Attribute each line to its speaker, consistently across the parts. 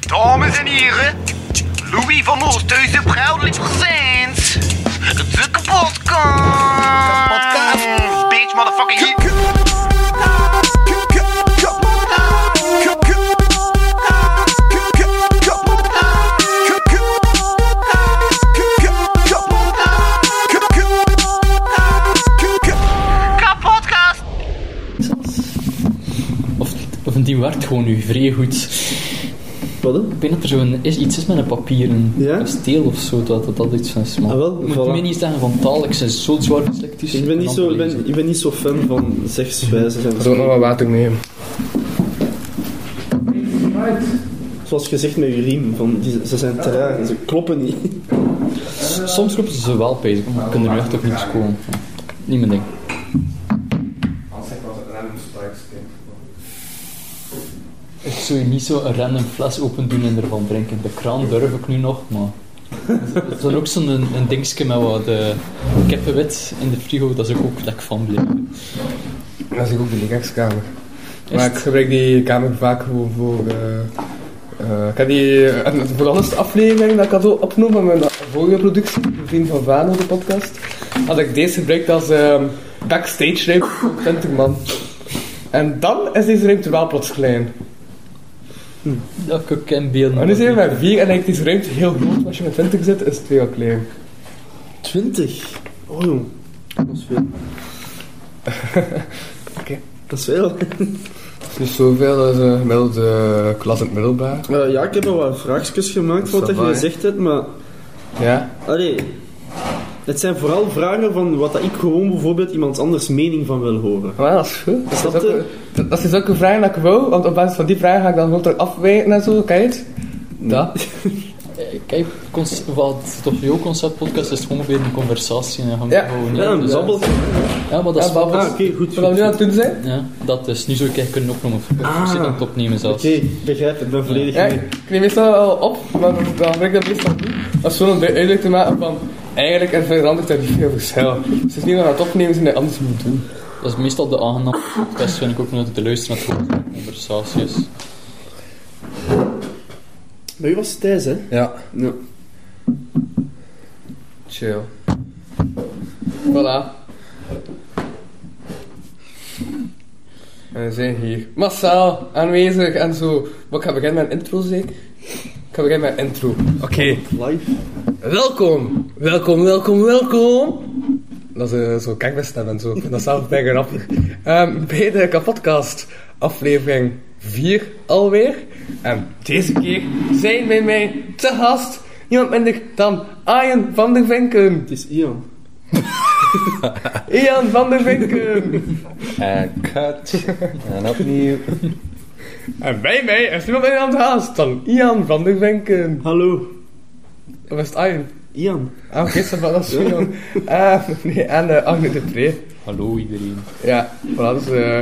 Speaker 1: Dames en heren, Louis van Oosthuizen proudly presents de kapotkast. Bitch, motherfucker, hier. Kapotkast.
Speaker 2: Of, of die werkt gewoon nu vrij goed.
Speaker 3: Wat dan?
Speaker 2: Ik weet dat er zo'n is, iets is met een papieren
Speaker 3: Ja?
Speaker 2: kasteel of zo, dat dat, dat iets van is. Maar
Speaker 3: Ah, wel,
Speaker 2: je moet
Speaker 3: voilà.
Speaker 2: mij niet zeggen van taal, ik ben zo zwaar dyslectisch.
Speaker 3: Dus Ik ben, niet zo, ik,
Speaker 2: ben...
Speaker 3: ben, ik ben niet zo fan van zegswijzen. en
Speaker 4: Er is ook nog wat water mee.
Speaker 3: Zoals gezegd met je riem, van, die, ze zijn te raar en ze kloppen niet.
Speaker 2: Soms roepen ze ze wel bezig, maar ik kan er nu echt op niets komen. Ja. Niet mijn ding. Ik zou je niet zo een random fles open doen en ervan drinken. De kraan durf ik nu nog, maar... Er is dan ook zo'n een, een dingetje met wat eh, kippenwit in de frigo, dat is ook lek van bleef.
Speaker 4: Dat is ook de lichaamskamer.
Speaker 2: Is
Speaker 4: Maar
Speaker 2: het?
Speaker 4: ik gebruik die kamer vaak gewoon voor. eh, eh, ik had die. eh, voor alles de aflevering dat ik had opgenomen van mijn vorige productie, de Vriend van Vano, de podcast, had ik deze gebruikt als eh, backstage ruimte voor 20 man. En dan is deze ruimte wel plots klein.
Speaker 2: Dat kan ik in beelden.
Speaker 4: Maar Oh, nu zijn we met 4 en eigenlijk is deze ruimte heel groot, maar als je met 20 zit, is het veel klein.
Speaker 3: 20? Oh jong, dat is veel.
Speaker 4: Oké.
Speaker 3: Dat is veel.
Speaker 4: Het is zoveel als een gemiddelde klas in het middelbaar.
Speaker 3: Eh, ja, ik heb al wat vraagjes gemaakt voor wat
Speaker 4: Dat
Speaker 3: je
Speaker 4: is wel, hè?
Speaker 3: gezegd hebt, maar...
Speaker 4: Ja?
Speaker 3: Allee, het zijn vooral vragen van wat dat ik gewoon bijvoorbeeld iemand anders mening van wil horen.
Speaker 4: Maar dat is goed. Dat is,
Speaker 3: Snap
Speaker 4: ook,
Speaker 3: je?
Speaker 4: dat- dat is ook een vraag dat ik wil, want op basis van die vraag ga ik dan gewoon terug afwijken en zo, kijk het. Dat.
Speaker 2: Eh, Kijk, cons- wat het jouw concept podcast is gewoon weer een conversatie. En gaan
Speaker 4: Ja.
Speaker 2: gewoon,
Speaker 3: Ja, een
Speaker 2: dus,
Speaker 3: babbeltje.
Speaker 2: Ja, maar dat is
Speaker 4: Ja,
Speaker 2: wel-
Speaker 4: babbel.
Speaker 3: Ah, oké, goed.
Speaker 4: Wat we
Speaker 3: goed.
Speaker 4: nu aan het doen zijn?
Speaker 2: Ja, dat is. Nu zou ik eigenlijk kunnen opnemen. Of
Speaker 3: Ah.
Speaker 2: ah. zit aan het opnemen zelfs.
Speaker 3: Oké, ik begrijp, ik ben volledig
Speaker 4: Ja,
Speaker 3: mee.
Speaker 4: ik neem meestal al op, maar dan dan werkt dat meestal niet. Dat is gewoon om duidelijk te maken van, eigenlijk er verandert er niet veel verschil. Dus het is niet meer aan het opnemen zijn dat je anders moet doen.
Speaker 2: Dat is meestal de aangename podcast, vind ik ook nooit te luisteren naar het gewoon conversaties.
Speaker 3: Maar u was Thijs, hè?
Speaker 4: Ja.
Speaker 3: Ja.
Speaker 4: Chill. Voilà. En we zijn hier massaal aanwezig en zo. Maar ik ga beginnen met een intro, zeker? Ik ga beginnen met een intro. Oké.
Speaker 3: Live.
Speaker 4: Welkom, welkom, welkom, welkom. Dat is eh, zo'n kakbestem en zo. Ik vind dat zelf bij grappig. Ehm, bij de kapotkast, aflevering 4 alweer. En deze keer zijn bij mij te gast niemand minder dan Ian van der Vinken.
Speaker 3: Het is Ian.
Speaker 4: Ian van der Vinken.
Speaker 5: En cut. Eh, En opnieuw.
Speaker 4: En bij mij is niemand minder aan de gast dan Ian van der Vinken.
Speaker 3: Hallo,
Speaker 4: Of is het Ian?
Speaker 3: Ian.
Speaker 4: Ah, oké, okay, dat is Ian. Eh, nee, en eh, Agne de Pre.
Speaker 2: Hallo iedereen.
Speaker 4: Ja, voilà, dus eh,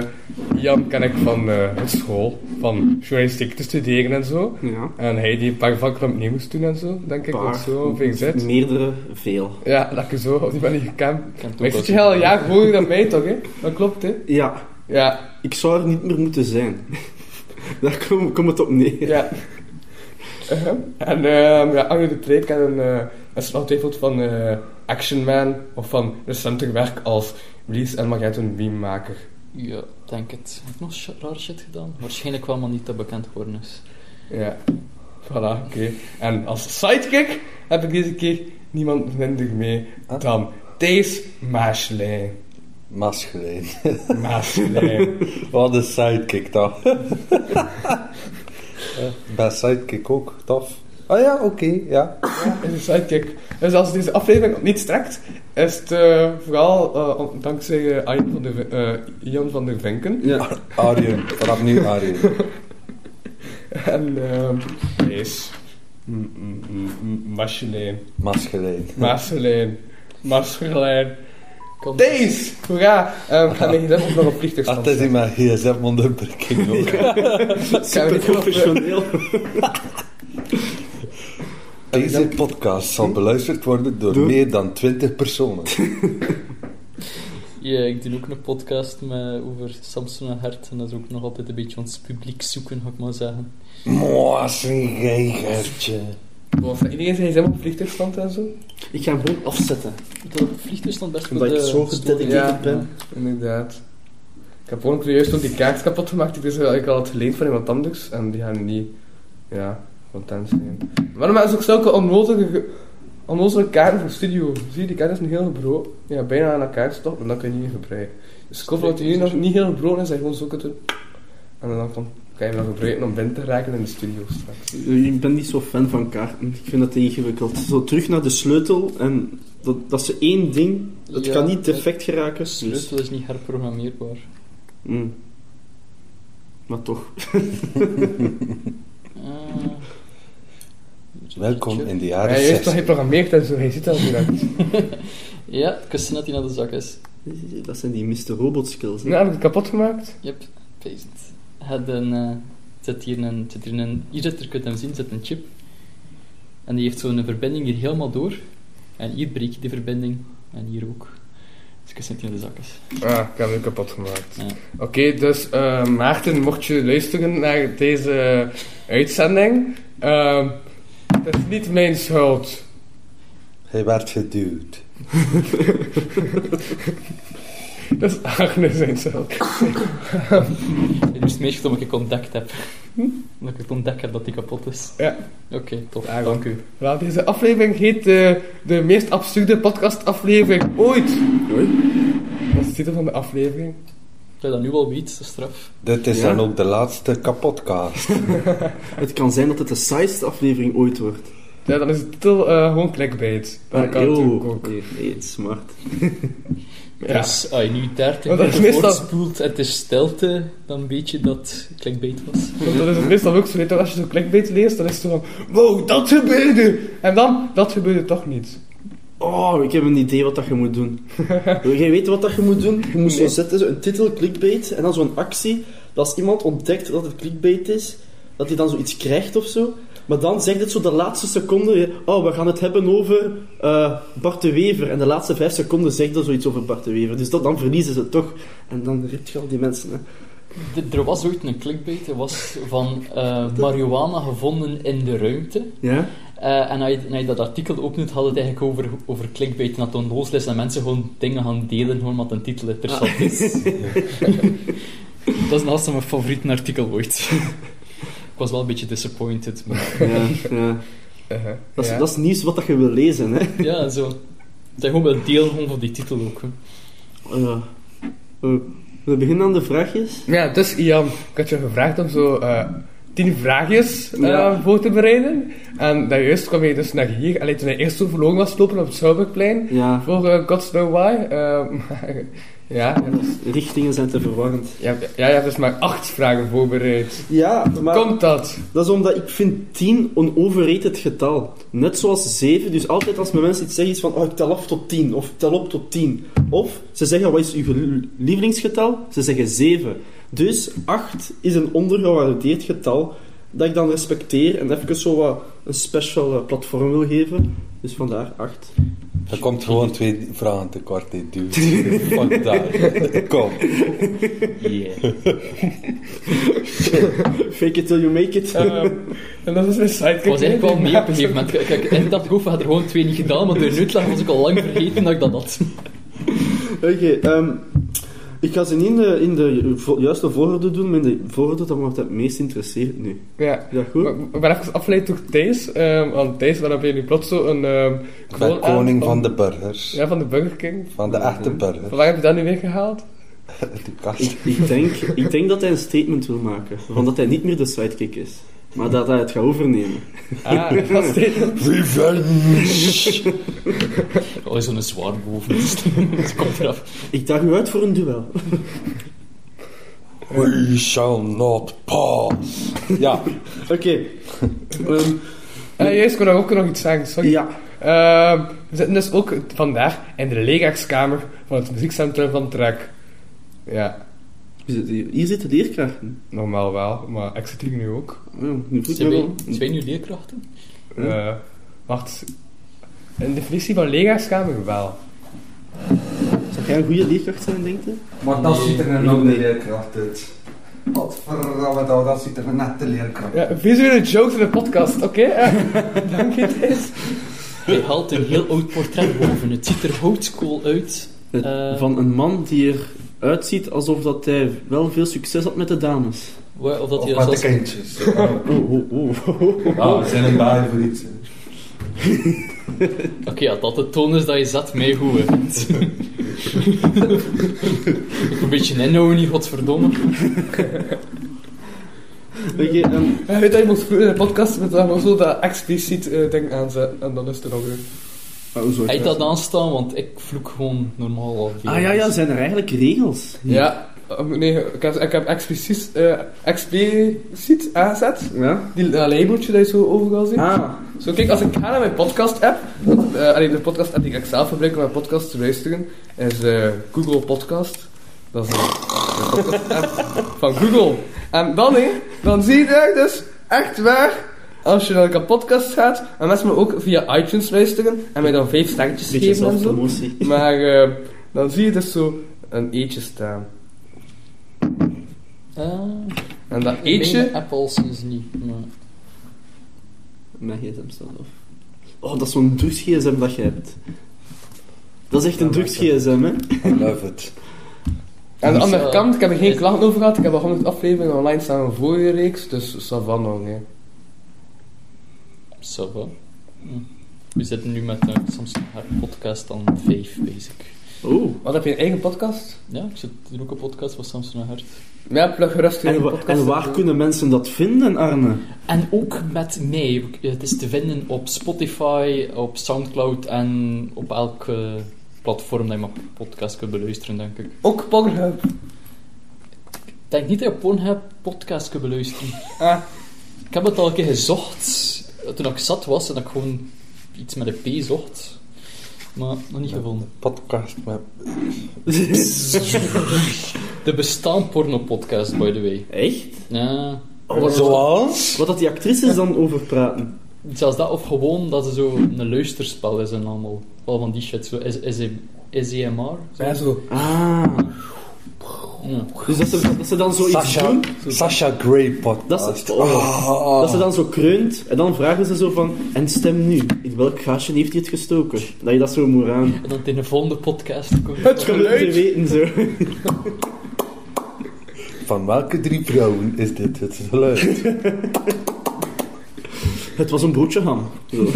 Speaker 4: Jan ken ik van eh, het school, van journalistiek te studeren en zo.
Speaker 3: Ja.
Speaker 4: En hij die een paar vakken opnieuw moest doen en zo, denk ik,
Speaker 3: Paar.
Speaker 4: of zo, of VZ.
Speaker 3: Meerdere, veel.
Speaker 4: Ja, dat ik je zo op die manier gekend.
Speaker 2: het ook
Speaker 4: Maar ik
Speaker 2: wel
Speaker 4: zit je
Speaker 2: zo.
Speaker 4: al een jaar vroeger dan mij toch, hè? Dat klopt, hè?
Speaker 3: Ja,
Speaker 4: Ja,
Speaker 3: ik zou er niet meer moeten zijn. Daar komt kom het op neer.
Speaker 4: ja. Ehem. en ehm ja, Arno de Preek ken een, eh een slag ongetwijfeld van eh, Action Man, of van recenter werk als Blies en Magento Beammaker.
Speaker 2: Ja, denk het. Heb ik nog sh- raar shit gedaan? Waarschijnlijk wel, maar niet dat bekend geworden is.
Speaker 4: Ja. Voilà, oké. En als sidekick heb ik deze keer niemand minder mee dan Thijs Maaslijn.
Speaker 5: Masculijn.
Speaker 4: Maaslijn.
Speaker 5: Wat een sidekick toch? Bij sidekick ook, tof. Ah ja, oké, ja.
Speaker 4: Ja, is een sidekick. Dus als deze aflevering niet strekt, is het eh, vooral eh, om- dankzij eh, Ian van der Vin- eh, Ian van der Vinken.
Speaker 3: Ja.
Speaker 5: Arjen, vanaf nu Arjen.
Speaker 4: En ehm Thijs. Mm, mm, mm, mm, Maaslijn.
Speaker 5: Masculijn.
Speaker 4: Maaslijn. Maaslijn.
Speaker 2: Kan
Speaker 4: Thijs! Hoera! Ehm, ik ga mijn gezin ook nog op vliegtuigstand
Speaker 5: Dat is in mijn gsm-onderbreking ook.
Speaker 3: Super professioneel.
Speaker 5: Deze podcast zal beluisterd worden door meer dan 20 personen.
Speaker 2: Ja, Ja, ik doe ook een podcast met, over Samson en Hert. En dat is ook nog altijd een beetje ons publiek zoeken, ga ik maar zeggen.
Speaker 5: Mooi, geigertje.
Speaker 4: Wat van iedereen zijn helemaal op vliegtuigstand en zo?
Speaker 3: Ik ga hem gewoon afzetten.
Speaker 2: Dat vliegtuig stond best
Speaker 3: Omdat
Speaker 2: voor
Speaker 3: ik
Speaker 2: de
Speaker 3: zo
Speaker 2: story.
Speaker 3: gededicateerd
Speaker 4: Ja.
Speaker 3: ben.
Speaker 4: Inderdaad. Ik heb gewoon juist ook die kaart kapot gemaakt. Die ik dus eigenlijk al had geleend van iemand anders. En die gaan niet, ja, content zijn. Waarom hebben ze ook zulke onnodige, ge- onnodige kaarten voor studio? Zie je, die kaart is niet heel gebroken. Ja, bijna aan elkaar stopt en dan kun je niet gebruiken. Dus ik hoop dat die nu nog niet heel gebroken is. Dat je gewoon zo kunt doen. En dan kan kan je hem nog gebruiken om binnen te raken in de studio straks.
Speaker 3: Ik ben niet zo fan van kaarten. Ik vind dat ingewikkeld. Zo terug naar de sleutel en dat, dat is één ding. Het
Speaker 2: Ja,
Speaker 3: kan niet
Speaker 2: het-
Speaker 3: defect geraken.
Speaker 2: De
Speaker 3: dus-
Speaker 2: sleutel is niet herprogrammeerbaar.
Speaker 3: Mm. Maar toch. Eh,
Speaker 2: Ah.
Speaker 5: Welkom in de
Speaker 4: Maar
Speaker 5: jaren
Speaker 4: hij is toch
Speaker 5: 60.
Speaker 4: geprogrammeerd en zo. Hij zit al Nou, direct.
Speaker 2: Ja, ik wist net dat hij naar de zak is.
Speaker 3: Dat zijn die Mr. Robot skills. hè.
Speaker 4: Nou, heb ik het kapot gemaakt.
Speaker 2: Yep, peasant. Had een, eh, zit hier een, zit hier een, hier zit er, kunt hem zien, zit een chip. En die heeft zo'n verbinding hier helemaal door. En hier breekt die verbinding. En hier ook. Dus ik zit niet in de zakjes.
Speaker 4: Ah, ik heb hem nu kapot gemaakt.
Speaker 2: Ja.
Speaker 4: Oké, dus eh, Maarten, mocht je luisteren naar deze uitzending, ehm, het is niet mijn schuld.
Speaker 5: Hij werd geduwd.
Speaker 4: Dat is Agnes zijn schuld.
Speaker 2: Het is meestal omdat ik ontdekt heb. omdat ik het ontdekt heb dat die kapot is.
Speaker 4: Hm? Ja.
Speaker 2: Oké, tof.
Speaker 4: Ah,
Speaker 2: Dank u.
Speaker 4: Wel, deze aflevering heet eh, de meest absurde podcastaflevering ooit. Dat is de titel van de aflevering.
Speaker 2: Dat je dat nu al weet, de straf.
Speaker 5: Dit is
Speaker 3: Ja?
Speaker 5: dan ook de laatste kapotcast.
Speaker 3: Het kan zijn dat het de saaiste aflevering ooit wordt.
Speaker 4: Ja, dan is de titel eh, gewoon clickbait. Dat kan
Speaker 3: yo.
Speaker 4: natuurlijk ook.
Speaker 3: Nee, nee, het is smart.
Speaker 4: Ja.
Speaker 2: Dus als je nu 30
Speaker 4: Want dat is
Speaker 2: minuten
Speaker 4: meestal-
Speaker 2: voorspoelt en het is stilte, dan weet je dat clickbait was.
Speaker 4: Want dat is het meestal ook zo, weet je, als je zo'n clickbait leest, dan is het zo van, wow, dat gebeurde! En dan, dat gebeurde toch niet.
Speaker 3: Oh, ik heb een idee wat dat je moet doen. Wil jij weten wat dat je moet doen? Je moet zo
Speaker 4: Nee.
Speaker 3: zetten, zo een titel, clickbait, en dan zo'n actie. Dat als iemand ontdekt dat het clickbait is, dat hij dan zoiets krijgt of zo. Maar dan zegt het zo de laatste seconde, je- oh, we gaan het hebben over eh, Bart de Wever. En de laatste vijf seconden zegt er zoiets over Bart de Wever. Dus dat, dan verliezen ze het toch. En dan ript je al die mensen. Hè.
Speaker 2: D- Er was ooit een clickbait, er was van eh marihuana gevonden in de ruimte.
Speaker 3: Ja?
Speaker 2: Eh, en als je, en als je dat artikel opent, had het eigenlijk over, over clickbait en dat het onnozel is en mensen gewoon dingen gaan delen, gewoon wat een titel interessant
Speaker 4: Ah.
Speaker 2: is. dat is naast mijn favoriete artikel ooit. Ik was wel een beetje disappointed, maar
Speaker 3: Ja, ja.
Speaker 4: Eh,
Speaker 3: Uh-huh. Dat, is,
Speaker 4: ja.
Speaker 3: dat is nieuws wat dat je wil lezen, hè.
Speaker 2: ja, zo. Het zijn gewoon wel deel gewoon van die titel ook. hè.
Speaker 3: Ja. Eh, we beginnen aan de vraagjes.
Speaker 4: Ja, dus Ian, ik had je gevraagd om zo eh, tien vraagjes eh,
Speaker 3: Ja.
Speaker 4: voor te bereiden. En daarjuist kwam je dus naar hier. Alleen toen hij eerst zo verloren was lopen op het Schouwburgplein.
Speaker 3: Ja,
Speaker 4: Voor eh, God's Know Why. eh, maar, ja, ja, dus-
Speaker 3: richtingen zijn te verwarrend.
Speaker 4: ja, ja, je hebt dus maar acht vragen voorbereid.
Speaker 3: Ja, maar
Speaker 4: Komt dat?
Speaker 3: dat is omdat ik vind 10 een overrated getal. Net zoals 7. Dus altijd als mijn mensen iets zeggen, is van oh, ik tel af tot 10 of ik tel op tot 10. Of ze zeggen wat is uw gel- lievelingsgetal? Ze zeggen 7. Dus 8 is een ondergewaardeerd getal dat ik dan respecteer en even zo wat een special eh, platform wil geven. Dus vandaar 8.
Speaker 5: Er komt gewoon twee vragen tekort, dit dude. Fuck dat. Kom.
Speaker 3: Fake it till you make it.
Speaker 4: Ehm, en dat is mijn sidekick.
Speaker 2: Ik was eigenlijk wel
Speaker 4: die
Speaker 2: mee op een
Speaker 4: maakt
Speaker 2: gegeven moment. Kijk, kijk, in dat goof had er gewoon twee niet gedaan, maar door een uitleg was ik al lang vergeten dat ik dat had.
Speaker 3: Oké, ehm, ik ga ze niet in de, in de vo- juiste volgorde doen, maar in de volgorde dat me wat het meest interesseert nu.
Speaker 4: Ja.
Speaker 3: Is dat goed?
Speaker 4: Ik ik ben even afgeleid door Thijs. ehm, want Thijs, waarom ben je nu plots zo een... ehm,
Speaker 5: Ik
Speaker 4: gewoon
Speaker 5: ben
Speaker 4: aan-
Speaker 5: koning
Speaker 4: om-
Speaker 5: van de burgers.
Speaker 4: Ja, van de Burger King.
Speaker 5: Van de echte burgers.
Speaker 4: Van Waar heb je dat nu weer gehaald?
Speaker 5: De kast.
Speaker 3: Ik, ik, denk, ik denk dat hij een statement wil maken, van dat hij niet meer de sidekick is. Maar dat hij het gaat overnemen.
Speaker 4: Ah, dat is Thijs.
Speaker 5: Revenge!
Speaker 2: Oh, zo'n zwaar boven. Dat komt eraf.
Speaker 3: Ik daag u uit voor een duel.
Speaker 5: We shall not pass. Ja,
Speaker 3: Oké. Ehm,
Speaker 4: Eh, juist, ik wil ook nog iets zeggen, sorry.
Speaker 3: ja.
Speaker 4: Ehm, we zitten dus ook vandaag in de leerkrachtskamer van het muziekcentrum van Trek. Ja,
Speaker 3: Wie zit hier? Hier zitten leerkrachten. Ah,
Speaker 4: normaal wel, maar ik zit hier nu ook.
Speaker 3: Ja, nu voelt
Speaker 2: Zijn
Speaker 3: me
Speaker 2: wij,
Speaker 3: wel-
Speaker 2: zijn wij nu leerkrachten?
Speaker 4: Eh, wacht, een definitie van leerkrachtskamer wel.
Speaker 3: Zag jij een goede leerkracht zijn, denk je?
Speaker 6: Maar dat
Speaker 3: Nee,
Speaker 6: ziet er een
Speaker 3: ik
Speaker 6: oude
Speaker 3: niet.
Speaker 6: leerkracht uit. Godverdamme, dat, dat ziet er een nette leerkracht uit.
Speaker 4: Ja, visuele jokes in de podcast, oké? eh, dank je, Thijs.
Speaker 2: Hij haalt een heel oud portret boven. Het ziet er oldschool uit.
Speaker 3: Het-
Speaker 2: Eh.
Speaker 3: Van een man die eruit ziet alsof dat hij wel veel succes had met de dames.
Speaker 2: Wa- Of dat
Speaker 6: Of
Speaker 2: hij
Speaker 6: met de
Speaker 2: zelfs...
Speaker 6: kindjes.
Speaker 3: Oh, oh, oh.
Speaker 5: Ah, we zijn een baai voor iets. hè.
Speaker 2: Oké, ja, dat de toon is dat je zat mij goed hebt. een beetje inhouden niet, godverdomme.
Speaker 3: Oké, ehm,
Speaker 4: Ja, weet je, je moet vroeger in de podcast met daar zo dat expliciet eh, ding aanzetten en dan is het er nog weer.
Speaker 3: ah, hoezo?
Speaker 2: Hij dat aanstaan, want ik vloek gewoon normaal al veel.
Speaker 3: Ah ja, ja, zijn er eigenlijk regels?
Speaker 4: Ja. eh, Nee, ik heb, ik heb expliciet, eh, expliciet aangezet.
Speaker 3: Ja?
Speaker 4: Die dat labeltje dat je zo overal ziet.
Speaker 3: Ah,
Speaker 4: Zo kijk, als ik ga naar mijn podcast app, eh allee, de podcast app die ik zelf gebruik om mijn podcast te luisteren, is eh, Google Podcast. Dat is eh, de podcast app van Google. En dan hé, dan zie je daar dus echt waar, als je naar een podcast gaat, en mensen me ook via iTunes luisteren, en mij dan vijf sterretjes
Speaker 3: beetje
Speaker 4: geven en zo.
Speaker 3: zelfpromotie.
Speaker 4: Maar eh, dan zie je dus zo een eetje staan. En dat eetje,
Speaker 2: appels is niet, maar...
Speaker 3: Mijn gsm staat af. Oh, dat is zo'n drugs-gsm dat je hebt. Dat is echt een drugs-gsm, hè?
Speaker 5: I love it.
Speaker 4: aan de andere
Speaker 2: Zo.
Speaker 4: kant, ik heb er geen klachten over gehad, ik heb al 100 afleveringen online staan van vorige reeks, dus Savannah, hè.
Speaker 2: Zo wel. Hm. We zitten nu met eh, Samsung haar podcast aan vijf bezig.
Speaker 3: Oh.
Speaker 4: Wat heb je een eigen podcast?
Speaker 2: Ja, ik zit hier ook een podcast van Samsung Hart.
Speaker 4: Ja, plug gerust in
Speaker 3: En,
Speaker 4: de
Speaker 3: wa-
Speaker 4: podcast.
Speaker 3: en waar kunnen mensen dat vinden, Arne?
Speaker 2: En ook met mij. Het is te vinden op Spotify, op Soundcloud en op elk eh, platform dat je mijn podcast kunt beluisteren, denk ik.
Speaker 4: Ook Pornhub.
Speaker 2: Ik denk niet dat je op Pornhub podcast kunt beluisteren.
Speaker 4: Ah.
Speaker 2: Ik heb het al een keer gezocht toen ik zat was en dat ik gewoon iets met een P zocht. Maar nog niet gevonden.
Speaker 5: Podcast met...
Speaker 2: Er bestaan porno-podcasts, by the way.
Speaker 3: Echt?
Speaker 2: Ja.
Speaker 3: Oh,
Speaker 5: Zoals?
Speaker 3: Wat dat die actrices dan over praten?
Speaker 2: Zelfs dat, of gewoon dat er zo een luisterspel is en allemaal. Al van die shit, zo is, is, SEMR. Zo.
Speaker 4: Ja, zo.
Speaker 3: Ah.
Speaker 2: Ja.
Speaker 3: Dus dat ze, dat ze dan zoiets
Speaker 5: Sasha,
Speaker 3: doen,
Speaker 5: Sasha Grey podcast.
Speaker 3: Ah,
Speaker 5: Ah,
Speaker 3: Dat is- oh. dat ze dan zo kreunt, en dan vragen ze zo van, en stem nu, in welk gaasje heeft hij het gestoken? Dat je dat zo moet aan.
Speaker 2: En dan in de volgende podcast komt.
Speaker 4: Het
Speaker 3: Om het te
Speaker 4: geluid.
Speaker 3: weten, zo.
Speaker 5: Van welke drie vrouwen is dit het geluid?
Speaker 3: Het was een broodje ham. Zo.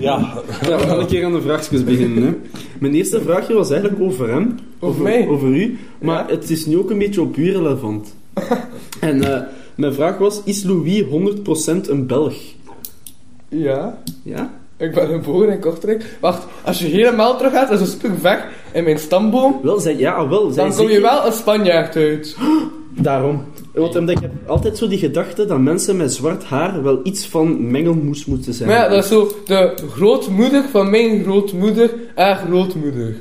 Speaker 5: ja,
Speaker 3: Ja, we gaan een keer aan de vraagjes beginnen. Hè. Mijn eerste vraagje was eigenlijk over hem.
Speaker 4: Over mij?
Speaker 3: Over u. Maar
Speaker 4: Ja.
Speaker 3: het is nu ook een beetje op u relevant. en eh, mijn vraag was, is Louis 100% een Belg?
Speaker 4: Ja.
Speaker 3: Ja?
Speaker 4: Ik ben geboren in Kortrijk. Wacht, als je helemaal terug gaat, dat is een stuk weg in mijn stamboom,
Speaker 3: Wel, zij, ja, ah, wel. Zij
Speaker 4: dan kom je
Speaker 3: zeker-
Speaker 4: wel een Spanjaard uit.
Speaker 3: Daarom. Want omdat ik heb altijd zo die gedachte dat mensen met zwart haar wel iets van mengelmoes moeten zijn.
Speaker 4: Maar ja, dat is zo de grootmoeder van mijn grootmoeder, haar grootmoeder.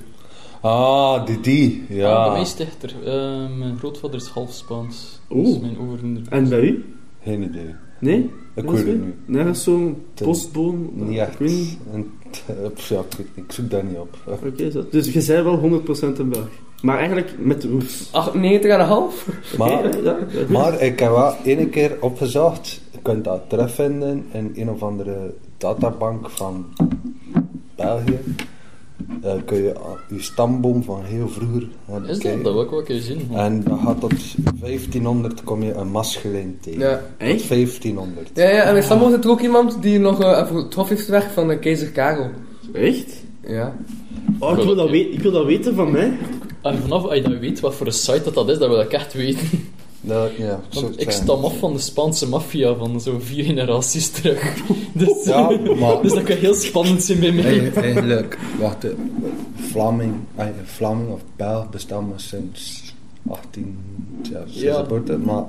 Speaker 5: Ah, die, die.
Speaker 2: Ja. Bij
Speaker 3: Ah,
Speaker 5: Ja.
Speaker 2: mij is het echter. Eh, mijn grootvader is half Spaans.
Speaker 3: Oeh.
Speaker 2: Dus mijn oren.
Speaker 3: En bij u?
Speaker 5: Geen idee.
Speaker 3: Nee?
Speaker 5: Ik
Speaker 3: Dat is
Speaker 5: weet het
Speaker 3: u?
Speaker 5: nu.
Speaker 3: Nee, dat is zo'n
Speaker 5: Ten-
Speaker 3: postboom.
Speaker 5: Niet
Speaker 3: Ik
Speaker 5: echt.
Speaker 3: weet niet.
Speaker 5: En, eh, pff, ja, ik, weet niet, ik zoek daar niet op.
Speaker 3: Oké, zo. dus je zei wel 100% een Belg. Maar eigenlijk met de roots.
Speaker 4: 98,5?
Speaker 5: Maar,
Speaker 3: Ja, ja.
Speaker 5: maar ik heb wel één keer opgezocht. Je kunt dat terugvinden in een of andere databank van België. Eh kun je al- je stamboom van heel vroeger gaan
Speaker 2: Is dat?
Speaker 5: bekijken.
Speaker 2: Dat wil ik wel een keer zien.
Speaker 5: En dan gaat tot 1500 kom je een masculin tegen.
Speaker 4: Ja.
Speaker 5: Tot
Speaker 3: Echt?
Speaker 5: 1500.
Speaker 4: Ja, ja, en in stamboom zit er ook iemand die nog eh voor het hof heeft weg van eh, keizer Karel.
Speaker 3: Echt?
Speaker 4: Ja.
Speaker 3: Oh, ik wil dat, we- ik wil dat weten van mij.
Speaker 2: En Ah, vanaf als je dat weet wat voor een site dat, dat is, dat wil ik echt weten.
Speaker 5: Dat, ja, zo
Speaker 2: Want ik
Speaker 5: zijn.
Speaker 2: stam af van de Spaanse maffia van zo'n vier generaties terug. Dus,
Speaker 5: Ja, maar-
Speaker 2: dus dat kan heel spannend zijn bij mij.
Speaker 5: Eigen- Eigenlijk, wacht, eh, Vlaming, eh, Vlaming of Belg bestaan maar sinds 18, ja, sinds
Speaker 2: Ja.
Speaker 5: geboorte, maar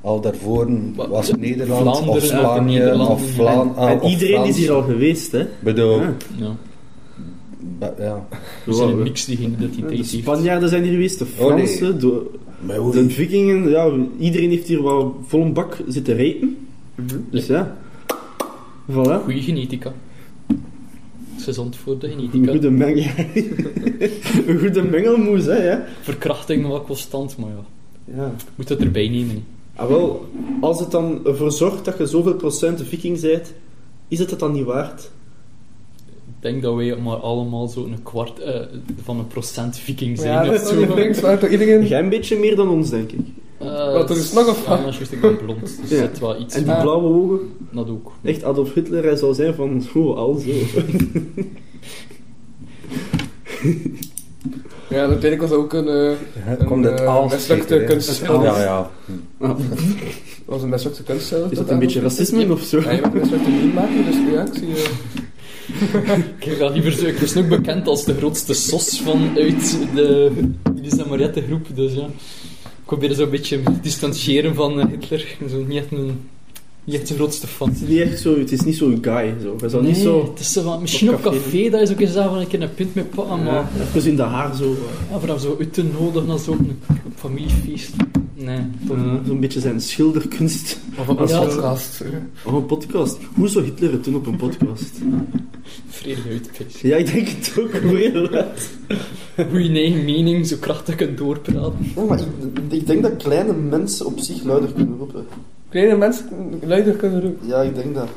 Speaker 5: al daarvoor
Speaker 2: Wat,
Speaker 5: was
Speaker 2: eh,
Speaker 5: Nederland of
Speaker 2: Vlaanderen,
Speaker 5: Spanje
Speaker 2: Nederland,
Speaker 5: Ah, of Vlaanderen.
Speaker 3: en iedereen is hier al geweest, hè?
Speaker 5: Bedoel,
Speaker 3: Ja.
Speaker 2: Ja.
Speaker 5: be- ja.
Speaker 2: We zijn een
Speaker 3: Wow.
Speaker 2: mix die geen identiteit
Speaker 3: De
Speaker 2: heeft.
Speaker 3: Spanjaarden zijn hier geweest, de
Speaker 5: Oh, nee.
Speaker 3: Fransen, de, de Vikingen. Ja, iedereen heeft hier wel vol een bak
Speaker 2: Mhm.
Speaker 3: zitten rijpen. Dus ja. Voilà.
Speaker 2: Goeie genetica. Ze is ontvoerd, hè, niet. Die
Speaker 3: Een
Speaker 2: kan-
Speaker 3: goede mengel. een goede mengelmoes, hè? Ja.
Speaker 2: Verkrachting wel constant, maar ja.
Speaker 3: ja.
Speaker 2: Moet het erbij nemen. hè.
Speaker 3: Ah, wel, als het dan ervoor zorgt dat je zoveel procent viking bent, is het het dan niet waard?
Speaker 2: Ik denk dat wij maar allemaal zo'n kwart eh, van een procent viking zijn.
Speaker 4: Ja,
Speaker 2: of
Speaker 4: dat is
Speaker 2: zo.
Speaker 4: toch links, waar toch iedereen...
Speaker 3: Jij een beetje meer dan ons, denk ik.
Speaker 2: Eh,
Speaker 4: Wat, er is nog een
Speaker 2: ja,
Speaker 4: vraag.
Speaker 2: maar juist, ik ben blond, dus
Speaker 3: Ja.
Speaker 2: zit wel iets.
Speaker 3: En die
Speaker 2: Ah,
Speaker 3: blauwe ogen,
Speaker 2: Dat ook.
Speaker 3: echt Adolf Hitler, hij zou zijn van, oh, al zo.
Speaker 4: Ja, natuurlijk was ook een... eh, een,
Speaker 5: Komt het
Speaker 4: eh,
Speaker 5: alles
Speaker 4: mislukte
Speaker 5: zeker, hè?
Speaker 4: kunstschilder.
Speaker 5: Ja, ja.
Speaker 4: Dat was een mislukte kunstschilder.
Speaker 3: Is dat een beetje racisme of zo?
Speaker 4: Ja, je bent een mislukte meme maken, dus ja, ik zie... eh,
Speaker 2: Ik ga liever zo. Ik was nog bekend als de grootste sos vanuit de Iris en Mariette groep, dus ja. Ik probeer zo'n beetje te distancieren van eh, Hitler. Ik ben Zo niet echt een... Niet echt de grootste fan.
Speaker 3: Het is niet echt zo, het is niet zo guy, zo. Hij zal
Speaker 2: Nee,
Speaker 3: niet zo,
Speaker 2: het is zo van, misschien
Speaker 3: op
Speaker 2: op café,
Speaker 3: café
Speaker 2: dat is ook eens daar van een keer een punt mee pakken, maar...
Speaker 3: eh, even in de haar zo, eh,
Speaker 2: Ja, voor hem zo uit te nodigen als ook een familiefeest. Nee, toch niet.
Speaker 3: eh, zo'n beetje zijn schilderkunst.
Speaker 4: Of een
Speaker 2: Ja.
Speaker 4: podcast. eh.
Speaker 3: Op een podcast. Hoe zou Hitler het doen op een podcast?
Speaker 2: Vredig uitpitch.
Speaker 3: Ja, ik denk het ook heel uit.
Speaker 2: Hoe je je eigen mening zo krachtig kunt doorpraten.
Speaker 3: Oh, maar ik, ik denk dat kleine mensen op zich luider kunnen roepen.
Speaker 4: Kleine mensen luider kunnen roepen.
Speaker 3: Ja, ik denk dat.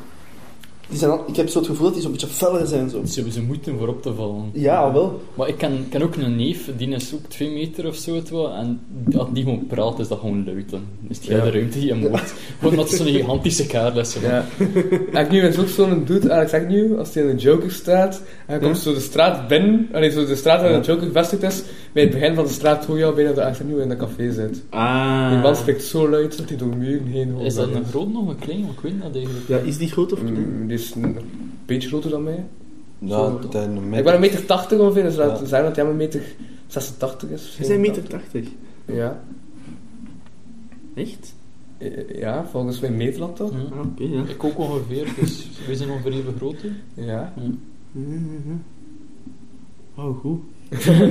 Speaker 3: Die zijn al- ik heb zo het gevoel dat die zo'n beetje feller zijn. Zo.
Speaker 2: Ze ze moeten voor op te vallen.
Speaker 3: Ja, wel.
Speaker 2: Maar ik ken, ken ook een neef, die is ook twee meter of zo. Het wel, en als die gewoon praat, is dat gewoon luid. Dan is die hele ruimte die hem hoort. Gewoon omdat het zo'n gigantische kaart is. zo.
Speaker 4: Ja. Agnew is ook zo'n dude, Alex Agnew, als hij in de Joker staat. En hij komt zo de straat binnen, allee, zo de straat waar de Joker gevestigd is, bij het begin van de straat hoor je al bijna dat Alex Agnew in dat café zit.
Speaker 3: Ah.
Speaker 4: Die man spreekt zo luid dat hij door muren heen hoort.
Speaker 2: Is dat een groot nog een klein? Want Ik weet dat eigenlijk.
Speaker 3: Ja, is die groot of niet?
Speaker 4: Mm, Die is een beetje groter dan mij.
Speaker 5: Nou, dan
Speaker 4: Ik ben een meter 80 ongeveer, dus laten
Speaker 5: Ja.
Speaker 4: we zeggen dat hij een meter 86 is.
Speaker 3: Hij is een meter 80.
Speaker 4: Ja.
Speaker 3: Echt?
Speaker 4: Eh, Ja, volgens mij meet dat toch?
Speaker 2: Ja.
Speaker 3: Ah, oké, ja.
Speaker 2: Ik ook ongeveer, dus we zijn ongeveer even groot. hè.
Speaker 4: Ja.
Speaker 3: Oh, goed.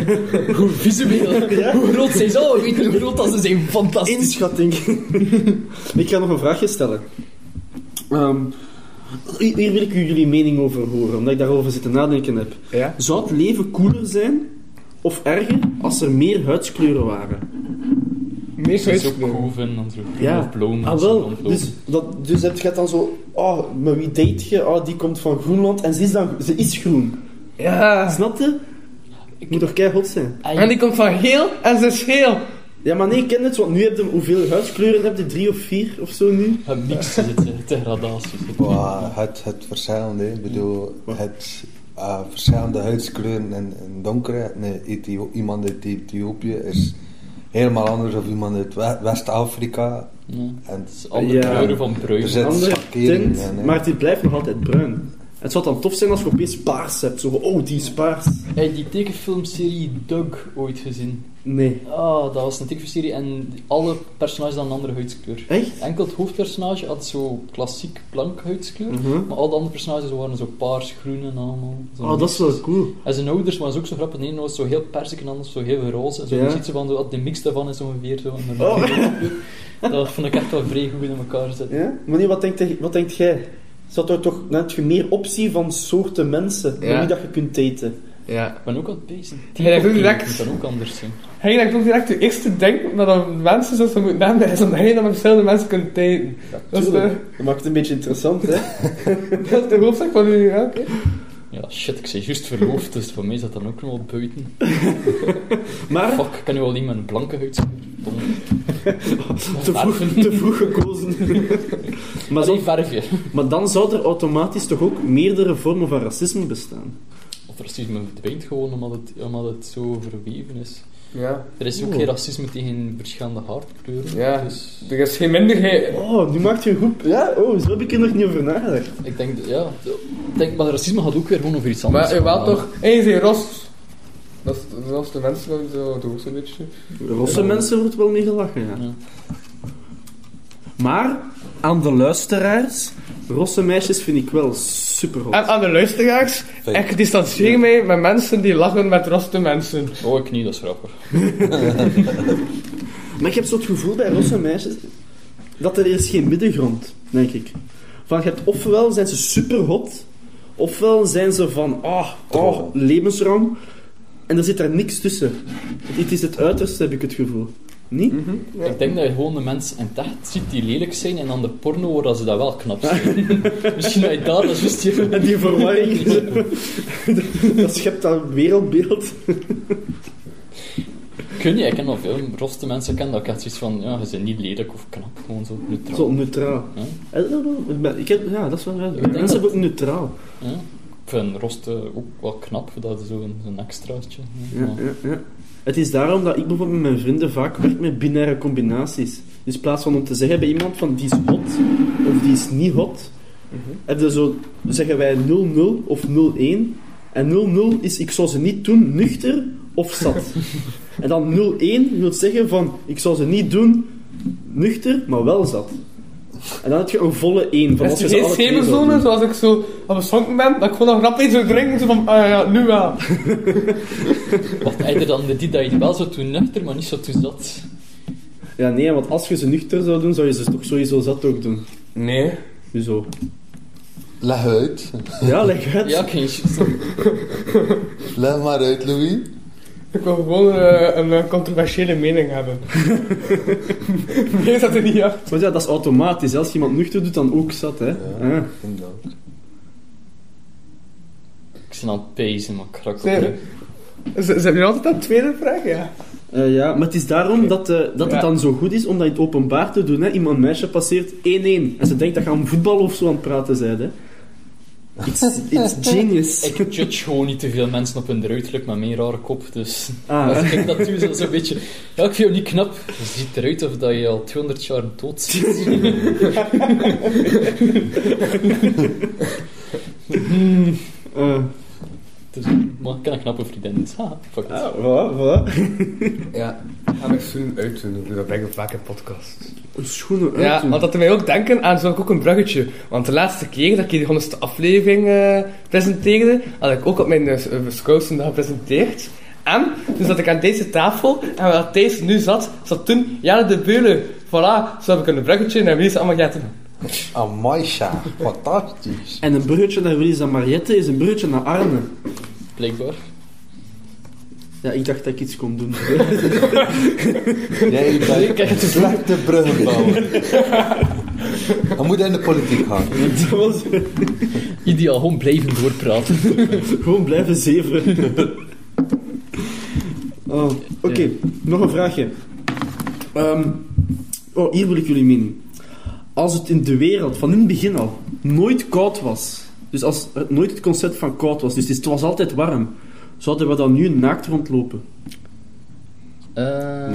Speaker 2: Hoe visueel, hoe groot zijn ze? Oh, weet je hoe groot dat ze zijn? Fantastisch.
Speaker 3: Inschatting. ik ga nog een vraagje stellen. Ehm, hier hier wil ik jullie mening over horen, omdat ik daarover zitten nadenken heb.
Speaker 4: Ja?
Speaker 3: Zou het leven koeler zijn of erger als er meer huidskleuren waren?
Speaker 4: Meer
Speaker 2: Ze is ook
Speaker 4: huidskleur.
Speaker 2: cool vinden, dan zo
Speaker 3: Ja.
Speaker 2: of blauw,
Speaker 3: Ah,
Speaker 2: zo
Speaker 3: wel.
Speaker 2: dan blauw.
Speaker 3: Dus, dat, dus heb je dan zo... Oh, maar wie date je? Oh, die komt van Groenland en ze is, dan, ze is groen.
Speaker 4: Ja.
Speaker 3: Snap je? Ik moet toch keihard zijn?
Speaker 2: Ah,
Speaker 4: En die komt van geel en ze is geel.
Speaker 3: Ja, maar nee, ik ken het, want nu heb je... Hoeveel huidskleuren heb je? Drie of vier of zo nu?
Speaker 2: Je hebt niks te zitten, te gradaties.
Speaker 5: Wow, het, het verschillende, hè. ik bedoel, het eh, verschillende huidskleuren en, en donkere. Nee, Ethio- iemand uit Ethiopië is helemaal anders dan iemand uit We- West-Afrika.
Speaker 2: Ja.
Speaker 5: En
Speaker 2: Het is andere
Speaker 3: Ja. Dus-
Speaker 2: kleuren van bruin.
Speaker 5: er zit
Speaker 3: Andere
Speaker 5: schakering
Speaker 3: tint,
Speaker 5: in. hè.
Speaker 3: maar die blijft nog altijd bruin. Het zou dan tof zijn als je opeens paars hebt. Zo, van, oh, die is paars.
Speaker 2: Heb je die tekenfilmserie Doug ooit gezien?
Speaker 3: Nee.
Speaker 2: Ah, dat was een tekenfilmserie en alle personages hadden een andere huidskleur.
Speaker 3: Echt?
Speaker 2: Enkel het hoofdpersonage had zo klassiek blank huidskleur, maar al de andere personages waren zo paars, groen en allemaal. Zo
Speaker 3: Oh, dat is wel cool.
Speaker 2: En zijn ouders waren ook zo grappig. De ene was zo heel persik en de ander was zo heel roze. En zo
Speaker 3: Ja.
Speaker 2: je ziet ze van zo, de mix daarvan is ongeveer zo. En dan-
Speaker 3: Oh.
Speaker 2: Dat vond ik echt wel vrij goed in elkaar zitten.
Speaker 3: Ja? Maar nee, wat denkt, hij- wat denkt jij? Zou er toch net je meer optie van soorten mensen
Speaker 4: Ja.
Speaker 3: dan wie dat je kunt daten?
Speaker 4: Ja.
Speaker 2: Ik ben ook aan het bezig.
Speaker 4: Ja, dat doe je direct.
Speaker 2: moet dan ook anders zijn.
Speaker 4: Hij denkt ook direct de eerste denk dat er mensen zoals ze moeten hebben, is omdat hij dan met verschillende mensen kunt daten. dat, is de,
Speaker 3: Tuurlijk. Dat maakt het een beetje interessant, hè?
Speaker 4: dat is de hoofdzaak van u, ja, oké.
Speaker 2: Ja, shit, ik ben juist verloofd, dus voor mij is dat dan ook nog wel buiten.
Speaker 3: Maar
Speaker 2: Fuck, ik kan nu wel niet met een blanke huidskleur. Dom.
Speaker 3: te vroeg, te vroeg gekozen. maar,
Speaker 2: Allee,
Speaker 3: zo,
Speaker 2: verfje.
Speaker 3: maar dan zou er automatisch toch ook meerdere vormen van racisme bestaan.
Speaker 2: Of racisme verdwijnt gewoon omdat het, omdat het zo verweven is.
Speaker 4: Ja.
Speaker 2: Er is ook geen racisme tegen verschillende haarkleuren.
Speaker 4: Ja.
Speaker 2: Dus
Speaker 4: Er is geen minderheid.
Speaker 3: Oh, nu maakt je een goed... Ja, oh, zo heb ik er nog niet over nagedacht.
Speaker 2: ik denk, dat- ja. Ik denk, maar racisme gaat ook weer gewoon over iets anders.
Speaker 4: Maar je wel
Speaker 2: gaan.
Speaker 4: toch, hé, je bent rost. Dat is, dat is de mensen zo doen, zo'n beetje.
Speaker 3: Rosse mensen wordt wel mee gelachen, ja.
Speaker 2: Ja.
Speaker 3: Maar aan de luisteraars, rosse meisjes vind ik wel super
Speaker 4: En aan de luisteraars,
Speaker 5: Fijn.
Speaker 4: ik distancieer mij met mensen die lachen met roste mensen.
Speaker 2: Oh, ik niet, dat is grappig.
Speaker 3: Maar ik heb zo het gevoel bij rosse meisjes dat er is geen middengrond, denk ik. Van je hebt ofwel zijn ze super hot, Ofwel zijn ze van, ah, ah,
Speaker 5: Troll.
Speaker 3: levensrang. En er zit daar niks tussen. Het is het uiterste, heb ik het gevoel. Niet?
Speaker 2: Ik denk dat je gewoon de mensen in het echt ziet die lelijk zijn en dan de porno hoort dat ze dat wel knap zijn. Misschien dat je daar, dat is juist die...
Speaker 3: En die verwarring, dat schept dat wereldbeeld.
Speaker 2: Kun je, ik ken al veel roste mensen kennen dat ik echt zoiets van, ja, ze zijn niet lelijk of knap, gewoon zo neutraal.
Speaker 3: Zo neutraal. Eh,
Speaker 2: Ja.
Speaker 3: I don't know. Ik ben- Ik heb, ja, dat is wel raar.
Speaker 2: denk
Speaker 3: Mensen
Speaker 2: dat-
Speaker 3: hebben ook neutraal.
Speaker 2: Ja. Ik vind rosten ook wel knap, dat is zo'n een, extraatje. Ja.
Speaker 3: Ja,
Speaker 2: maar-
Speaker 3: ja, ja. Het is daarom dat ik bijvoorbeeld met mijn vrienden vaak werk met binaire combinaties. Dus in plaats van om te zeggen bij iemand van die is hot of die is niet hot, hebben we zo, zeggen wij 0-0 of 0-1. En 0-0 is ik zou ze niet doen nuchter of zat. en dan 0-1 wil zeggen van ik zou ze niet doen nuchter, maar wel zat. En dan heb je een volle 1. Van
Speaker 4: Is
Speaker 3: als je
Speaker 4: er
Speaker 3: ze
Speaker 4: geen
Speaker 3: alle twee zou
Speaker 4: schemerzone,
Speaker 3: doen.
Speaker 4: zoals ik zo aan beschonken ben, dat ik gewoon nog rap iets wil drinken, zo van, ah ja, nu wel.
Speaker 2: Wat eigenlijk dan de die dat je wel zo toe nuchter, maar niet zo toe zat.
Speaker 3: Ja, nee, want als je ze nuchter zou doen, zou je ze toch sowieso zat ook doen.
Speaker 4: Nee.
Speaker 3: Dus zo.
Speaker 5: Leg uit.
Speaker 3: Ja, leg uit.
Speaker 2: Ja, ik ging zo-
Speaker 5: Leg maar uit, Louis.
Speaker 4: Ik wil gewoon eh, een eh, controversiële mening hebben. nee, dat er niet achter.
Speaker 3: Maar ja, dat is automatisch. hè. Als je iemand nuchter doet, dan ook zat, hè. Ah.
Speaker 5: Inderdaad.
Speaker 2: Ik ben aan het pezen, maar ik raak op
Speaker 4: Zijn jullie altijd dat tweede vraag? Ja.
Speaker 3: Eh, ja, maar het is daarom dat, eh, dat
Speaker 4: Ja.
Speaker 3: het dan zo goed is om dat in het openbaar te doen. Hè. Iemand een meisje passeert 1-1 en ze denkt dat je aan voetbal of zo aan het praten bent. Hè. It's, it's genius.
Speaker 2: Ik judge gewoon niet te veel mensen op hun uiterlijk met mijn rare kop, dus...
Speaker 3: Ah,
Speaker 2: Als
Speaker 3: hè.
Speaker 2: ik dat doe, is dat zo'n beetje... Ja, ik vind jou niet knap. Je ziet eruit of dat je al 200 jaar dood zit.
Speaker 3: Eh,
Speaker 2: Dus, maar ik ken een knappe vriendin, dus haha, fuck it.
Speaker 3: ah, voilà, voilà.
Speaker 4: Ja. Ga mijn schoenen uitdoen, dat brengen we vaak in podcasts.
Speaker 3: Schoenen uit.
Speaker 4: Ja, want dat doet mij ook denken aan, zo heb ik ook een bruggetje. Want de laatste keer dat ik die 100ste aflevering eh, presenteerde, had ik ook op mijn eh, scoutsondag gepresenteerd. En toen zat ik aan deze tafel, en waar Thijs nu zat, zat toen Jelle de Beulen. Voilà, zo heb ik een bruggetje naar wie ze allemaal gaat doen.
Speaker 5: Amaisha, fantastisch.
Speaker 3: En een bruggetje naar Willy's en Mariette is een bruggetje naar Arne.
Speaker 2: Blijkbaar.
Speaker 3: Ja, ik dacht dat ik iets kon doen.
Speaker 5: Jij bent
Speaker 2: kijk,
Speaker 5: een slechte bruggenbouwer. Dan moet hij in de politiek gaan.
Speaker 3: dat was
Speaker 2: Ideaal, gewoon blijven doorpraten.
Speaker 3: gewoon blijven zeven. Oh, Oké, nog een vraagje. Ehm, oh, hier wil ik jullie mening. Als het in de wereld van in het begin al nooit koud was, dus als het nooit het concept van koud was, dus het is- het was altijd warm, zouden we dan nu naakt rondlopen?
Speaker 2: Eh,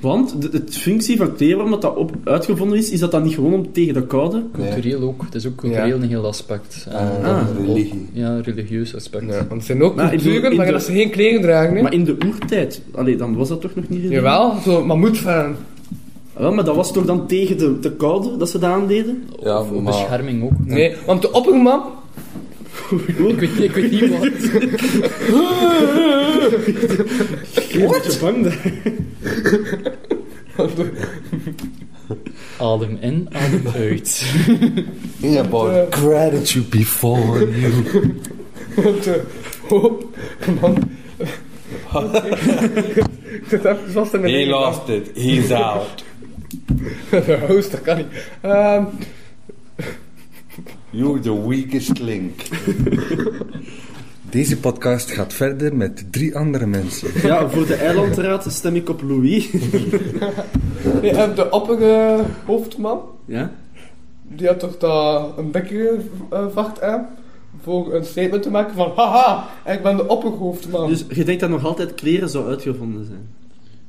Speaker 3: Want de, de functie van kleerwarm dat dat op, uitgevonden is, is dat dan niet gewoon om tegen de koude?
Speaker 2: Cultureel ook. Het is ook cultureel een heel aspect. Eh,
Speaker 5: Eh,
Speaker 3: Ah.
Speaker 5: religie.
Speaker 2: Ja, religieus aspect.
Speaker 4: Ja, want er zijn ook
Speaker 3: Maar ik bedoel,
Speaker 4: culturen
Speaker 3: in
Speaker 4: waarin
Speaker 3: de-
Speaker 4: dat ze geen kleren dragen, hè?
Speaker 3: Maar in de oertijd, allee, dan was dat toch nog niet... gedaan?
Speaker 4: Jawel, zo, maar moet eh, van...
Speaker 3: Ah, Wel, maar dat was toch dan tegen de, de koude dat ze dat aandeden?
Speaker 5: Ja,
Speaker 2: Of
Speaker 5: maar-
Speaker 2: bescherming ook.
Speaker 4: Nee, want de opperman...
Speaker 2: Ik weet, niet- ik weet niet wat.
Speaker 3: Wat?
Speaker 2: Adem in, adem uit.
Speaker 5: Yeah, boy. Gratitude before you.
Speaker 4: Want, eh, hop, man. Ik zit even vast in mijn eigen-
Speaker 5: it. He's out.
Speaker 4: De host, dat kan niet. Ehm,
Speaker 5: You're the weakest link. Deze podcast gaat verder met drie andere mensen.
Speaker 3: Ja, voor de eilandraad stem ik op Louis.
Speaker 4: nee, en de opperhoofdman, hoofdman,
Speaker 3: Ja?
Speaker 4: die had toch dat een bekje eh, vacht aan voor een statement te maken van haha, ik ben de opperhoofdman.
Speaker 3: Dus je denkt dat nog altijd kleren zou uitgevonden zijn?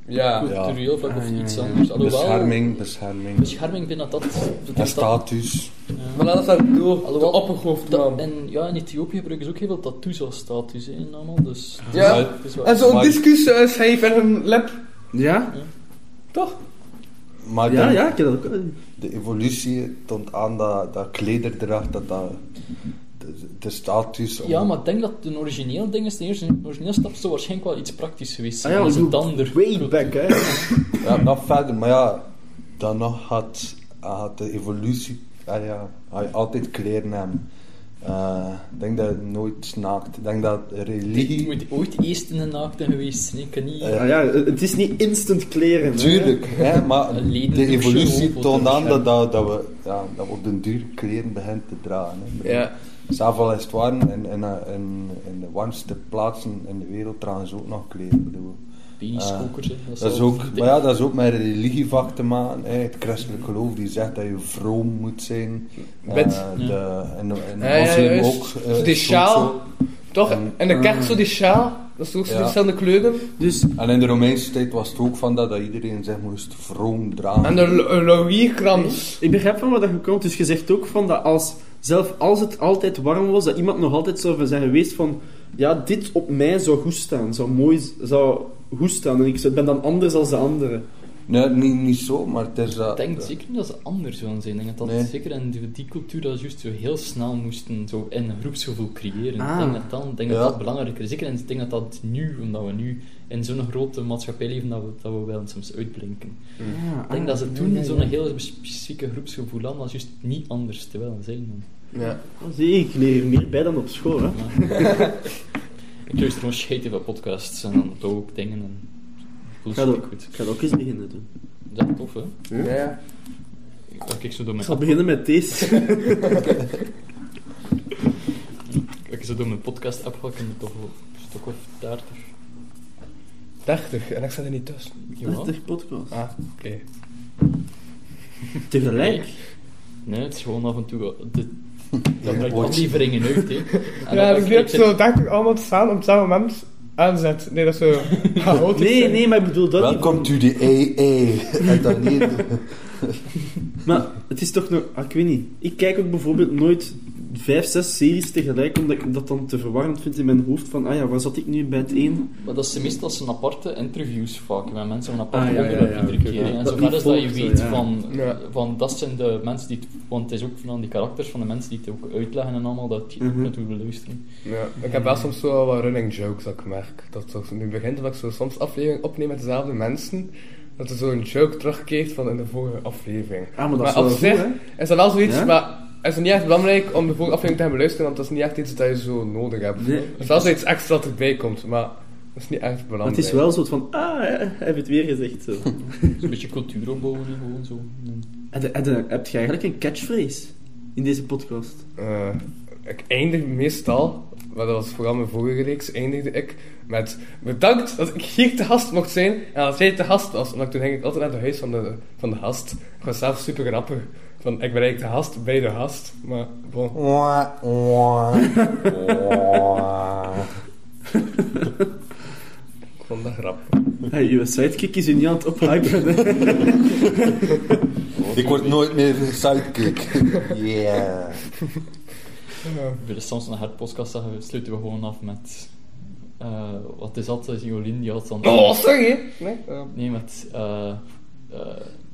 Speaker 4: ja.
Speaker 2: Cultureel vlak of iets anders. Alhoewel,
Speaker 5: Bescherming, bescherming.
Speaker 2: bescherming binnen dat... dat
Speaker 5: En
Speaker 2: is dat-
Speaker 5: status.
Speaker 4: Maar laat dat door, de
Speaker 2: Alhoewel-
Speaker 4: opperhoofdman.
Speaker 2: dat- En ja, in Ethiopië gebruiken ze ook heel veel tattoos als status hè, en allemaal, dus...
Speaker 4: Ja.
Speaker 2: Het is wel-
Speaker 4: En zo'n
Speaker 5: Maar-
Speaker 4: discus eh, schijf en een lap,
Speaker 3: Ja?
Speaker 4: toch?
Speaker 5: Maar
Speaker 3: Ja,
Speaker 5: dan-
Speaker 3: ja, ik heb dat ook Ah, al-
Speaker 5: de evolutie toont aan dat, dat klederdracht, dat dat... De, de status... om-
Speaker 2: Ja, maar ik denk dat de origineel ding is, de eerste origineel stap zou waarschijnlijk wel iets praktisch geweest
Speaker 3: Ah
Speaker 2: zijn.
Speaker 3: ja,
Speaker 2: als
Speaker 3: ik
Speaker 2: het
Speaker 3: bedoel,
Speaker 2: dan er
Speaker 3: Way back, hè?
Speaker 5: Ja, nog verder, maar ja, dan nog had, had de evolutie ah ja, had je altijd kleren aan. Eh, Ik denk dat het nooit snaakt. Ik denk dat
Speaker 2: Je
Speaker 5: religie...
Speaker 2: moet ooit eerst in de naakte geweest zijn. Ik kan niet...
Speaker 5: Eh,
Speaker 3: Ah ja, het is niet instant kleren. hè.
Speaker 5: Tuurlijk, hè, maar
Speaker 2: Een leden-
Speaker 5: de evolutie
Speaker 2: show-
Speaker 5: toont aan
Speaker 2: show.
Speaker 5: dat, dat, dat we, ja, dat we op den duur kleren beginnen te dragen. Hè.
Speaker 4: Ja.
Speaker 5: Zoveel is het warm en in, in, in de warmste plaatsen in de wereld dragen ze ook nog kleren. Ik bedoel,
Speaker 2: Peniskokers, hè.
Speaker 5: eh, dat is
Speaker 2: wel-
Speaker 5: ook, maar ja, dat is ook met religie vak te maken. Hè. Het christelijk geloof die zegt dat je vroom moet zijn. Eh,
Speaker 4: Bid.
Speaker 5: de, en en
Speaker 4: Ja, ja,
Speaker 5: moslim
Speaker 4: juist.
Speaker 5: ook. eh,
Speaker 4: Dus die
Speaker 5: zo-
Speaker 4: sjaal,
Speaker 5: zo.
Speaker 4: toch?
Speaker 5: En-
Speaker 4: en de kerk zo die sjaal, dat is toch zo
Speaker 5: Ja.
Speaker 4: verschillende kleuren.
Speaker 3: Dus
Speaker 5: En in de Romeinse tijd was het ook van dat, dat iedereen zich moest vroom dragen.
Speaker 4: En de L- Louis-krans.
Speaker 3: ik begrijp van waar dat je komt. Dus je zegt ook van dat als, zelf als het altijd warm was, dat iemand nog altijd zou zijn geweest van, ja, dit op mij zou goed staan, zou mooi, z- zou goed staan. En ik zou- ben dan anders als de anderen.
Speaker 5: Nee, niet, niet zo, maar het is eh,
Speaker 2: Ik
Speaker 5: dat...
Speaker 2: denk zeker niet dat ze anders willen zijn. Ik denk dat dat
Speaker 5: Nee.
Speaker 2: zeker in die, die cultuur dat ze juist zo heel snel moesten zo in een groepsgevoel creëren.
Speaker 3: Ah.
Speaker 2: Ik denk dat dan, ik denk
Speaker 5: Ja.
Speaker 2: dat, dat belangrijker is. Zeker en ik denk dat dat nu, omdat we nu in zo'n grote maatschappij leven, dat we, dat we wel soms uitblinken. Ik
Speaker 3: ah,
Speaker 2: denk dat ze toen zo'n heel specifieke groepsgevoel hadden, dat is juist niet anders te willen zijn. dan.
Speaker 4: Ja.
Speaker 3: Zie, ik leer hier meer bij dan op school, hè.
Speaker 2: Ik luister gewoon scheet van podcasts en dan doe ik dingen en voel
Speaker 3: Ik ga,
Speaker 2: ik
Speaker 3: dat,
Speaker 2: goed.
Speaker 3: ik ga dat ook eens beginnen doen.
Speaker 2: Dat is tof, hè?
Speaker 4: Ja.
Speaker 2: Ik kijk zo door
Speaker 3: Ik
Speaker 2: mijn,
Speaker 3: zal beginnen met deze.
Speaker 2: ik zo door mijn podcast app ik heb toch wel een stuk of 30.
Speaker 4: 30, en ik zat er niet tussen.
Speaker 2: Jawel.
Speaker 3: 30 podcast.
Speaker 4: Ah, oké.
Speaker 3: Tegelijk.
Speaker 2: Nee, het is gewoon af en toe... wel- Dit, dat brengt afleveringen uit, hè. En
Speaker 4: Ja,
Speaker 2: dan-
Speaker 4: dus
Speaker 2: ik- Ah, ik
Speaker 4: nu heb je
Speaker 2: zit-
Speaker 4: zo 30 allemaal te staan op hetzelfde moment aanzet. Nee, dat is zo chaotisch.
Speaker 3: Nee, nee, maar ik bedoel dat niet.
Speaker 5: Welkom to the AA. En dan hier de-
Speaker 3: Maar het is toch nog... ah, ik weet niet. Ik kijk ook bijvoorbeeld nooit vijf, zes series tegelijk, omdat ik dat dan te verwarrend vind in mijn hoofd. Van, ah ja, waar zat ik nu bij het een?
Speaker 2: Maar dat zijn meestal zijn aparte interviews vaak, met mensen van aparte
Speaker 3: Ah, ja, ja,
Speaker 2: onderwerp
Speaker 3: ja,
Speaker 2: iedere
Speaker 3: oké,
Speaker 2: keer.
Speaker 3: ja.
Speaker 2: hè. En
Speaker 3: Dat
Speaker 2: zover
Speaker 3: die
Speaker 2: is dat je
Speaker 3: volgt,
Speaker 2: weet
Speaker 3: ja.
Speaker 2: van,
Speaker 4: Ja.
Speaker 2: van, dat zijn de mensen die het... Want het is ook van die karakters van de mensen die het ook uitleggen en allemaal, dat je
Speaker 3: Mhm.
Speaker 2: naartoe wil luisteren.
Speaker 4: Ja, ik heb wel soms zo wat running jokes dat ik merk. Dat zo, nu begint dat ik zo soms aflevering opneem met dezelfde mensen. Dat er zo'n joke terugkeert van in de vorige aflevering.
Speaker 3: Ah, maar dat is wel
Speaker 4: op
Speaker 3: goed,
Speaker 4: zich
Speaker 3: hè?
Speaker 4: is dat wel zoiets,
Speaker 3: Ja?
Speaker 4: maar is het niet echt belangrijk om de vorige aflevering te hebben beluisteren, want dat is niet echt iets dat je zo nodig hebt.
Speaker 3: Nee.
Speaker 4: Het is wel zoiets extra dat erbij komt, maar dat is niet echt
Speaker 3: Maar
Speaker 4: belangrijk.
Speaker 3: het is wel zo van, ah, ja, hij heeft het weer gezegd. Zo.
Speaker 2: Een beetje cultuur opbouwen, hè, gewoon zo.
Speaker 3: En de- en de- heb je eigenlijk een catchphrase in deze podcast?
Speaker 4: Eh, ik eindig meestal, maar dat was vooral mijn vorige reeks, eindigde ik met bedankt dat ik hier te gast mocht zijn en dat jij te gast was. Omdat toen ging ik altijd naar het huis van de, van de gast. Ik was zelf super grappig. Van, ik ben eigenlijk de gast bij de gast, maar bon.
Speaker 5: Wah, wah, wah.
Speaker 4: Ik vond dat grappig.
Speaker 3: Hey, je sidekick is je niet aan het ophypen. hè.
Speaker 5: Ik word nooit meer sidekick. Yeah.
Speaker 2: Bij de soms naar haar podcast zeggen, sluiten we gewoon af met... eh, wat is dat? Jolien, die had dan...
Speaker 4: Oh, sorry! Nee, eh.
Speaker 2: Nee, met... eh,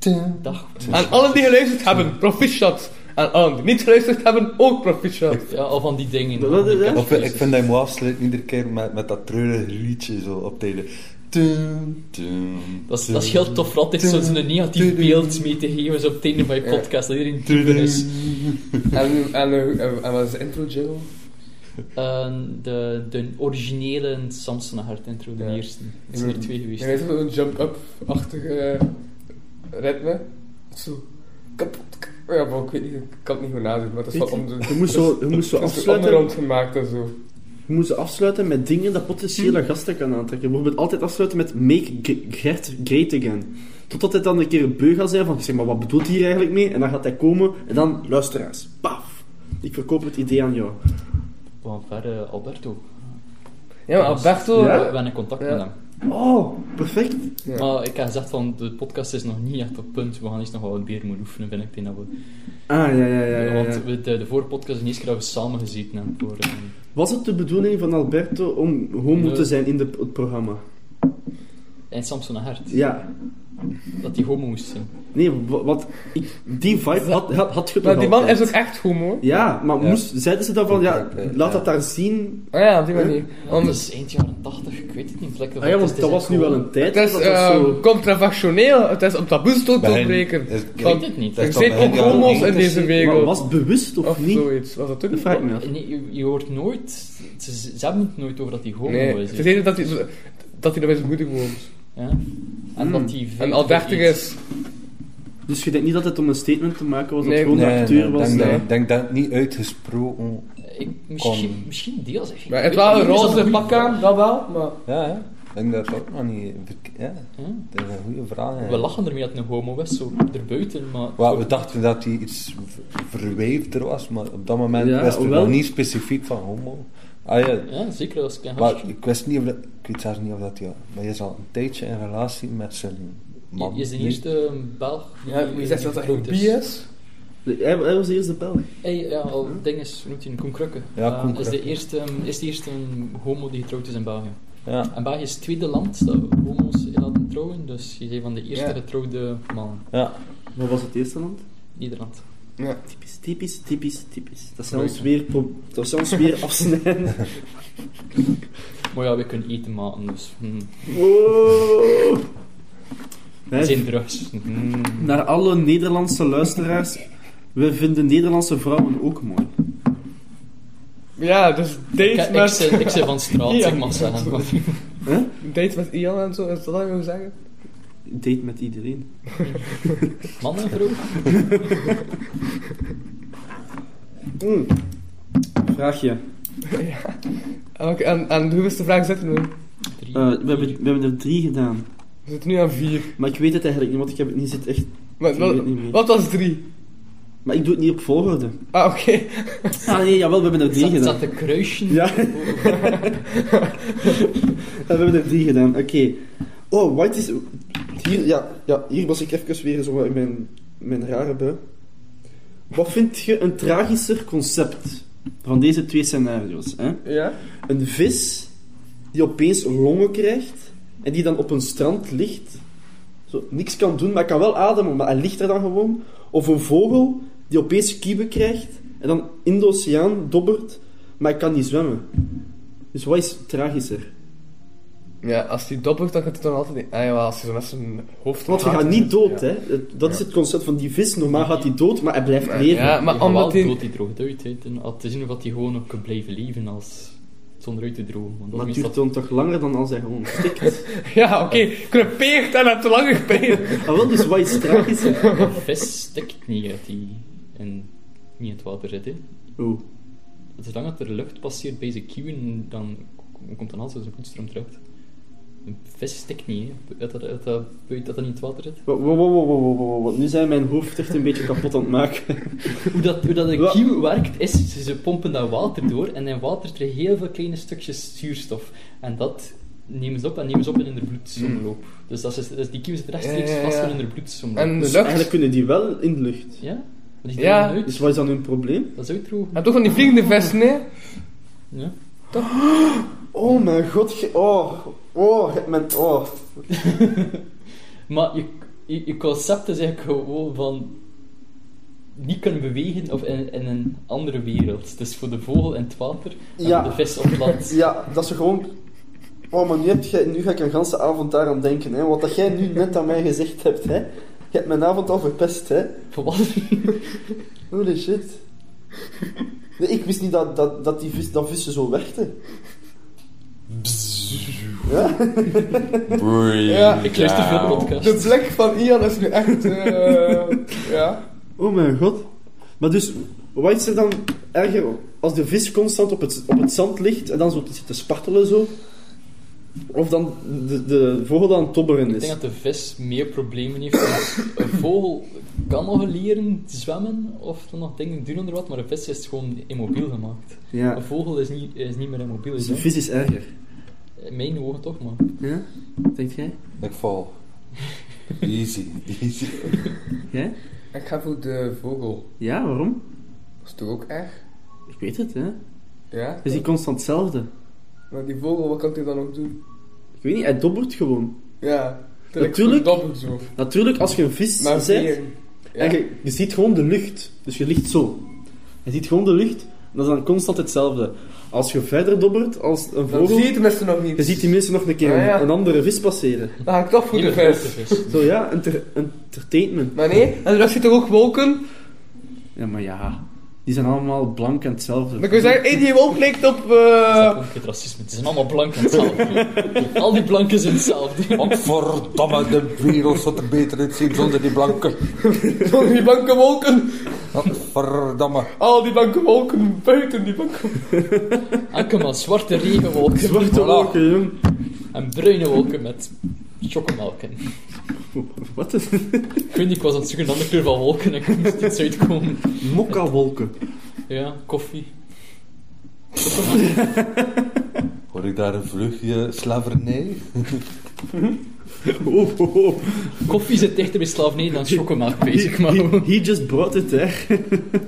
Speaker 2: eh, dag.
Speaker 4: Aan allen die geluisterd hebben, proficiat. Aan allen die niet geluisterd hebben, ook proficiat.
Speaker 2: Ja, al van die dingen.
Speaker 3: Wat is dat?
Speaker 5: Of, eh, ik vind dat je moet afsluiten iedere keer met, met dat treurige liedje zo op tijden. Tum, tum,
Speaker 2: Dat is, dat is heel tof, altijd zo- zo'n negatief beeld mee te geven zo op het einde van je podcast, dat iedereen droeven is.
Speaker 4: En, en, eh, en wat is de intro jingle?
Speaker 2: Eh, de, de originele Samson Hart intro, de
Speaker 4: Ja.
Speaker 2: eerste. Het zijn er twee geweest.
Speaker 4: Ja, weet je wel, een jump-up-achtige eh, ritme? Zo. Kapot. k- Ja, maar ik weet niet, ik kan het niet goed nadoen, maar dat is wel
Speaker 3: Weet je?
Speaker 4: om de...
Speaker 3: Je moet zo, je moest zo
Speaker 4: Het is om de
Speaker 3: afsluiten...
Speaker 4: rond gemaakt en zo.
Speaker 3: Je moet ze afsluiten met dingen dat potentiële gasten kan aantrekken. Bijvoorbeeld altijd afsluiten met make G- Gert great again. Totdat hij dan een keer een beu gaat zijn van, zeg maar, wat bedoelt hij hier eigenlijk mee? En dan gaat hij komen en dan, luisteraars, paf. Ik verkoop het idee aan jou.
Speaker 2: Van ver, eh, Alberto. Eh,
Speaker 4: Ja, maar Alberto... eh,
Speaker 3: Ja?
Speaker 2: We hebben contact
Speaker 4: Ja.
Speaker 2: met hem.
Speaker 3: Oh, perfect.
Speaker 4: Ja.
Speaker 2: Maar ik heb gezegd van, de podcast is nog niet echt op punt, we gaan eens nog wel wat meer moeten oefenen, vind ik. tegen Dat we,
Speaker 3: Ah, ja, ja, ja. ja, ja.
Speaker 2: Want we, de, de vorige podcast is de eerste keer dat we samen gezeten hebben. Voor, eh,
Speaker 3: Was het de bedoeling van Alberto om homo
Speaker 2: Nee.
Speaker 3: te zijn in de, het programma?
Speaker 2: en Samson Hart,
Speaker 3: Ja.
Speaker 2: dat die homo moest zijn.
Speaker 3: Nee, wa- want ik, die vibe had, had, had je
Speaker 4: Maar
Speaker 3: nog
Speaker 4: die man
Speaker 3: altijd.
Speaker 4: is ook echt homo.
Speaker 3: Ja, maar
Speaker 5: Ja.
Speaker 3: Moest, zeiden ze dan van, ja,
Speaker 5: Oké, oké,
Speaker 3: laat
Speaker 5: ja.
Speaker 3: dat daar zien.
Speaker 4: Ah Oh ja, op die manier.
Speaker 2: Ja,
Speaker 4: Om,
Speaker 2: dat is eind jaren 80. Ik weet het niet. Lekker
Speaker 3: Ah ja, want dat was nu wel een tijd.
Speaker 4: Het is
Speaker 3: dat dat
Speaker 4: eh,
Speaker 3: zo...
Speaker 4: contraventioneel, het is om taboes toe te
Speaker 5: Bij hen
Speaker 4: breken.
Speaker 5: is-
Speaker 2: Ik weet het niet.
Speaker 5: Dat
Speaker 4: Er
Speaker 5: is toch
Speaker 4: zijn
Speaker 5: bij hen
Speaker 4: ook
Speaker 5: jaren
Speaker 4: homo's in
Speaker 5: 90?
Speaker 4: deze
Speaker 3: Maar
Speaker 4: wereld.
Speaker 3: was het bewust of,
Speaker 4: Of
Speaker 3: niet?
Speaker 4: zoiets, was dat toen?
Speaker 3: Dat vraag ik me af.
Speaker 2: Eh, Nee, je, je hoort nooit... Ze, ze hebben het nooit over dat hij homo
Speaker 4: Nee,
Speaker 2: is.
Speaker 4: het is
Speaker 2: hè.
Speaker 4: eerder dat hij dat hij erbij zijn moeder woont.
Speaker 2: Ja? En dat hij...
Speaker 4: Hmm. En al 30 is.
Speaker 3: Dus je denkt niet dat het om een statement te maken was, dat
Speaker 4: Nee,
Speaker 3: het gewoon een acteur was?
Speaker 5: denk,
Speaker 3: nee.
Speaker 5: dat, denk dat het niet uitgesproken...
Speaker 2: Ik, misschien,
Speaker 5: Kom.
Speaker 2: misschien deels. Ik
Speaker 4: Maar
Speaker 2: weet
Speaker 4: het was
Speaker 2: niet,
Speaker 4: een
Speaker 2: is dat
Speaker 4: roze
Speaker 2: goeie
Speaker 4: pak aan, dat wel, maar...
Speaker 5: Ja, ja. Ik denk dat dat ook nog niet... verk- Ja,
Speaker 2: vraag? Ja.
Speaker 5: dat is een goede vraag.
Speaker 2: We
Speaker 5: eigenlijk.
Speaker 2: lachen ermee dat het een homo was, zo erbuiten, maar...
Speaker 5: Wel, we dachten dat hij iets ver- verweefder was, maar op dat moment
Speaker 3: Ja,
Speaker 5: wist ik
Speaker 3: wel.
Speaker 5: nog niet specifiek van homo. Ah ja,
Speaker 2: Ja, zeker als klein
Speaker 5: maar
Speaker 2: gastje.
Speaker 5: ik wist niet of dat... Ik weet zelfs niet of dat hij... Maar hij is al een tijdje in relatie met zijn man.
Speaker 2: Je is de
Speaker 5: nu.
Speaker 2: eerste Belg. die- die groot is.
Speaker 4: is?
Speaker 3: Hij, hij was de eerste Belg.
Speaker 2: Hey, ja, al ding is, noemt hij een Koen Krukke.
Speaker 5: Ja,
Speaker 2: Eh,
Speaker 5: Koen
Speaker 2: is, de
Speaker 5: Krukke.
Speaker 2: eerste, is de eerste homo die getrouwd is in België.
Speaker 5: Ja,
Speaker 2: En België is het tweede land dat homo's laten trouwen, dus je bent van de eerste
Speaker 4: Ja.
Speaker 2: getrouwde mannen.
Speaker 5: ja.
Speaker 3: Wat was het eerste land?
Speaker 2: Nederland.
Speaker 3: Typisch, typisch, typisch, typisch. Dat zou ons weer, pro- dat zou ons weer afsnijden.
Speaker 2: Maar ja, we kunnen eten maken, dus... hmm.
Speaker 3: Wow. Hè,
Speaker 2: Zijn drugs. Hmm.
Speaker 3: naar alle Nederlandse luisteraars. We vinden Nederlandse vrouwen ook mooi.
Speaker 4: Ja, dus
Speaker 2: Ik,
Speaker 4: date
Speaker 2: ik,
Speaker 4: met...
Speaker 2: zit- ik zit van straat,
Speaker 4: Ja.
Speaker 2: ik mag zeggen. maar-
Speaker 4: Date met Ian en zo, is dat wat je wil zeggen?
Speaker 3: Date met iedereen.
Speaker 2: Man en vrouw?
Speaker 3: Vraag je.
Speaker 4: En, welke- en, en hoe is de vraag zitten we?
Speaker 2: Drie.
Speaker 3: Eh, we, hebben, we hebben er drie gedaan.
Speaker 4: We zitten nu aan vier.
Speaker 3: Maar ik weet het eigenlijk niet, want ik heb het niet zit echt.
Speaker 4: Maar,
Speaker 3: Ik weet
Speaker 4: wat,
Speaker 3: niet meer.
Speaker 4: wat was drie?
Speaker 3: Maar ik doe het niet op volgorde.
Speaker 4: Ah, oké.
Speaker 3: Ah nee, jawel, we hebben er drie
Speaker 2: Zat,
Speaker 3: gedaan.
Speaker 2: zat de kruisje?
Speaker 3: Ja. we hebben er drie gedaan, oké. Oh, wat is... Hier, ja, ja, hier was ik even weer zo in mijn, mijn rare bui. Wat vind je een tragischer concept van deze twee scenario's? Hè?
Speaker 4: Ja?
Speaker 3: Een vis die opeens longen krijgt en die dan op een strand ligt. Zo, niks kan doen, maar hij kan wel ademen, maar hij ligt er dan gewoon. Of een vogel die opeens kieven krijgt en dan in de oceaan dobbert, maar hij kan niet zwemmen. Dus wat is tragischer?
Speaker 4: Ja, als die dobbelt, dan gaat hij dan altijd niet... Ah ja, als hij zo met zijn hoofd...
Speaker 3: Want hij
Speaker 4: gaat,
Speaker 3: gaat
Speaker 4: is
Speaker 3: niet
Speaker 4: het-
Speaker 3: dood, hè. Het- Dat is het concept van die vis. Normaal gaat hij dood, maar hij blijft leven.
Speaker 4: Ja, maar omdat
Speaker 2: hij...
Speaker 4: hij...
Speaker 2: dood die droogt uit. Ah, hè. En Al te zien of dat hij gewoon ook kan blijven leven als... zonder uit te drogen. Want dat
Speaker 3: Maar het
Speaker 2: is
Speaker 3: duurt
Speaker 2: meestal...
Speaker 3: dan toch langer dan als hij gewoon stikt.
Speaker 4: Ja, oké. Krepeert en hebt te lang gepijn.
Speaker 3: ah, wel, dus wat is tragischer?
Speaker 2: Een vis stikt niet uit die... En niet in het water zit, hè.
Speaker 3: Oeh.
Speaker 2: Zolang dat er lucht passeert bij zijn kieuwen, dan k- komt dan altijd zo'n voetstroom terecht. Een vis stikt niet, hè. Dat dat, dat, dat, buiten dat dat niet in het water zit.
Speaker 3: Wow, wow, wow, wow, wow, wow, wow. Nu zijn mijn hoofd echt een beetje kapot aan het maken.
Speaker 2: Hoe dat, hoe dat een
Speaker 3: Wel-
Speaker 2: kieuw werkt, is ze- ze pompen dat water door en in water krijgen heel veel kleine stukjes zuurstof. En dat nemen ze op en nemen ze op in hun bloedsomloop. Dus, dat is, dus die kieuwen zitten rechtstreeks
Speaker 4: Mm. Ja, ja, ja.
Speaker 2: vast in hun bloedsomloop.
Speaker 4: En
Speaker 3: Dus
Speaker 4: de lucht.
Speaker 3: eigenlijk kunnen die wel in de lucht.
Speaker 2: Ja? Maar die
Speaker 4: Ja.
Speaker 2: ja.
Speaker 3: Dus
Speaker 2: uit.
Speaker 3: wat is dan hun probleem?
Speaker 2: Dat is uitdrogen.
Speaker 4: En toch van die vliegende vesten, hè?
Speaker 2: Ja.
Speaker 3: Oh mijn god, oh, oh, mijn, oh.
Speaker 2: Maar je, je, je concept is eigenlijk gewoon van niet kunnen bewegen of in, in een andere wereld. Dus voor de vogel in het water en
Speaker 3: Ja.
Speaker 2: voor de vis op het land.
Speaker 3: Ja, dat is gewoon... Oh, maar nu, heb jij, nu ga ik een ganse avond daaraan denken, hè. Wat dat jij nu net aan mij gezegd hebt, hè. Je hebt mijn avond al verpest, hè.
Speaker 2: Voor wat?
Speaker 3: Holy shit. Nee, ik wist niet dat, dat, dat die vis, dat vissen zo werkten. Ja?
Speaker 4: Ja.
Speaker 2: Ik luister veel
Speaker 4: De
Speaker 2: podcasts.
Speaker 4: blik van Ian is nu echt... eh, ja.
Speaker 3: Oh mijn god. Maar dus, wat is er dan erger als de vis constant op het, op het zand ligt en dan zo zit te spartelen zo? Of dan de, de vogel dan aan het tobberen
Speaker 2: Ik
Speaker 3: is?
Speaker 2: denk dat de vis meer problemen heeft. want Een vogel kan nog leren zwemmen of dan nog dingen doen onder wat, maar een vis is gewoon immobiel gemaakt.
Speaker 3: Ja.
Speaker 2: Een vogel is niet, is niet meer immobiel.
Speaker 3: Dus
Speaker 2: Is
Speaker 3: de vis is erger.
Speaker 2: Mijn ogen toch, maar.
Speaker 3: Ja? Denk jij?
Speaker 5: Ik val. Easy, easy.
Speaker 3: Jij?
Speaker 4: Ik ga voor de vogel.
Speaker 3: Ja, waarom?
Speaker 4: Dat is toch ook echt?
Speaker 3: Ik weet het, hè.
Speaker 4: Ja.
Speaker 3: Is hij constant hetzelfde?
Speaker 4: Maar die vogel, wat kan hij dan ook doen?
Speaker 3: Ik weet niet, hij dobbert gewoon.
Speaker 4: Ja.
Speaker 3: Natuurlijk.
Speaker 4: Doppelt zo.
Speaker 3: Natuurlijk, als je een vis
Speaker 4: Maar
Speaker 3: zet,
Speaker 4: vier. Ja.
Speaker 3: en je, je ziet gewoon de lucht. Dus je ligt zo. Je ziet gewoon de lucht, en dat is dan constant hetzelfde. Als je verder dobbert als een
Speaker 4: Dan
Speaker 3: vogel,
Speaker 4: zie je tenminste nog niet.
Speaker 3: je ziet die mensen nog een keer
Speaker 4: Ah, ja.
Speaker 3: een andere vis passeren.
Speaker 4: Dan ga ik toch voor de
Speaker 2: Hele
Speaker 4: vijf.
Speaker 2: grote vis.
Speaker 3: Zo ja, enter- entertainment.
Speaker 4: Maar nee, en de rest ziet er ook wolken.
Speaker 3: Ja, maar ja. Die zijn allemaal blank en hetzelfde.
Speaker 4: Dan kun je zeggen, hé, die wolk lijkt op... eh,
Speaker 2: Ook het racisme. Het zijn allemaal blanken hetzelfde. Al die blanken zijn hetzelfde.
Speaker 5: Want verdomme, de wereld zou er beter uitzien zonder die blanken.
Speaker 4: Al die blanke wolken,
Speaker 5: Want Verdomme.
Speaker 4: al die blanke wolken, buiten die blanke
Speaker 2: Enkel maar zwarte regenwolken.
Speaker 3: Zwarte
Speaker 2: Voilà.
Speaker 3: wolken, jong.
Speaker 2: En bruine wolken met chocomelken.
Speaker 3: Wat is
Speaker 2: Ik weet niet, ik was aan het zoeken naar de kleur van wolken en ik moest iets uitkomen.
Speaker 3: Mokka-wolken.
Speaker 2: Ja, koffie.
Speaker 5: Hoor ik daar een vleugje slavernij?
Speaker 3: Oh, oh, oh.
Speaker 2: Koffie zit dichter bij slavernij dan chocomelk bezig, maar
Speaker 3: He, he just brought it there.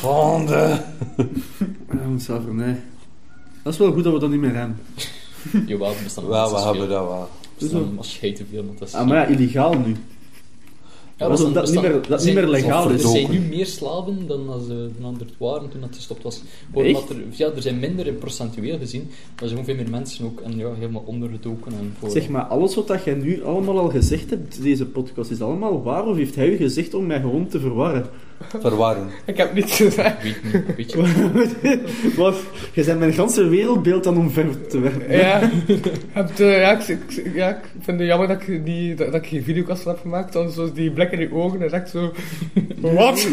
Speaker 5: Schande.
Speaker 3: Oh, slavernij. Dat is wel goed dat we dat niet meer hebben.
Speaker 2: Jawel, we bestaan
Speaker 5: Wel, we hebben dat wel.
Speaker 2: bestaan als je te veel, want dat is...
Speaker 3: Ah, maar ja, illegaal nu.
Speaker 2: Ja,
Speaker 3: dat omdat het niet meer- dat het niet meer legaal
Speaker 2: zijn-
Speaker 3: is.
Speaker 2: Er zijn nu meer slaven dan als eh, een ander het waren toen dat gestopt was. Gewoon
Speaker 3: Echt?
Speaker 2: omdat er, ja, er zijn minder in procentueel gezien, maar er zijn ook veel meer mensen ook en ja, helemaal ondergedoken. En voor,
Speaker 3: Zeg maar, alles wat dat jij nu allemaal al gezegd hebt, deze podcast, is allemaal waar? Of heeft hij u gezegd om mij gewoon te verwarren?
Speaker 5: Verwarring.
Speaker 4: Ik heb niets gezegd.
Speaker 2: Weet niet, weet je.
Speaker 3: Wat? Je bent mijn ganse wereldbeeld aan omver te werpen.
Speaker 4: Ja, hebt, eh, ja, ik, ik- ik- ja, ik vind het jammer dat ik, die, dat, dat ik geen videokast van heb gemaakt. Anders was die blik in die ogen en echt zo... Wat?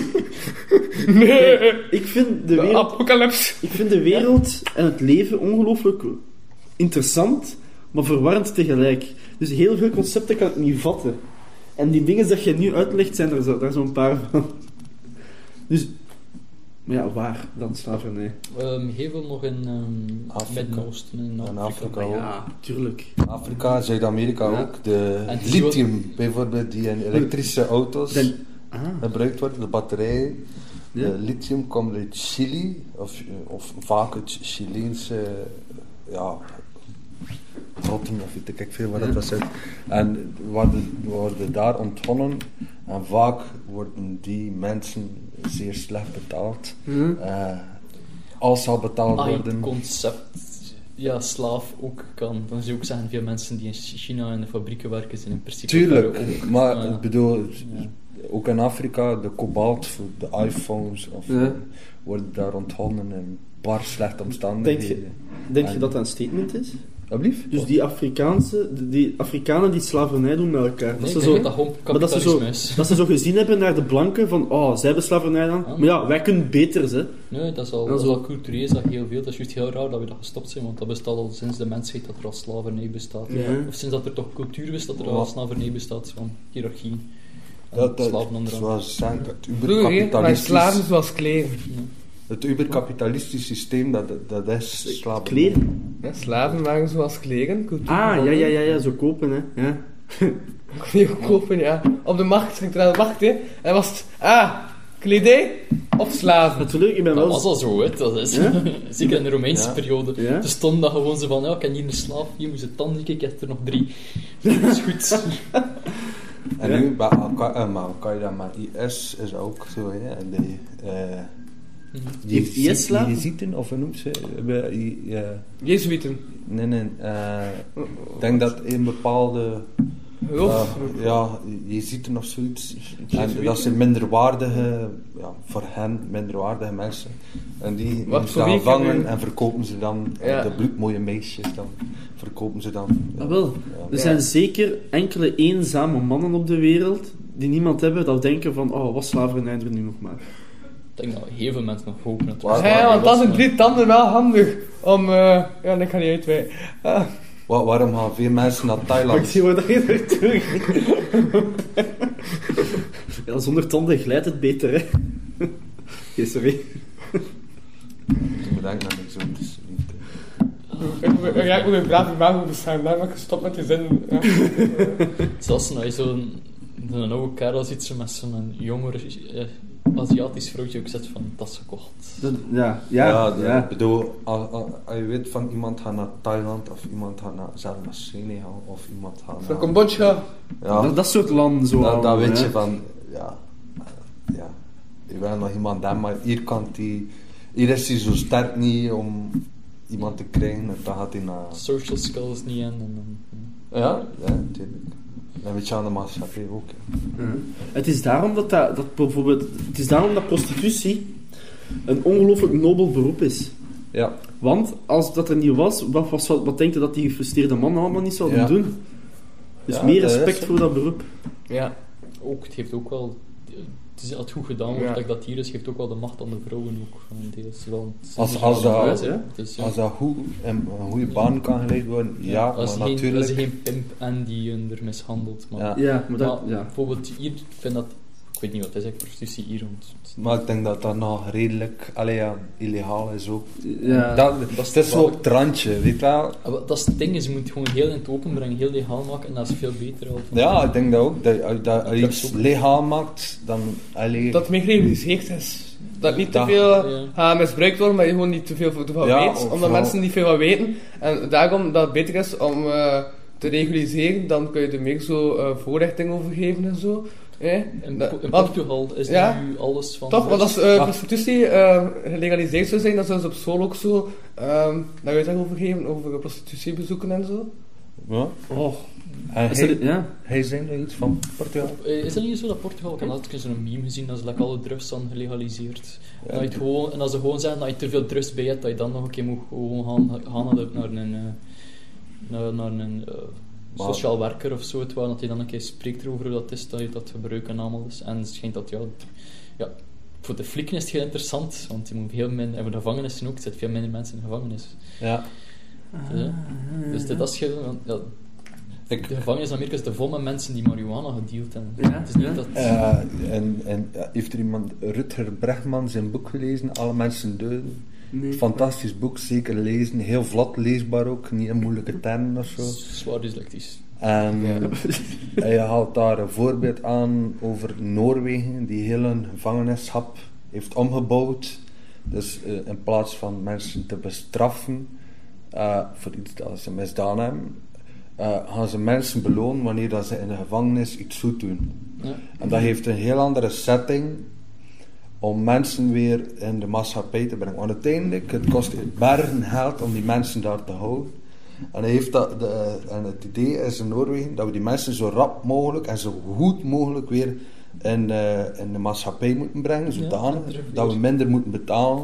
Speaker 4: Nee!
Speaker 3: Ik vind de
Speaker 4: De
Speaker 3: wereld,
Speaker 4: apocalypse.
Speaker 3: ik vind de wereld en het leven ongelooflijk interessant, maar verwarrend tegelijk. Dus heel veel concepten kan ik niet vatten. En die dingen dat je nu uitlegt, zijn er zo- daar zo'n paar van. Dus... Maar ja, waar dan slavernij?
Speaker 2: Ehm, heel veel nog in ehm
Speaker 5: Afrika.
Speaker 2: Midden-Oosten en
Speaker 5: In
Speaker 2: Afrika.
Speaker 5: Afrika ook.
Speaker 3: Ja, tuurlijk.
Speaker 5: Afrika, Zuid-Amerika
Speaker 3: Ja.
Speaker 5: ook. De
Speaker 2: En die
Speaker 5: lithium bijvoorbeeld, die in elektrische auto's
Speaker 3: Dan- Ah,
Speaker 5: gebruikt wordt, de batterijen.
Speaker 3: Ja.
Speaker 5: De lithium komt uit Chili, of, eh, of vaak uit Chileense eh, ja, grotten, of weet ik ook veel waar dat was uit. En worden, worden daar ontgonnen en vaak worden die mensen zeer slecht betaald. Eh, als ze al betaald
Speaker 2: Ah, het
Speaker 5: worden.
Speaker 2: concept ja, slaaf ook kan. Dan zie je ook zeggen, veel mensen die in China in de fabrieken werken zijn in principe daar ook.
Speaker 5: Tuurlijk, maar
Speaker 2: Ja.
Speaker 5: ik bedoel, ook in Afrika, de kobalt voor de iPhones of,
Speaker 3: Ja.
Speaker 5: worden daar onthonden in bar slechte
Speaker 3: Denk je,
Speaker 5: omstandigheden.
Speaker 3: denk je dat dat een statement is?
Speaker 5: Alsjeblieft?
Speaker 3: Dus die Afrikaanse, die- die Afrikanen die slavernij doen met elkaar.
Speaker 2: Nee,
Speaker 3: dat,
Speaker 2: ik
Speaker 3: ze
Speaker 2: denk
Speaker 3: zo,
Speaker 2: dat dat gewoon
Speaker 3: maar dat, ze zo,
Speaker 2: kapitalisme is.
Speaker 3: dat ze zo gezien hebben naar de blanken van, oh, zij hebben slavernij dan.
Speaker 2: Ah.
Speaker 3: Maar ja, wij kunnen beter, hè.
Speaker 2: Nee, dat is al,
Speaker 3: Dat
Speaker 2: dat
Speaker 3: is
Speaker 2: is al
Speaker 3: wel-
Speaker 2: cultureel is dat heel veel. Dat is juist heel raar dat we dat gestopt zijn, want dat bestaat al sinds de mensheid dat er al slavernij bestaat.
Speaker 3: Ja.
Speaker 2: Of sinds dat er toch cultuur is dat er al
Speaker 5: Ja.
Speaker 2: slavernij bestaat, van hiërarchie. En
Speaker 5: Dat, dat,
Speaker 2: slaven onder andere.
Speaker 5: zoals ze zeggen, het
Speaker 4: Broer, hè, maar slaven
Speaker 5: uberkapitalistisch,
Speaker 4: zoals kleren.
Speaker 5: het uberkapitalistisch systeem, dat, dat is slaven.
Speaker 3: Kleren.
Speaker 4: Ja, slaven waren zoals kleren. Cultuur
Speaker 3: Ah, ja,
Speaker 4: verbonden.
Speaker 3: ja, ja, ja, zo kopen, hè. Ja.
Speaker 4: Die kopen, ja. Op de markt, ging er naar de markt, hè. En was het, ah, kledij of slaven.
Speaker 3: Natuurlijk, ik ben
Speaker 2: Dat
Speaker 3: wel...
Speaker 2: was al zo, hè. Dat is,
Speaker 3: Ja?
Speaker 2: Zeker in de Romeinse
Speaker 5: Ja.
Speaker 2: periode.
Speaker 3: Ja.
Speaker 2: Ze stonden dat gewoon zo van, ja, ik heb hier een slaaf, hier moet je tanden, ik heb er nog drie. Dat is goed.
Speaker 5: En
Speaker 3: Ja.
Speaker 5: nu bij Al-Qa- eh, maar Al-Qaeda, maar IS is ook zo, hè. En die, eh die
Speaker 3: Heeft IS slaven?
Speaker 5: Jezieten, of hoe noemt ze? eh, die, eh,
Speaker 4: Jezuïten.
Speaker 5: Nee, nee. eh, ik denk dat in bepaalde...
Speaker 4: Geloof.
Speaker 5: eh, ja, je ziet er nog zoiets. En
Speaker 4: Jezuïeten?
Speaker 5: dat zijn minderwaardige, ja, voor hen minderwaardige mensen. En die
Speaker 4: Wat
Speaker 5: moeten
Speaker 4: voor
Speaker 5: dan
Speaker 4: wie kan
Speaker 5: vangen
Speaker 4: u-
Speaker 5: en verkopen ze dan,
Speaker 4: Ja.
Speaker 5: de bloedmooie meisjes dan, verkopen ze dan. Ja.
Speaker 3: Ah, wel.
Speaker 5: Ja.
Speaker 3: Er zijn zeker enkele eenzame mannen op de wereld die niemand hebben dat denken van, oh, wat slavernij er nu nog maar.
Speaker 2: Ik denk dat heel veel mensen nog hopen dat
Speaker 5: Waar-
Speaker 4: Ja, want dat zijn drie tanden wel handig. Om, eh ja, nee, ik ga niet uitweiden. Ah,
Speaker 5: Wa- waarom gaan veel mensen naar
Speaker 3: Maar ik
Speaker 5: Thailand?
Speaker 3: zie waar dat je naartoe ging. Ja, zonder tanden glijdt het beter, hè. Oké, sorry.
Speaker 5: Ik bedenk dat ik zo dus niet.
Speaker 4: ik moet- Ja, ik moet een brave maag over staan. Daar ben ik gestopt met die zin. Ja.
Speaker 2: Zelfs als je zo'n een oude kerel ziet ze met zo'n jonger eh, Aziatisch vrouwtje ook zegt van, dat is gekocht.
Speaker 3: Dat- ja,
Speaker 5: Ja,
Speaker 3: ja, ja.
Speaker 5: dat- ik bedoel, als, als- als je weet van iemand gaat naar Thailand of iemand gaat naar, zelfs naar Senegal of iemand gaat naar...
Speaker 4: Van Cambodja.
Speaker 5: Ja.
Speaker 3: Dat, dat soort landen zo.
Speaker 5: Dan, dan
Speaker 3: allemaal,
Speaker 5: weet
Speaker 3: hè.
Speaker 5: je van, ja, ja, je wil nog iemand hebben, maar hier kan die Hier is hij zo sterk niet om iemand te krijgen en dan gaat hij naar...
Speaker 2: Social skills niet in. En dan,
Speaker 5: Ja? Ja, natuurlijk. En weet je aan de maatschappij ook. hè.
Speaker 3: Het is daarom dat, dat, dat bijvoorbeeld... Het is daarom dat prostitutie een ongelooflijk nobel beroep is.
Speaker 5: Ja.
Speaker 3: Want als dat er niet was, wat, was, wat, wat denk je dat die gefrustreerde mannen allemaal niet zouden
Speaker 5: Ja.
Speaker 3: doen? Dus
Speaker 5: Ja,
Speaker 3: meer
Speaker 5: dat is
Speaker 3: respect
Speaker 5: het.
Speaker 3: voor dat beroep.
Speaker 2: ja, ook, het heeft ook wel... Het is altijd goed gedaan, want
Speaker 4: Ja.
Speaker 2: dat dat hier is, geeft ook wel de macht aan de vrouwen ook. Van deels, want
Speaker 5: Als- als dat-
Speaker 2: Dus, ja.
Speaker 5: Als dat goed en een goede baan kan geleid worden, ja,
Speaker 2: als
Speaker 5: maar
Speaker 2: er geen, als
Speaker 5: natuurlijk.
Speaker 2: er geen pimp en die hun er mishandelt. Maar,
Speaker 5: Ja.
Speaker 3: Ja, maar dat...
Speaker 2: maar
Speaker 3: ja.
Speaker 2: bijvoorbeeld hier, ik vind dat... Ik weet niet wat het is, ik prostitutie hier rond.
Speaker 5: Maar ik denk dat dat nog redelijk allee, ja, illegaal is ook.
Speaker 3: Ja.
Speaker 5: dat,
Speaker 2: is
Speaker 5: het is zo op het randje, weet je wel.
Speaker 2: Ah, wel, Dat is het ding, is je moet gewoon heel in het open brengen, heel legaal maken en dat is veel beter al. van-
Speaker 5: Ja, ik denk dat ook. Dat, als- dat, als je
Speaker 2: Dat
Speaker 5: iets
Speaker 2: is ook-
Speaker 5: legaal maakt, dan... Allee,
Speaker 4: Dat het meer gerealiseerd is. Dat niet te
Speaker 5: Dat-
Speaker 4: veel
Speaker 2: Ja.
Speaker 4: eh, misbruikt wordt, maar je gewoon niet te veel van
Speaker 5: Ja,
Speaker 4: weet.
Speaker 5: of
Speaker 4: Omdat
Speaker 5: vooral-
Speaker 4: mensen niet veel van weten. En daarom dat het beter is om eh, te reguliseren, dan kun je er meer zo eh, voorlichting over geven en zo. Eh?
Speaker 2: In,
Speaker 4: Dat-
Speaker 2: Po- in
Speaker 4: want-
Speaker 2: Portugal is
Speaker 4: Ja.
Speaker 2: nu alles van...
Speaker 4: Toch, want als eh,
Speaker 5: Ah.
Speaker 4: prostitutie eh, gelegaliseerd zou zijn, dan zouden ze op school ook zo ehm daar uitleg over geven, over prostitutiebezoeken en zo.
Speaker 5: Ja.
Speaker 3: Oh,
Speaker 5: En
Speaker 3: is
Speaker 5: hij,
Speaker 3: dat... Ja.
Speaker 5: hij zei nog iets van Portugal.
Speaker 2: Eh, Is het niet zo dat Portugal, ik heb laatst eens een meme gezien, dat ze like alle drugs dan gelegaliseerd. En, dat je het gewoon, en als ze gewoon zeggen dat je te veel drugs bij hebt, dat je dan nog een keer moet gewoon gaan, gaan naar de- naar een, eh, naar, naar een eh,
Speaker 5: Maar-
Speaker 2: sociaal werker of zo, terwijl dat je dan een keer spreekt erover hoe dat is, dat je dat gebruikt en allemaal is. En het schijnt dat, ja, ja voor de flikken is het heel interessant, want je moet heel minder, en voor de gevangenissen ook, er zitten veel minder mensen in de gevangenis.
Speaker 5: Ja.
Speaker 3: Ah,
Speaker 2: Ja. Dus dit, dat is heel- want, ja,
Speaker 5: Ik,
Speaker 2: de gevangenis in Amerika is te vol met mensen die marihuana gedeeld hebben.
Speaker 3: Ja,
Speaker 2: het is niet
Speaker 3: ja.
Speaker 2: dat...
Speaker 5: eh, en, en ja, heeft er iemand Rutger Bregman zijn boek gelezen? Alle mensen doden.
Speaker 3: Nee.
Speaker 5: Fantastisch boek, zeker lezen. Heel vlot leesbaar ook, niet in moeilijke termen of zo.
Speaker 2: Zwaar dyslectisch.
Speaker 5: En, en je Ehm, haalt daar een voorbeeld aan over Noorwegen, die heel een gevangenisschap heeft omgebouwd. Dus eh, in plaats van mensen te bestraffen eh, voor iets dat ze misdaan hebben, eh, gaan ze mensen belonen wanneer dat ze in de gevangenis iets goed doen.
Speaker 2: Ja.
Speaker 5: En dat heeft een heel andere setting om mensen weer in de maatschappij te brengen. Want uiteindelijk, het kost bergen geld om die mensen daar te houden. En, hij heeft dat, de, eh, en het idee is in Noorwegen dat we die mensen zo rap mogelijk en zo goed mogelijk weer in, eh, in de maatschappij moeten brengen. Zodanig
Speaker 2: dat terug
Speaker 5: dat we
Speaker 2: weer.
Speaker 5: minder moeten betalen.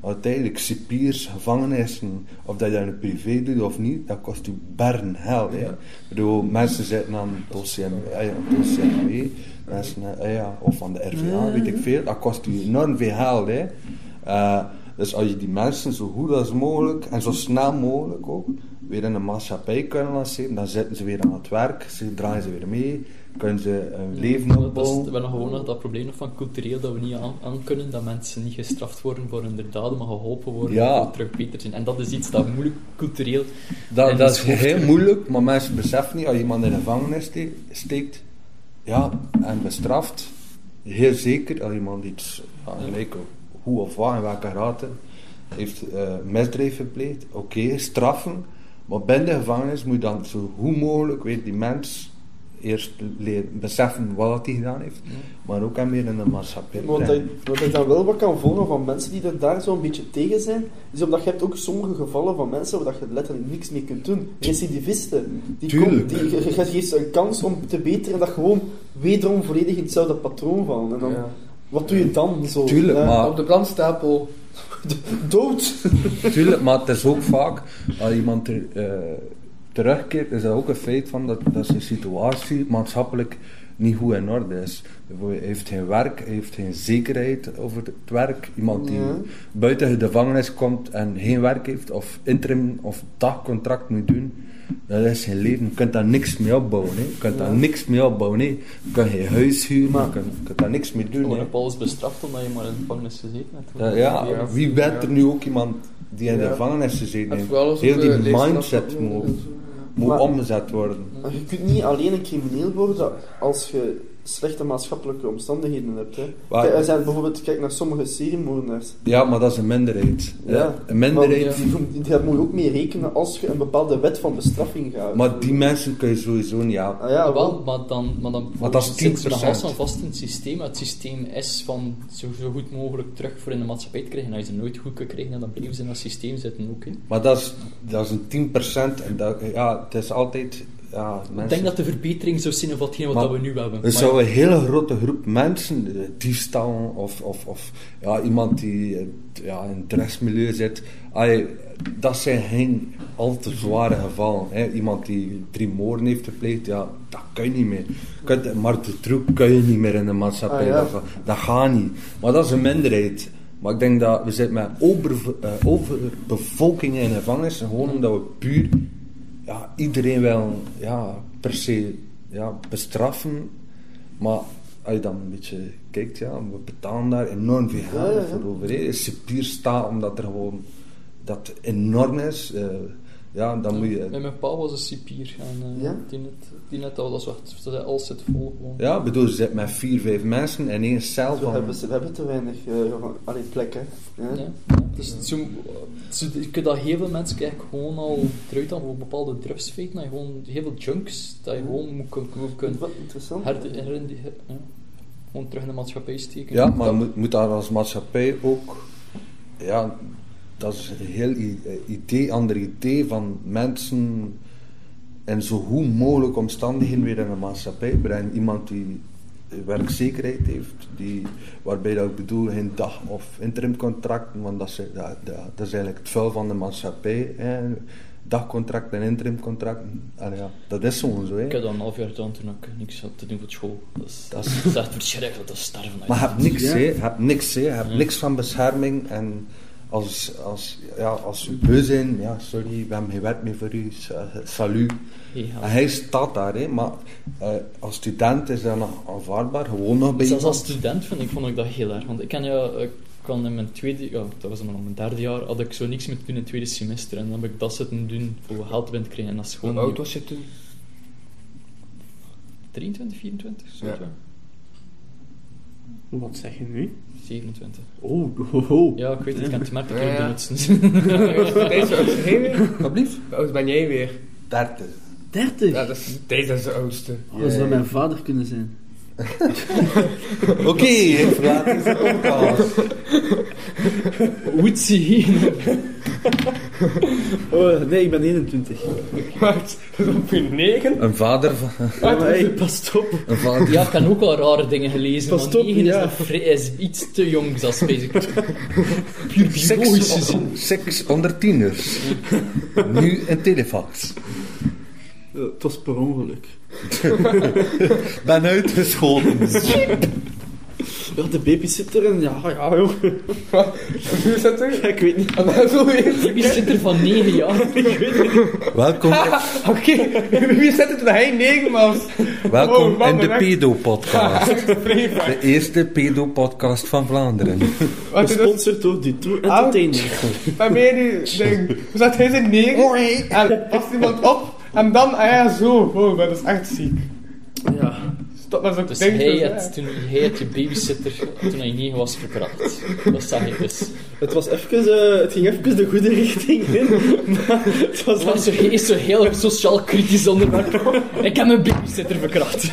Speaker 5: Want Uiteindelijk, cipiers, gevangenissen, of dat je dat in het privé doet of niet, dat kost u bergen geld. hè. Ik bedoel, mensen zitten aan het OCM, eh, ja, het OCMW, mensen, eh, ja, of aan de RVA, weet ik veel. Dat kost u enorm veel geld. Hè. Eh, dus als je die mensen zo goed als mogelijk en zo snel mogelijk ook weer in de maatschappij kunnen lanceren, dan zitten ze weer aan het werk, ze draaien ze weer mee, kunnen ze een leven
Speaker 2: Dat is, we
Speaker 5: opbouwen.
Speaker 2: hebben nog gewoon nog dat probleem nog van cultureel dat we niet aan, aan kunnen, dat mensen niet gestraft worden voor hun daden, maar geholpen worden
Speaker 5: Ja.
Speaker 2: om terug beter te zijn. En dat is iets dat moeilijk cultureel...
Speaker 5: Dat,
Speaker 2: in
Speaker 5: dat
Speaker 2: ons
Speaker 5: is
Speaker 2: hoofd-
Speaker 5: heel moeilijk, maar mensen beseffen niet, als iemand in de gevangenis ste- steekt, ja, en bestraft, heel zeker als iemand iets, ja, gelijk hoe of wat, in welke rate, heeft eh, misdrijf gepleegd, oké, straffen, maar binnen de gevangenis moet je dan zo goed mogelijk weer die mens eerst leren beseffen wat dat hij gedaan heeft, maar ook hem weer in de maatschappij
Speaker 3: Want dat,
Speaker 5: brengen.
Speaker 3: wat ik dan wel wat kan volgen van mensen die er daar zo'n beetje tegen zijn, is omdat je hebt ook sommige gevallen van mensen waar dat je letterlijk niks mee kunt doen. Recidivisten. Die
Speaker 5: Tuurlijk.
Speaker 3: komen- die, je, je geeft ze een kans om te beteren en dat gewoon wederom volledig in hetzelfde patroon vallen. En dan,
Speaker 4: Ja.
Speaker 3: Wat doe je dan zo?
Speaker 5: Tuurlijk,
Speaker 3: Ja.
Speaker 5: maar
Speaker 4: Op de brandstapel.
Speaker 3: Dood!
Speaker 5: Tuurlijk, maar het is ook vaak als iemand ter- eh, terugkeert, is dat ook een feit van dat, dat zijn situatie maatschappelijk niet goed in orde is. Hij heeft geen werk, hij heeft geen zekerheid over het werk. Iemand die
Speaker 3: Ja.
Speaker 5: buiten de gevangenis komt en geen werk heeft, of interim of dagcontract moet doen, dat is geen leven. Je kunt daar niks mee opbouwen. Hè. Je kunt daar niks mee opbouwen. Hè. Je kunt geen huis huren,
Speaker 3: Maar- Oh,
Speaker 5: je kunt, je kunt daar niks mee
Speaker 2: Je
Speaker 5: doen. hè.
Speaker 2: wordt op alles bestraft omdat je maar in de gevangenis gezeten hebt.
Speaker 5: Ja, ja,
Speaker 4: Ja.
Speaker 5: wie bent er nu ook iemand die in de
Speaker 4: Ja.
Speaker 5: gevangenis gezeten
Speaker 4: En
Speaker 5: heeft?
Speaker 4: vooral als eh,
Speaker 5: Heel
Speaker 4: we
Speaker 5: die
Speaker 4: lezen
Speaker 5: mindset
Speaker 4: dat-
Speaker 5: moet,
Speaker 4: Ja.
Speaker 5: moet
Speaker 3: Maar-
Speaker 5: omgezet worden.
Speaker 3: Maar Je kunt niet alleen een crimineel worden als je slechte maatschappelijke omstandigheden hebt. Hè.
Speaker 5: Waar-
Speaker 3: Kijk, er zijn bijvoorbeeld, kijk naar sommige seriemoordenaars.
Speaker 5: Ja, maar dat is een minderheid. hè.
Speaker 3: Ja.
Speaker 5: Een minderheid.
Speaker 3: Maar die- die- Daar moet je ook mee rekenen als je een bepaalde wet van bestraffing gaat.
Speaker 5: Maar die mensen kun je sowieso niet helpen.
Speaker 3: Ah, ja,
Speaker 2: wel, maar dan, maar dan
Speaker 5: Want dat is
Speaker 2: zitten ze
Speaker 5: 10%.
Speaker 2: nog vast aan vast in het systeem. Het systeem is van zo, zo goed mogelijk terug voor in de maatschappij te krijgen. En als je ze nooit goed kunt krijgen, dan blijven ze in dat systeem zitten ook. hè.
Speaker 5: Maar dat is, dat is een 10% en dat, ja, het is altijd... Ja, mensen,
Speaker 2: Ik denk dat de verbetering zou zijn van hetgeen wat
Speaker 5: Maar-
Speaker 2: dat we nu hebben.
Speaker 5: Er
Speaker 2: Maar-
Speaker 5: zou een hele grote groep mensen, eh, diefstal of, of, of ja, iemand die eh, ja, in het drugsmilieu zit, ai, dat zijn geen al te zware gevallen. Hè. Iemand die drie moorden heeft gepleegd, ja, dat kun je niet meer. Kun- maar de truc kun je niet meer in de maatschappij.
Speaker 3: Ah, ja.
Speaker 5: dat, dat gaat niet. Maar dat is een minderheid. Maar ik denk dat we zitten met over, eh, overbevolking in gevangenissen, gewoon omdat we puur ja, iedereen wel ja, per se ja, bestraffen. Maar als je dan een beetje kijkt, ja, we betalen daar enorm veel geld
Speaker 3: Ja, ja, ja.
Speaker 5: voor over. hè. Is ze puur staat omdat er gewoon dat enorm is. eh, ja, dan moet
Speaker 2: Bij
Speaker 5: je.
Speaker 2: mijn pa was een cipier. En, eh,
Speaker 3: Ja?
Speaker 2: die, net, die net al was echt, ze zei, alles zit vol gewoon.
Speaker 5: Ja, ik bedoel, je zit met vier, vijf mensen in één cel.
Speaker 3: we,
Speaker 5: Van,
Speaker 3: hebben, ze- we hebben te weinig eh van, allee, plekken. hè.
Speaker 2: Ja. Dus zo, zo, je kunt dat heel veel mensen eigenlijk gewoon al eruit halen voor bepaalde drugsfeiten. Dat je gewoon heel veel junks, dat je gewoon moet kun- kun- kun-
Speaker 3: Wat interessant.
Speaker 2: her- her- her- ja. gewoon terug in de maatschappij steken.
Speaker 5: Ja, maar
Speaker 2: Dat-
Speaker 5: moet, moet daar als maatschappij ook. Ja, dat is een heel i- eh, idee, ander idee van mensen. En zo goed mogelijk omstandigheden weer in de maatschappij brengen. Iemand die werkzekerheid heeft, die, waarbij dat ik bedoel geen dag- of interimcontracten, want dat is, dat, dat, dat is eigenlijk het vuil van de maatschappij. Hè. Dagcontracten en interimcontracten, Allee, ja, dat is gewoon zo. Hè.
Speaker 2: Ik heb dat een half jaar gedaan toen ik niks had te doen voor school. Dat is,
Speaker 5: Dat
Speaker 2: dat
Speaker 5: is-
Speaker 2: is, echt verschrikkelijk, dat is sterven. uit.
Speaker 5: Maar heb niks,
Speaker 3: Ja.
Speaker 5: hè. Heb niks, hè. Heb niks van bescherming. En als, als, ja, als we beu zijn, ja, sorry, we hebben geen werk meer voor u, sa- salut.
Speaker 2: Ja.
Speaker 5: En hij staat daar, hè. Maar eh, als student is dat nog aanvaardbaar, gewoon nog bij
Speaker 2: Zelfs als
Speaker 5: iemand.
Speaker 2: student vind ik, vond ik dat heel erg. Want ik kan ja, ik kan in mijn tweede, ja, dat was dan al mijn derde jaar, had ik zo niks meer te doen in het tweede semester. En dan heb ik dat zitten doen voor geld te krijgen. En dat is gewoon
Speaker 7: Hoe oud was je toen?
Speaker 2: 23, 24, zo
Speaker 7: Ja.
Speaker 2: ja.
Speaker 3: Wat zeg je nu?
Speaker 2: 27.
Speaker 3: Oh, oh, oh.
Speaker 2: Ja, ik weet het, ik kan het merken, ik
Speaker 7: Ja,
Speaker 2: heb
Speaker 7: ja.
Speaker 2: het niet
Speaker 4: Deze oudste heen weer? Wat blieft? Hoe oud ben jij weer?
Speaker 5: 30.
Speaker 3: 30?
Speaker 4: Ja, dat is, deze is de oudste.
Speaker 3: Dat zou mijn vader kunnen zijn.
Speaker 5: Oké, ik verlaat deze podcast.
Speaker 2: Woetsie.
Speaker 3: Oh, nee, ik ben 21.
Speaker 4: Wat? Dat is op je negen?
Speaker 5: Een vader van...
Speaker 3: Ja, maar hey, pas op.
Speaker 5: Een vader.
Speaker 2: Ja, ik heb ook al rare dingen gelezen.
Speaker 3: Pas
Speaker 2: maar
Speaker 3: op,
Speaker 2: negen
Speaker 3: ja.
Speaker 2: is, nog vrij- is iets te jong, dat is bezig. Puur biologisch
Speaker 5: Seks,
Speaker 2: gezien.
Speaker 5: seks onder tieners. Nu een telefax.
Speaker 3: Eh, Het was per ongeluk.
Speaker 5: Ben uitgeschoten.
Speaker 3: Ja, de babysitter en ja, ja, joh.
Speaker 4: Hoe zit er?
Speaker 3: Ik weet niet.
Speaker 4: En dan zo weer.
Speaker 2: Wie zit er van 9 jaar?
Speaker 5: Welkom,
Speaker 4: Oké, wie zet het bij hij negen was?
Speaker 5: welkom
Speaker 4: Wow, man,
Speaker 5: in de
Speaker 4: bedankt.
Speaker 5: pedo-podcast.
Speaker 4: Vreemd.
Speaker 5: De eerste pedo-podcast van Vlaanderen.
Speaker 4: Wat is dat?
Speaker 3: Gesponsord door Dutroux Entertainment.
Speaker 4: Bij mij die ding. Hoe zat hij zijn negen? En past iemand op? En dan, ah ja, zo. Wow, dat is echt ziek.
Speaker 3: Ja.
Speaker 4: Stop met zo'n
Speaker 2: Dus
Speaker 4: ding.
Speaker 2: hij
Speaker 4: te
Speaker 2: had,
Speaker 4: zeggen.
Speaker 2: toen, hij had je babysitter toen hij 9 was verkracht. Dat zag ik dus.
Speaker 3: Het, was even, eh, het ging even de goede richting in. Maar het was
Speaker 2: Dat was zo, is zo heel sociaal kritisch onderwerp. Ik heb mijn babysitter verkracht.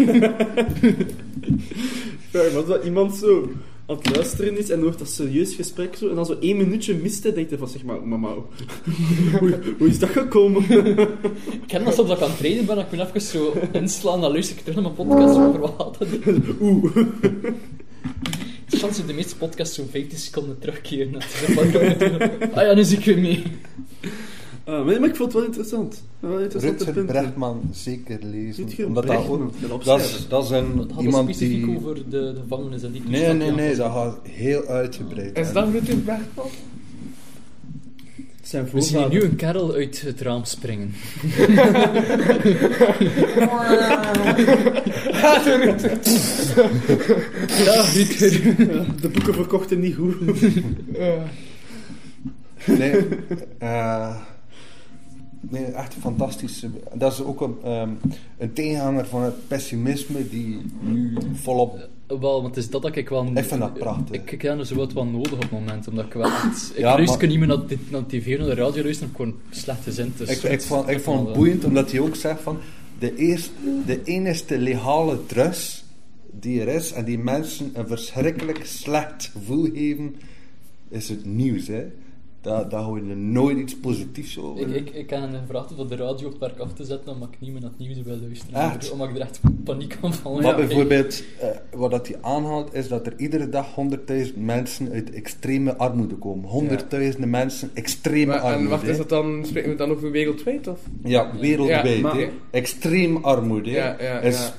Speaker 3: Ja, maar dat iemand zo aan het luisteren is en hoort dat serieus gesprek zo, en dan zo één minuutje miste, denkt hij van, zeg maar, mama, hoe, hoe- hoe is dat gekomen? Ah,
Speaker 2: Ik heb dat soms dat ik aan het trainen ben, dat ik me even zo inslaan, dan luister ik terug naar mijn podcast over wat had dat
Speaker 3: Oeh.
Speaker 2: Het is kans dat de meeste podcasts zo'n 15 seconden terugkeren. Dat is een podcast natuurlijk. ah ja, nu zie ik weer mee.
Speaker 3: Ah, maar, maar ik vond het wel interessant. Wel interessante
Speaker 5: Rutger
Speaker 3: punten.
Speaker 5: Brechtman zeker lezen.
Speaker 3: Rutger
Speaker 5: omdat dat,
Speaker 3: Brechtman,
Speaker 5: ook,
Speaker 3: ik wil
Speaker 5: dat,
Speaker 3: opschrijven.
Speaker 5: is, dat is een
Speaker 2: Dat had
Speaker 5: iemand
Speaker 2: specifiek
Speaker 5: die.
Speaker 2: over de, de gevangenis en die
Speaker 5: Nee, nee, nee, dat gaat heel uitgebreid.
Speaker 4: Is dat Rutte Bergman?
Speaker 3: Zijn
Speaker 2: We zien hier nu
Speaker 3: voorvader.
Speaker 2: een kerel uit het raam springen.
Speaker 4: Ja, de Rutte.
Speaker 2: Ja, Rutger.
Speaker 3: De boeken verkochten niet goed.
Speaker 4: Ja.
Speaker 5: Nee. eh, Nee, echt een fantastische. Dat is ook een, ehm, een tegenhanger van het pessimisme die nu volop.
Speaker 2: Wel, want het is dat dat ik wel...
Speaker 5: Ik vind dat prachtig.
Speaker 2: Ik, ik heb er zo wat van nodig op het moment, omdat ik wel... echt- ik
Speaker 5: Ja,
Speaker 2: luister
Speaker 5: maar-
Speaker 2: niet meer naar, dit, naar tv, naar de radio luister, ik gewoon slecht gezind. Dus
Speaker 5: Ik, ik, vond, ik
Speaker 2: dat
Speaker 5: vond
Speaker 2: wel-
Speaker 5: het boeiend omdat hij ook zegt van de, eerst, de enige legale drus die er is en die mensen een verschrikkelijk slecht gevoel geven, is het nieuws. Hè? Daar, daar hoor je nooit iets positiefs over.
Speaker 2: Ik, ik, ik heb hen gevraagd om dat de radio op werk af te zetten, omdat ik niet meer naar het nieuws wil luisteren.
Speaker 5: Echt?
Speaker 2: Omdat ik er echt paniek van val.
Speaker 5: Maar
Speaker 2: Ja,
Speaker 5: bijvoorbeeld, eh, wat dat hij aanhaalt, is dat er iedere dag 100.000 mensen uit extreme armoede komen. Honderdduizenden mensen, extreme
Speaker 4: Maar, en
Speaker 5: armoede.
Speaker 4: wacht, is
Speaker 5: hè.
Speaker 4: dat dan, spreken we dan over wereldwijd of?
Speaker 5: Ja, wereldwijd.
Speaker 4: Ja, maar-
Speaker 5: hè. Extreem armoede hè.
Speaker 4: Ja, ja,
Speaker 5: is
Speaker 4: ja.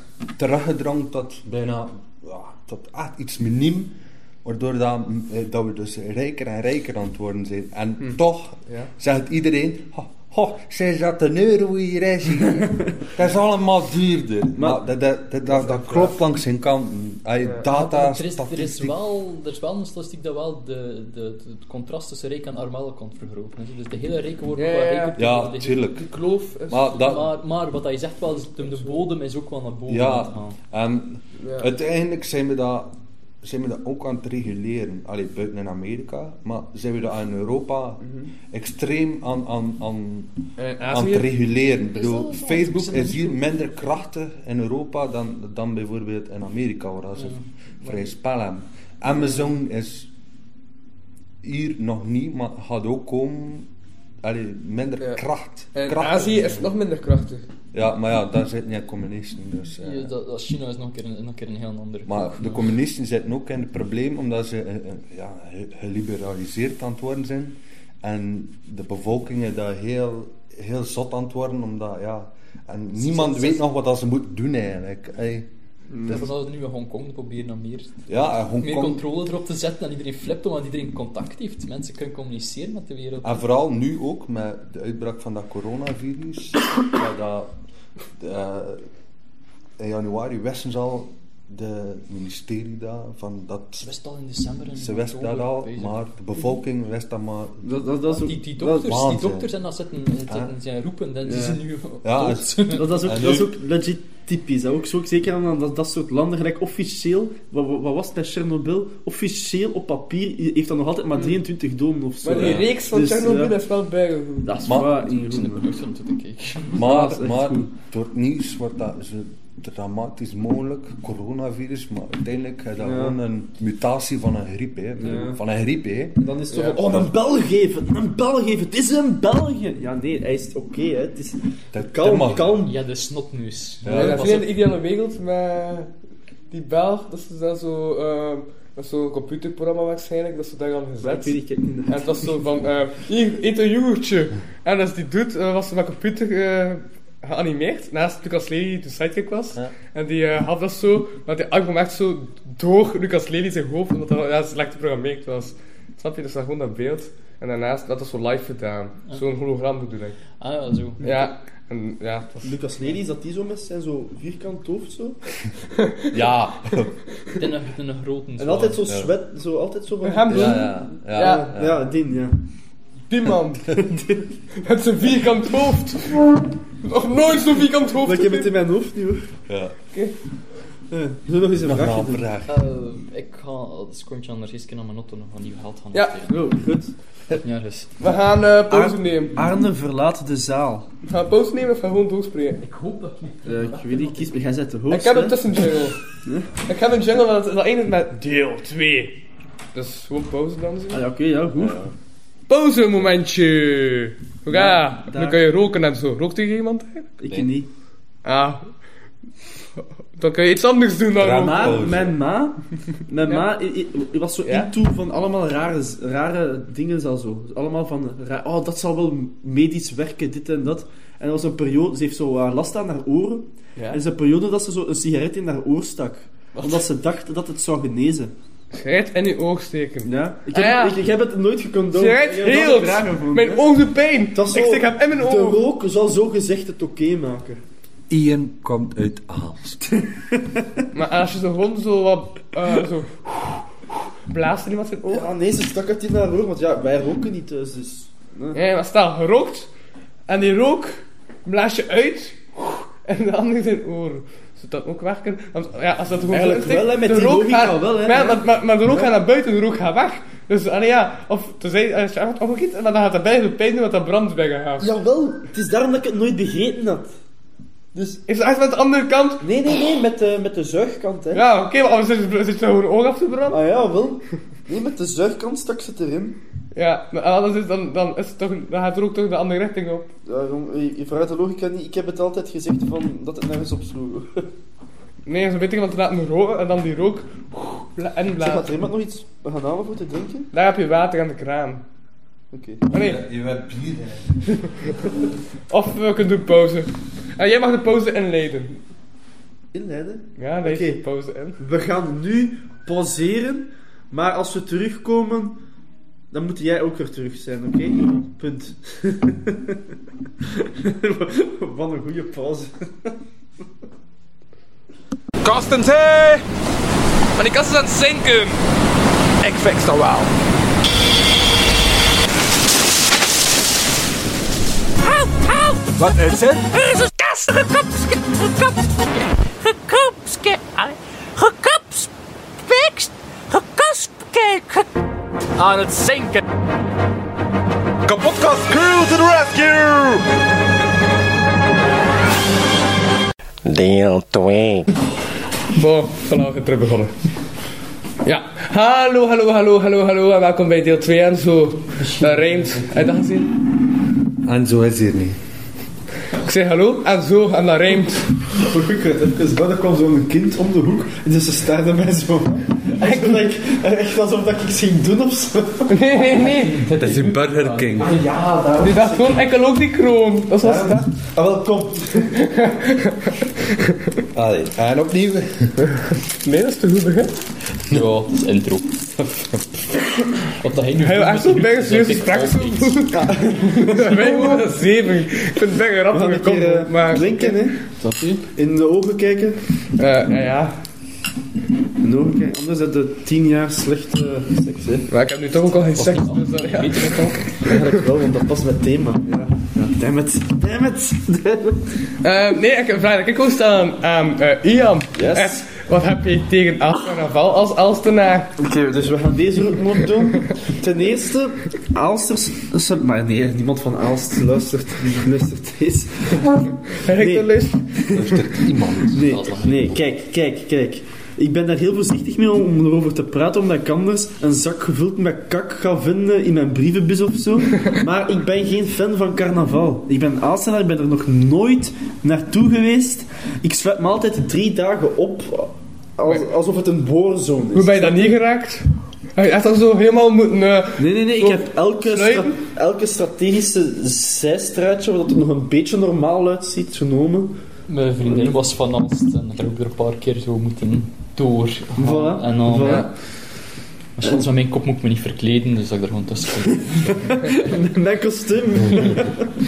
Speaker 5: teruggedrongen tot bijna ja, tot echt iets miniem. Waardoor dat, mm, eh, dat we dus rijker en rijker aan het worden zijn. En toch
Speaker 4: Hm. Ja.
Speaker 5: zegt iedereen... "Ho, Ho, sinds dat een euro hier is, hier, dat is allemaal duurder. Maar, dat, dat, dat, dat, dat klopt langs zijn kanten. Als je data,
Speaker 2: er, is, er, is
Speaker 5: statistiek-
Speaker 2: wel, er is wel een statistiek dat wel de, de, de- het contrast tussen rijk en arm komt vergroten. hè. Dus de hele rijken worden
Speaker 4: Ja,
Speaker 2: wel
Speaker 4: ja, ja.
Speaker 2: rijker.
Speaker 5: Ja,
Speaker 2: terwijl de-
Speaker 5: tuurlijk.
Speaker 4: De kloof is...
Speaker 5: Maar dat,
Speaker 2: Maar, maar wat hij zegt wel, is de, de bodem is ook wel naar boven aan het
Speaker 5: Ja,
Speaker 2: gaan.
Speaker 5: en
Speaker 4: Ja.
Speaker 5: uiteindelijk zijn we, dat, zijn we dat ook aan het reguleren. Allee, buiten in Amerika, maar zijn we dat in Europa extreem aan, aan, aan,
Speaker 4: En
Speaker 5: aan het
Speaker 4: Azië?
Speaker 5: reguleren. Ik bedoel,
Speaker 2: dat zo?
Speaker 5: Facebook
Speaker 2: Is dat
Speaker 5: is
Speaker 2: zo?
Speaker 5: hier minder krachtig in Europa dan, dan bijvoorbeeld in Amerika, waar ze vrij spel hebben. Amazon is hier nog niet, maar gaat ook komen. Allee, minder
Speaker 4: Ja.
Speaker 5: kracht.
Speaker 4: En
Speaker 5: Krachtig.
Speaker 4: Azië is nog minder krachtig.
Speaker 5: Ja, maar ja, daar zit niet in combination. Dus, eh.
Speaker 2: Ja, dat, dat China is nog een keer een, nog een, keer een heel andere
Speaker 5: Maar
Speaker 2: koek,
Speaker 5: de communisten zitten ook in het probleem omdat ze eh, eh, ja, ge- geliberaliseerd aan het worden zijn. En de bevolkingen daar heel, heel zot aan het worden, omdat ja. En niemand
Speaker 2: ze-
Speaker 5: weet nog wat dat ze moeten doen eigenlijk. Ey.
Speaker 2: Dat is wat we nu in Hongkong proberen dan meer,
Speaker 5: Ja, en
Speaker 2: meer
Speaker 5: Hongkong.
Speaker 2: controle erop te zetten en iedereen flipt omdat iedereen contact heeft. Mensen kunnen communiceren met de wereld.
Speaker 5: En vooral nu ook met de uitbraak van dat coronavirus. dat, dat, eh, in januari wisten ze al, de ministerie daar, van dat.
Speaker 2: Ze wist al in december en
Speaker 5: Ze wisten dat
Speaker 2: oktober
Speaker 5: al,
Speaker 2: bezig.
Speaker 5: maar de bevolking wist dat maar
Speaker 3: Dat, dat, dat is ook...
Speaker 2: Die, die
Speaker 3: dat-
Speaker 2: dokters, die
Speaker 5: waanzin.
Speaker 2: dokters en dat zitten, zitten zijn roepen, dat die zijn nu
Speaker 5: Ja,
Speaker 2: dood.
Speaker 3: Dat, dat, is ook,
Speaker 5: En
Speaker 3: dat is
Speaker 5: nu-
Speaker 3: ook legit typisch. Dat ook zo, ook zeker aan dat, dat soort landen, gelijk officieel, wat, wat wat was het bij Chernobyl? Officieel op papier i- heeft dat nog altijd maar 23 doden of zo.
Speaker 4: Hmm. Maar die
Speaker 3: Ja.
Speaker 4: reeks van
Speaker 3: Dus,
Speaker 4: Chernobyl
Speaker 3: ja.
Speaker 4: is wel bijgevoegd.
Speaker 3: Dat is
Speaker 5: Maar-
Speaker 3: waar,
Speaker 2: Ik zit in de productie om toe te kijken.
Speaker 3: Ja, dat is
Speaker 5: Maar,
Speaker 3: echt
Speaker 5: maar
Speaker 3: goed.
Speaker 5: door het nieuws wordt dat zo dramatisch mogelijk, coronavirus, maar uiteindelijk is dat
Speaker 3: Ja.
Speaker 5: gewoon een mutatie van een griep. Hè.
Speaker 3: Ja.
Speaker 5: Van een griep, hè.
Speaker 3: Dan is het
Speaker 4: Ja.
Speaker 3: toch oh, een Belg geven, een Belg geven, het is een Belg. Ja, nee, hij is oké, hè. Het is
Speaker 5: Dat dat
Speaker 3: kalm,
Speaker 5: mag.
Speaker 3: kalm.
Speaker 2: Ja, de snotneus.
Speaker 5: Ja,
Speaker 4: Ja, dat
Speaker 2: pas
Speaker 4: vind
Speaker 2: op.
Speaker 4: je de ideale wereld met die Belg, dat is dan zo, ehm, dat is zo'n computerprogramma waarschijnlijk, dat ze daar aan
Speaker 3: Maar ik
Speaker 4: gezet.
Speaker 3: weet niet, ik heb niet-
Speaker 4: En het was zo van, eh, hier, eet een yoghurtje. En als die doet, eh, was ze met computer eh, geanimeerd, naast Lucas Lely, die sidekick was.
Speaker 5: Ja.
Speaker 4: En die eh, had dat zo, maar die arm kwam echt zo door Lucas Lely zijn hoofd, omdat dat ja, slecht geprogrammeerd was. Snap je? Dus dat gewoon dat beeld. En daarnaast, dat was zo live gedaan. Zo'n hologram bedoel ik.
Speaker 2: Ah ja, zo.
Speaker 4: Ja. En ja, het was...
Speaker 3: Lucas Lely, is dat die zo mis zijn, zo vierkant hoofd zo?
Speaker 5: Ja.
Speaker 2: Het is een, het is een grote
Speaker 3: En altijd zo
Speaker 5: Ja.
Speaker 3: zwet, zo, altijd zo van...
Speaker 4: Hem doen.
Speaker 5: Ja, ja, ja.
Speaker 4: Ja.
Speaker 3: Ja, die, ja.
Speaker 4: Die man. Met zijn vierkant hoofd. Nog nooit zo'n vierkant hoofd.
Speaker 3: Maar ik heb het in
Speaker 4: gezien.
Speaker 3: mijn hoofd nu, hoor.
Speaker 5: Ja.
Speaker 3: Eh, Zullen we nog eens een
Speaker 5: Nog
Speaker 3: vraagje
Speaker 5: maar
Speaker 3: doen?
Speaker 5: een vraag.
Speaker 2: Eh, ik ga dat is kontje anders eens naar mijn auto nog van nieuw geld gaan
Speaker 4: Ja.
Speaker 2: besteden.
Speaker 3: Oh, goed.
Speaker 2: Ja, dus.
Speaker 4: We gaan
Speaker 3: Ah.
Speaker 4: eh, pauze nemen.
Speaker 3: Arne verlaat de zaal. Eh,
Speaker 4: We gaan pauze nemen of gaan gewoon doorspreken.
Speaker 2: Ik hoop dat ik niet...
Speaker 3: ik weet niet, kies maar jij zet de host.
Speaker 4: Ik heb
Speaker 3: hè.
Speaker 4: een tussenjingle. Ik heb een jingle dat, dat eindigt met deel 2. Dus gewoon pauze dan. zo.
Speaker 3: Ah, ja, Oké, ja, goed.
Speaker 4: Pauze momentje. Hoera.
Speaker 3: Ja,
Speaker 4: Dan
Speaker 3: daar.
Speaker 4: kan je roken en zo. Rookt tegen iemand? hè?
Speaker 3: Ik
Speaker 5: Nee.
Speaker 3: niet.
Speaker 4: Ah. Dan kan je iets anders doen dan
Speaker 5: Drama.
Speaker 4: roken.
Speaker 3: Maar
Speaker 5: Pauze.
Speaker 3: mijn ma, mijn
Speaker 4: Ja.
Speaker 3: ma, i- i- i- was zo
Speaker 4: Ja?
Speaker 3: into van allemaal rare, z- rare dingen al zo. Allemaal van, ra- oh dat zal wel medisch werken, dit en dat. En er was een periode, ze heeft zo eh, last aan haar oren.
Speaker 4: Ja.
Speaker 3: En er is een periode dat ze zo een sigaret in haar oor stak. Omdat ze dacht dat het zou genezen.
Speaker 4: Schijt in je oog steken.
Speaker 3: Ja? Ik,
Speaker 4: Ah,
Speaker 3: heb,
Speaker 4: ja.
Speaker 3: ik, ik heb het nooit gecondoneerd.
Speaker 4: Schijt heel. Mijn oog doet pijn. Ik
Speaker 3: Dat is zo-
Speaker 4: stik hem in mijn
Speaker 3: De
Speaker 4: oog.
Speaker 3: rook zal zo gezegd het oké maken.
Speaker 5: Ian komt uit Aalst.
Speaker 4: Maar als je zo gewoon zo wat... eh, zo... Blaast er iemand zijn oog?
Speaker 3: Ah, Ja, nee, ze stak het in haar oor, want ja, wij roken niet thuis, dus... Nee.
Speaker 4: Ja, maar stel, gerookt. En die rook blaas je uit en de andere zijn oor. Zou dat ook werken? Want ja, als dat gewoon
Speaker 3: Eigenlijk
Speaker 4: zo insteekt,
Speaker 3: wel, hè, met
Speaker 4: de
Speaker 3: die
Speaker 4: rook
Speaker 3: logica
Speaker 4: gaat-
Speaker 3: wel, hè,
Speaker 4: Maar, ja,
Speaker 3: ja.
Speaker 4: maar, maar, maar de rook gaat naar buiten, de rook gaat weg. Dus allee, ja, of tenzij, eh, als je echt opgiet, maar dan gaat dat bijna pijn doen, want dat brandt bij gaat.
Speaker 3: Jawel, het is daarom dat ik het nooit begrepen had. Dus...
Speaker 4: Is het echt met de andere kant?
Speaker 3: Nee, nee, nee, met de, met de zuigkant, hè.
Speaker 4: Ja, oké, maar anders zit, zit je gewoon oog af te branden.
Speaker 3: Ah ja, wel. Nee, met de zuigkant stak ze het erin.
Speaker 4: Ja, maar anders is dan, dan, is het toch, dan gaat de rook toch de andere richting op.
Speaker 3: Daarom, je, je vraagt de logica niet. Ik heb het altijd gezegd van, dat het nergens op sloeg.
Speaker 4: Nee, dat is beter, want dan laat een rook en dan die rook bla- en
Speaker 3: Zeg,
Speaker 4: blaas.
Speaker 3: had er iemand nog iets gaan halen voor te drinken?
Speaker 4: Daar heb je water aan de kraan.
Speaker 3: Oké.
Speaker 4: Oh nee,
Speaker 6: Je bent bier, hè.
Speaker 4: Of we kunnen doen pauze. En jij mag de pauze inleiden.
Speaker 3: Inleiden.
Speaker 4: Ja, leid
Speaker 3: Oké.
Speaker 4: de pauze in.
Speaker 3: We gaan nu pauzeren, maar als we terugkomen, dan moet jij ook weer terug zijn, oké? Punt. Wat een goede pauze.
Speaker 7: Kasten zee! Maar die kast is aan het zinken. Ik fix dat wel. Wat is het?
Speaker 8: Er is een kast gekapske, gekapske, gekapske, gekapspekst, gekaspke, ge- aan het zinken.
Speaker 7: Kapotkast crew to the rescue!
Speaker 9: Deel 2.
Speaker 4: Bon, vanaf weer terug begonnen. Ja, hallo, hallo, hallo, hallo, hallo en welkom bij deel 2 en zo. Dat rijmt. Heb je dat gezien?
Speaker 5: En zo is hier niet.
Speaker 4: Ik zeg hallo en zo en dat rijmt.
Speaker 3: Voor ik weet even wel, er kwam zo'n kind om de hoek en dus ze staarde mij zo. Echt, dat ik- echt alsof dat ik iets ging doen of zo.
Speaker 4: Nee, nee, nee.
Speaker 5: Dat is een Burger King.
Speaker 3: Ja, daar.
Speaker 4: Die dacht gewoon, ik wil ook die kroon. Dat was dat.
Speaker 3: Ah, wel, kom.
Speaker 5: Allee, en opnieuw.
Speaker 4: Nee, dat is te goed begin.
Speaker 2: Ja, dat is intro. Wat dat hij nu
Speaker 4: Hij wil
Speaker 2: doet met
Speaker 4: echt zo
Speaker 2: die
Speaker 4: bij een
Speaker 2: muziek,
Speaker 4: serieuze
Speaker 2: dat
Speaker 4: gesprek
Speaker 2: ik ook niet.
Speaker 4: zo. Wij worden een zeven. Ik vind het bijna een
Speaker 3: We gaan
Speaker 4: grappige
Speaker 3: een keer
Speaker 4: combo,
Speaker 3: eh,
Speaker 4: maar...
Speaker 3: drinken, hè.
Speaker 2: Snap je?
Speaker 3: In de ogen kijken.
Speaker 4: Eh, ja, ja.
Speaker 3: In de ogen kijken, anders heb je tien jaar slechte seks, hè.
Speaker 4: Maar ik heb nu toch ook al geen seks, dus dan, ja.
Speaker 2: Weet je het al?
Speaker 3: Eigenlijk wel, want dat past met thema. Ja. ja. Damn it. Damn it. Damn it.
Speaker 4: Eh, nee, ik heb een vraag dat ik ook staan aan eh, Ian.
Speaker 3: Yes.
Speaker 4: Eh, wat heb je tegen Aalst Carnaval als Alstenaar?
Speaker 3: Oké, dus we gaan deze ook nog doen. Ten eerste, Aalsters... Maar nee, niemand van Aalst luistert, luistert deze.
Speaker 4: Heb ik de list?
Speaker 3: Nee, nee, kijk, kijk, kijk. Ik ben daar heel voorzichtig mee om, om erover te praten, omdat ik anders een zak gevuld met kak ga vinden in mijn brievenbus of zo. Maar ik ben geen fan van carnaval. Ik ben Aalstenaar, ik ben er nog nooit naartoe geweest. Ik zwet me altijd drie dagen op, als, alsof het een boorzone
Speaker 4: Hoe
Speaker 3: is.
Speaker 4: ben je dat niet geraakt? Heb je echt al zo helemaal moeten... eh,
Speaker 3: Nee, nee, nee, ik
Speaker 4: Zo,
Speaker 3: heb elke, stra
Speaker 4: sluiten?
Speaker 3: elke strategische zijstraatje, waar het nog een beetje normaal uitziet, genomen.
Speaker 2: Mijn vriendin was van Alst en dat heb ik er een paar keer zo moeten door.
Speaker 3: Voilà,
Speaker 2: En dan...
Speaker 3: voilà.
Speaker 2: Ja. Maar soms met mijn kop moet ik me niet verkleden, dus dat ik er gewoon tussen kom.
Speaker 3: Mijn kostuum.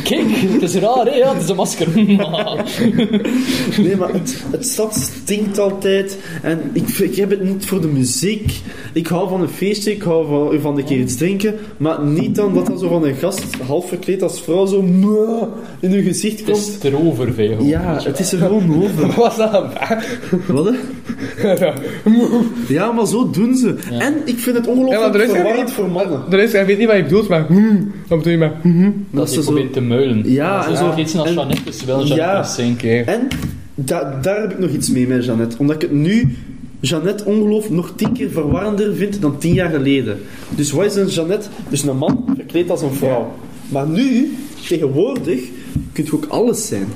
Speaker 2: Kijk, het is raar, hè? Ja, het is een masker. Maar-
Speaker 3: Nee, maar het, het stad stinkt altijd. En ik, vind- ik heb het niet voor de muziek. Ik hou van een feestje, ik hou van, van een keer iets drinken. Maar niet dan dat er zo van een gast, half verkleed als vrouw, zo mwah, in uw gezicht
Speaker 2: het is
Speaker 4: Dus-
Speaker 3: komt.
Speaker 2: erover, veel.
Speaker 3: Ja, het is er gewoon over.
Speaker 4: Wat was dat een vraag?
Speaker 3: Wat hè? Ja, maar zo doen ze. En ik vind het
Speaker 4: Ja, maar er
Speaker 3: ongelooflijk
Speaker 4: is er
Speaker 3: verwarrend
Speaker 4: niet-
Speaker 3: voor mannen.
Speaker 4: De rest, ik weet niet wat je bedoelt, maar... Hmm, wat bedoel je met... Hmm?
Speaker 2: Dat
Speaker 3: ze
Speaker 2: ze
Speaker 3: zo...
Speaker 2: probeert te muilen.
Speaker 3: Ja, en
Speaker 2: en
Speaker 3: zo-
Speaker 2: zo. Iets als
Speaker 3: en-
Speaker 2: Jeannette is wel Jeannette
Speaker 3: Ja.
Speaker 2: zijn.
Speaker 3: En da- daar heb ik nog iets mee met Jeannette. Omdat ik het nu, Jeannette ongeloof, nog tien keer verwarrender vind dan tien jaar geleden. Dus wat is een Jeannette? Dus een man verkleed als een vrouw. Maar nu, tegenwoordig, kunt je ook alles zijn.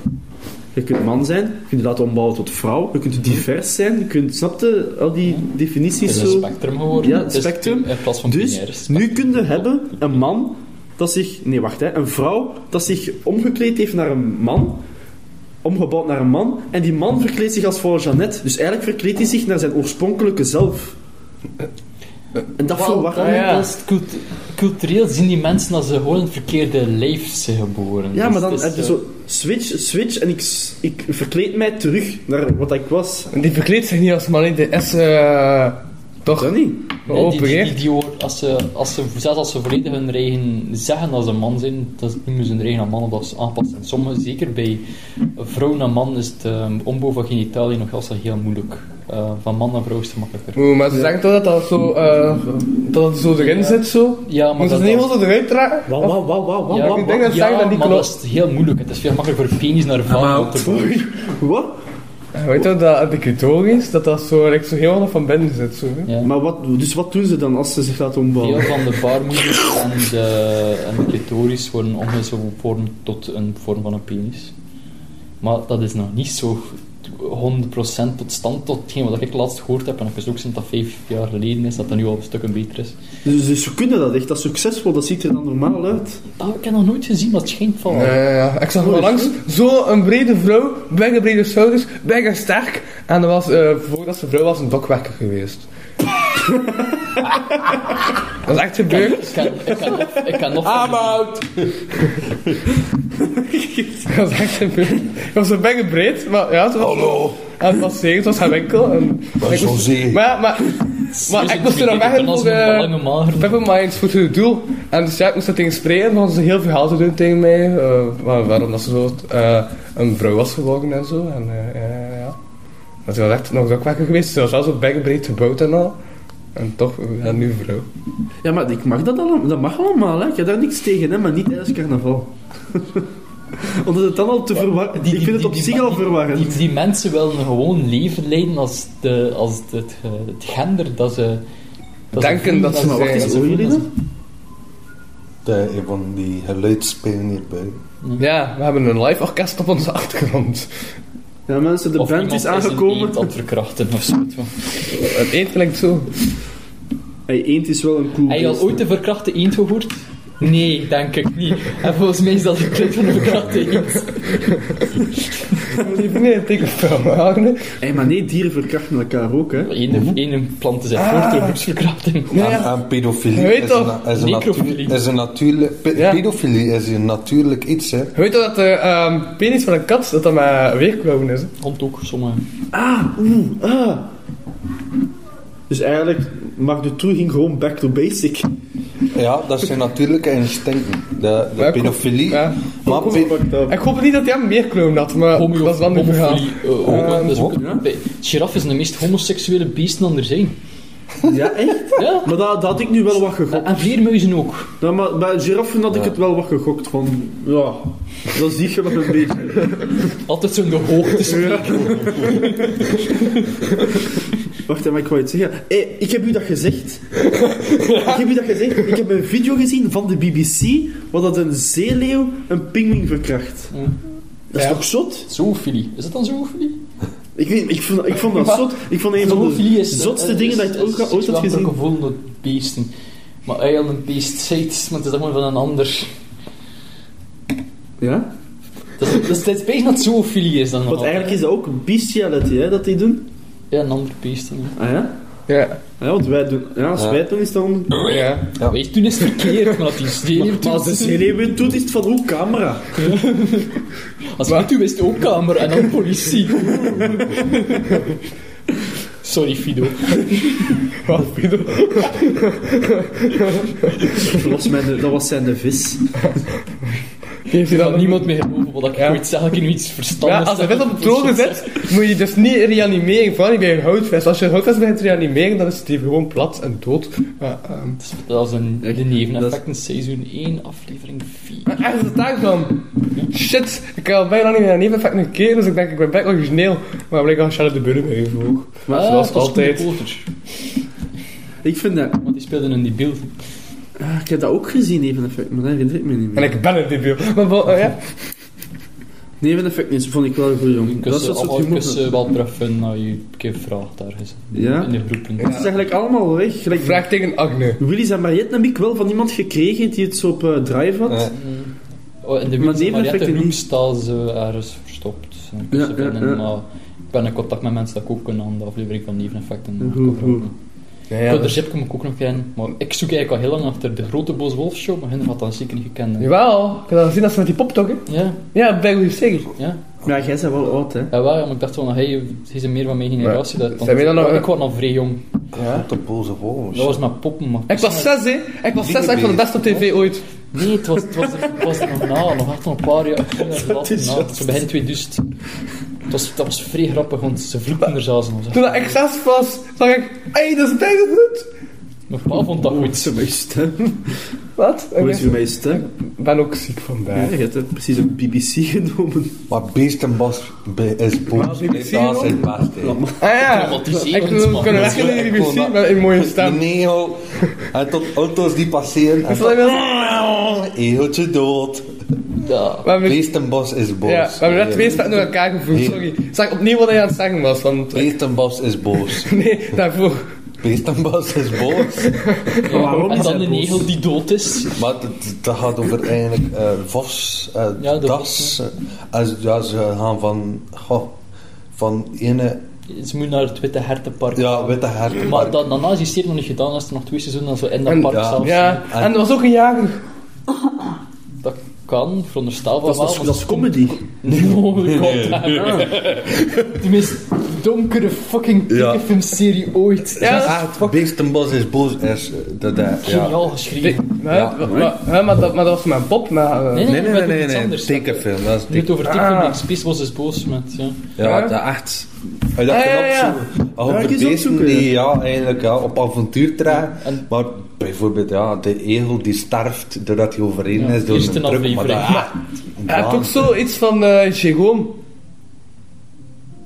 Speaker 3: Je kunt man zijn, je kunt je laten ombouwen tot vrouw, je kunt divers zijn, je kunt, snapte, al die
Speaker 2: Het
Speaker 3: definities
Speaker 2: is een
Speaker 3: zo.
Speaker 2: spectrum geworden.
Speaker 3: Ja,
Speaker 2: Het is
Speaker 3: spectrum.
Speaker 2: In plaats van
Speaker 3: Dus
Speaker 2: binair. is het
Speaker 3: nu kun je hebben een man dat zich. Nee, wacht, hè, een vrouw dat zich omgekleed heeft naar een man. Omgebouwd naar een man. En die man verkleedt zich als vrouw Jeannette. Dus eigenlijk verkleedt hij zich naar zijn oorspronkelijke zelf. En dat verwacht
Speaker 2: Ah, ja. Dat is cultu- cultureel zien die mensen als ze gewoon in het verkeerde lijf zijn geboren.
Speaker 3: Ja,
Speaker 2: Dus
Speaker 3: maar dan
Speaker 2: het is,
Speaker 3: heb je
Speaker 2: eh,
Speaker 3: zo switch, switch. En ik, s- ik verkleed mij terug naar wat ik was.
Speaker 4: Die verkleedt zich niet als man, hè. die is... eh, Toch?
Speaker 3: Dat niet.
Speaker 2: Nee, die, die,
Speaker 4: Geopereerd?
Speaker 2: die, die hoort- als ze, als ze, zelfs als ze volledig hun eigen zeggen als een man zijn, dat noemen ze hun eigen aan mannen dat is aangepast. En sommigen, zeker bij vrouw naar man, is het ehm, ombouw van genitalie nog altijd heel moeilijk. Eh, van man naar vrouw is het makkelijker.
Speaker 4: Oeh, maar ze zeggen toch dat dat zo, eh, dat het zo erin zit, zo?
Speaker 2: Ja, maar
Speaker 4: Moet ze
Speaker 2: dat-
Speaker 4: het niet wel zo eruit trekken?
Speaker 3: Wauw, wauw, wauw, wauw, wauw,
Speaker 2: Ja,
Speaker 4: ik denk dat ze
Speaker 2: ja,
Speaker 4: zeggen dat die
Speaker 2: maar
Speaker 4: klopt.
Speaker 2: dat is heel moeilijk. Het is veel makkelijker voor penis naar vrouw te bouwen.
Speaker 3: Wat?
Speaker 4: Eh, Weet je dat de clitoris, dat dat zo, like, zo helemaal van binnen zit, zo? hè?
Speaker 2: Ja.
Speaker 3: Maar wat, dus wat doen ze dan als ze zich laten
Speaker 2: Veel
Speaker 3: ombouwen?
Speaker 2: van de baarmoeder en de, en de clitoris worden omgevormd tot een vorm van een penis. Maar dat is nog niet zo 100% tot stand tot hetgeen wat ik laatst gehoord heb. En ik is ook sinds dat vijf jaar geleden is, dat dat nu al een stuk beter is.
Speaker 3: Dus, dus ze kunnen dat echt, dat is succesvol, dat ziet er dan normaal uit.
Speaker 2: Ah, ik heb nog nooit gezien, maar het schijnt van...
Speaker 4: Ja, ja, ja. Ik zag
Speaker 3: Mooi,
Speaker 4: wel langs zo'n brede vrouw, bijna brede schouders, bijna sterk. En dat was, eh, voordat ze vrouw was, een dokwerker geweest. dat is echt gebeurd.
Speaker 2: Ik kan, ik kan, nog- ik kan nog...
Speaker 4: Ah, Dat is echt gebeurd. Ik was zo bijna breed, maar ja, ze was...
Speaker 5: Hallo.
Speaker 4: En het was zeker, het was haar winkel. En ik
Speaker 5: zo
Speaker 4: moest-
Speaker 5: zee.
Speaker 4: Maar, ja, maar,
Speaker 2: dus
Speaker 4: maar ik moest er nog weg eh,
Speaker 2: ben als
Speaker 4: voor
Speaker 2: een
Speaker 4: de...
Speaker 2: lange mager.
Speaker 4: Pepperminds voor het doel. En dus ja, ik moest dat tegen spreken, want ze heel veel verhaal te doen tegen mij. eh, waar- waarom dat ze zo eh, een vrouw was geworden en zo. En eh, ja, ja, ja. Dat is wel echt nog ook wakker geweest. Ze was wel zo bekkenbreed gebouwd en al. En toch, eh, ja, nu vrouw.
Speaker 3: Ja, maar ik mag dat allemaal, dat mag allemaal, hè. Ik heb daar niks tegen, hè, maar niet tijdens carnaval. Omdat het dan al te verwarrend...
Speaker 2: Die-
Speaker 3: Ik vind het op
Speaker 2: die-
Speaker 3: zich
Speaker 2: die-
Speaker 3: al
Speaker 2: die- Die,
Speaker 3: verwarrend.
Speaker 2: die mensen willen gewoon leven leiden als, de, als het, eh, het gender dat ze... dat
Speaker 4: Denken
Speaker 2: voelen,
Speaker 4: dat ze
Speaker 3: Maar wacht
Speaker 2: dat
Speaker 3: eens,
Speaker 2: ze
Speaker 3: horen jullie
Speaker 2: voelen,
Speaker 3: dat?
Speaker 5: De, een van die geluidsspelen hierbij.
Speaker 4: Ja, we hebben een live orkest op onze achtergrond.
Speaker 3: Ja, mensen, de
Speaker 2: Of
Speaker 3: band
Speaker 2: iemand
Speaker 3: is
Speaker 2: een
Speaker 3: aangekomen.
Speaker 2: eend aan het verkrachten of zo.
Speaker 4: Het eet klinkt zo.
Speaker 3: Hey, eend is wel een cool
Speaker 2: Heb je al
Speaker 3: beest,
Speaker 2: ooit de verkrachte eend gehoord? Nee, denk ik niet. En volgens mij is dat de clip van de verkrachte eend.
Speaker 4: Lieve nee, ik een film houden.
Speaker 3: hè. Hey, maar nee, dieren verkrachten elkaar ook, hè.
Speaker 2: Eén één planten zijn
Speaker 3: Ah.
Speaker 2: voort door groepsverkrachting.
Speaker 4: Ja,
Speaker 5: En,
Speaker 4: ja.
Speaker 5: en pedofilie
Speaker 4: Je weet
Speaker 5: is,
Speaker 4: toch,
Speaker 5: een, is, een
Speaker 2: necrofilie.
Speaker 5: natuur- is een natuurlijk... pe-
Speaker 4: Ja.
Speaker 5: Pedofilie is een natuurlijk iets, hè.
Speaker 4: Weet je dat de ehm, penis van een kat, dat dat maar weerkloven is? hè?
Speaker 2: Komt ook sommige.
Speaker 3: Ah, oeh, ah. Dus eigenlijk, Marc Dutroux ging gewoon back to basic.
Speaker 5: Ja, dat zijn natuurlijke instincten. De, de
Speaker 4: Ja,
Speaker 5: pedofilie.
Speaker 4: ja.
Speaker 5: Maar pe-
Speaker 3: Fucked up.
Speaker 4: Ik hoop niet dat hij hem meerkloon had, maar
Speaker 2: Homo-
Speaker 4: dat is dan een ander verhaal.
Speaker 2: homofilie, eh, homo-
Speaker 4: Ehm,
Speaker 2: dat is ook-
Speaker 5: ook,
Speaker 3: ja.
Speaker 2: bij- Giraf is de meest homoseksuele beest dan er zijn.
Speaker 3: Ja, echt?
Speaker 2: Ja.
Speaker 3: Maar dat, dat had ik nu wel wat gegokt.
Speaker 2: En vleermuizen ook.
Speaker 3: Ja, maar bij giraffen had ik het wel wat gegokt van, ja, dat zie je wel een beetje.
Speaker 2: Altijd zo'n de hoogte
Speaker 3: Wacht, hè, maar ik wou iets zeggen. Hé, ik heb u dat gezegd. Ik heb u dat gezegd. Ik heb een video gezien van de BBC, waar dat een zeeleeuw een pinguïn verkracht. Dat is
Speaker 4: Ja.
Speaker 3: toch zot?
Speaker 2: Zoofilie. Is dat dan zoofilie?
Speaker 3: Ik, weet, ik, vond, ik vond dat zot. Ik vond een van
Speaker 2: Zoofilie
Speaker 3: de
Speaker 2: is...
Speaker 3: zotste dingen dat ik ook ooit had gezien.
Speaker 2: Ik gevoel dat beesten. Maar hij had een beest zijt, maar het is allemaal van een ander.
Speaker 3: Ja?
Speaker 2: Dat is, dat is, dat is bijna dat zoofilie is dan nog
Speaker 3: Want
Speaker 2: altijd.
Speaker 3: eigenlijk is dat ook bestiality, hè, dat die doen.
Speaker 2: Ja, een ander beest dan.
Speaker 3: Ah ja?
Speaker 4: Ja,
Speaker 3: Ah, ja, want wij doen... Ja, als
Speaker 5: Ja.
Speaker 3: wij het doen, is dat... on-
Speaker 4: ja.
Speaker 5: Ja.
Speaker 2: Weet je, toen is het verkeerd, maar als die zeeleeuw
Speaker 3: Maar als de zeeleeuw het doet, is het van hoe camera.
Speaker 2: Als je toen wist ook kamer en dan politie. Sorry, Fido.
Speaker 4: Wat, Pido?
Speaker 3: Dat was, mijn, dat was zijn de vis.
Speaker 4: Heeft hij
Speaker 2: Ik kan
Speaker 4: dan
Speaker 2: niemand meer geloven wat ik
Speaker 4: Ja.
Speaker 2: ooit zeg. Ik nu iets
Speaker 4: Ja,
Speaker 2: verstandigs
Speaker 4: als de
Speaker 2: zeg,
Speaker 4: vis op
Speaker 2: dat
Speaker 4: de troon
Speaker 2: is-
Speaker 4: zit, moet je dus niet reanimeren, vooral niet bij een houtvest. Als je een houtvest begint te reanimeren, dan is die gewoon plat en dood. Maar, ehm,
Speaker 2: Dat is een, de
Speaker 3: dat
Speaker 2: neveneffecten, seizoen 1, aflevering 4.
Speaker 4: maar ergens is het daar dan. Shit, ik heb al bijna niet meer een neveneffect een keer, dus ik denk ik ben best origineel. Maar blijkbaar Charlotte de Burger mee ook.
Speaker 2: Maar
Speaker 4: zoals altijd.
Speaker 3: Ik vind dat...
Speaker 2: Want die speelden in die beeld.
Speaker 3: ah, ik heb dat ook gezien, Neveneffect, maar dat herinner ik me niet meer.
Speaker 4: En ik ben een debiel. Maar bo- eh, ja.
Speaker 3: Neveneffect is, vond ik wel goed, jong. Dat
Speaker 2: Kussen,
Speaker 3: is wat soort
Speaker 2: eh, allemaal
Speaker 3: humor.
Speaker 2: kussen wel treffen naar je keer vraag ergens.
Speaker 3: Ja?
Speaker 2: In de groepen.
Speaker 3: Het is eigenlijk allemaal weg. Gelijk
Speaker 4: Vraag tegen Agne.
Speaker 3: Willy's en Mariette heb ik wel van iemand gekregen die het zo op eh, drive had.
Speaker 5: Ja.
Speaker 2: Oh, in de Wilson
Speaker 3: Maar
Speaker 2: Mariette
Speaker 3: neveneffecten
Speaker 2: groep
Speaker 3: niet.
Speaker 2: staan ze ergens verstopt. Ze
Speaker 3: Ja,
Speaker 2: vinden,
Speaker 3: ja, ja.
Speaker 2: Maar ik ben in contact met mensen dat ik ook kunnen aan de aflevering van neveneffecten.
Speaker 3: Goed,
Speaker 2: kan vragen.
Speaker 3: goed.
Speaker 4: Ja,
Speaker 2: Ja,
Speaker 4: ja.
Speaker 2: de zip kom ik ook nog in. Maar ik zoek eigenlijk al heel lang achter de grote Boos Wolf Show, maar Hinder had dat zeker niet gekend. hè.
Speaker 4: Jawel, ik heb dat gezien dat ze met die pop toch, hè?
Speaker 2: Ja,
Speaker 4: Ja, bij hoe zeker.
Speaker 2: ja.
Speaker 3: Maar jij bent wel oud, hè.
Speaker 2: Ja, wel, ja, maar ik dacht wel, hij, hij is meer van mijn generatie. Dat,
Speaker 4: Zijn wij dan nog-
Speaker 2: ik was nog vrij jong.
Speaker 5: Tot de boze vogels.
Speaker 2: Dat was maar poppen, man.
Speaker 4: Ik was zes, hè. Ik was zes, echt van de beste op tv ooit.
Speaker 2: Nee, het was, het was, het was er nog na, nog echt nog een paar jaar. Dat
Speaker 3: is
Speaker 2: na,
Speaker 3: juist.
Speaker 2: zo begin 2000. Het was, dat was vrij grappig, want ze vloekten er zelfs nog.
Speaker 4: Toen dat ik zes was, zag ik... Hé, dat is bijna goed.
Speaker 2: Mijn pa vond dat goed.
Speaker 3: Ze mijn stem.
Speaker 4: Wat?
Speaker 3: Hoe is uw mijn stem?
Speaker 4: Ik ben ook ziek
Speaker 3: Ja,
Speaker 4: vandaag.
Speaker 3: je hebt er precies een BBC genomen.
Speaker 5: Maar Beestenbos is boos.
Speaker 4: die
Speaker 5: Nee, Dat is het beste. hè.
Speaker 4: Ah ja, ik
Speaker 2: Traumatiserend,
Speaker 4: we
Speaker 2: man.
Speaker 4: kunnen
Speaker 2: Dat is
Speaker 4: weg in de
Speaker 5: Ik
Speaker 4: BBC
Speaker 5: vond dat-
Speaker 4: met een mooie
Speaker 5: De
Speaker 4: stem.
Speaker 5: neon. En tot auto's die passeren. En
Speaker 4: Dus dat
Speaker 5: tot...
Speaker 4: wil-
Speaker 5: Eeltje dood.
Speaker 2: Ja.
Speaker 4: We hebben,
Speaker 5: Beestenbos is boos.
Speaker 4: ja, we hebben net twee stemmen door elkaar gevoegd,
Speaker 5: Nee.
Speaker 4: sorry. Zeg opnieuw wat hij aan het zeggen was, want...
Speaker 5: Beestenbos is boos.
Speaker 4: Nee, daarvoor.
Speaker 5: Beestenbos is boos.
Speaker 3: waarom
Speaker 2: en
Speaker 3: is hij
Speaker 2: dan een
Speaker 3: boos?
Speaker 2: egel die dood is.
Speaker 5: Maar dat, dat gaat over eigenlijk eh, vos, eh,
Speaker 2: Ja, de
Speaker 5: das. eh, en ze- ja, ze gaan van, goh, van ene,
Speaker 2: Ze moet naar het Witte Hertenpark.
Speaker 5: ja, witte hert.
Speaker 2: Maar dat, daarna is die serie nog niet gedaan, als er nog twee seizoenen of zo in dat
Speaker 4: En-
Speaker 2: park
Speaker 5: ja.
Speaker 2: zelfs.
Speaker 4: Ja, en er was ook een jager.
Speaker 2: Dat kan, veronderstel van
Speaker 3: Dat
Speaker 2: wel.
Speaker 3: is,
Speaker 2: want
Speaker 3: dat is comedy.
Speaker 2: No, god De meest donkere fucking tekenfilmserie ooit.
Speaker 4: Ja, dat-
Speaker 5: Ah, het Beestenbos is boos. Is, eh, dat, dat, ja.
Speaker 2: Geniaal geschreven.
Speaker 4: Maar, maar, maar, maar dat, maar dat was mijn pop, maar... eh,
Speaker 5: Nee, nee,
Speaker 2: we
Speaker 5: nee,
Speaker 2: doen
Speaker 5: nee,
Speaker 2: iets
Speaker 5: nee.
Speaker 2: anders.
Speaker 5: Tekenfilm, dat is
Speaker 2: Nu het
Speaker 5: teken.
Speaker 2: over tekenfilm, ah. Spaceballs is boos met, ja.
Speaker 5: Ja,
Speaker 4: Ja.
Speaker 5: dat echt. Als je dat
Speaker 4: Ah,
Speaker 5: kan
Speaker 4: ja, ja.
Speaker 5: opzoeken. Als
Speaker 3: Ja,
Speaker 5: Over
Speaker 3: ik eens
Speaker 5: beesten
Speaker 3: opzoeken,
Speaker 5: die ja, eigenlijk ja, op avontuur trekken.
Speaker 2: en-
Speaker 5: Maar bijvoorbeeld ja, de egel die sterft doordat hij overreden
Speaker 2: Ja,
Speaker 5: is door
Speaker 2: eerste
Speaker 5: een druk. Maar dat,
Speaker 2: aflevering.
Speaker 5: ah,
Speaker 4: Hij heeft ook zoiets van eh Jérôme.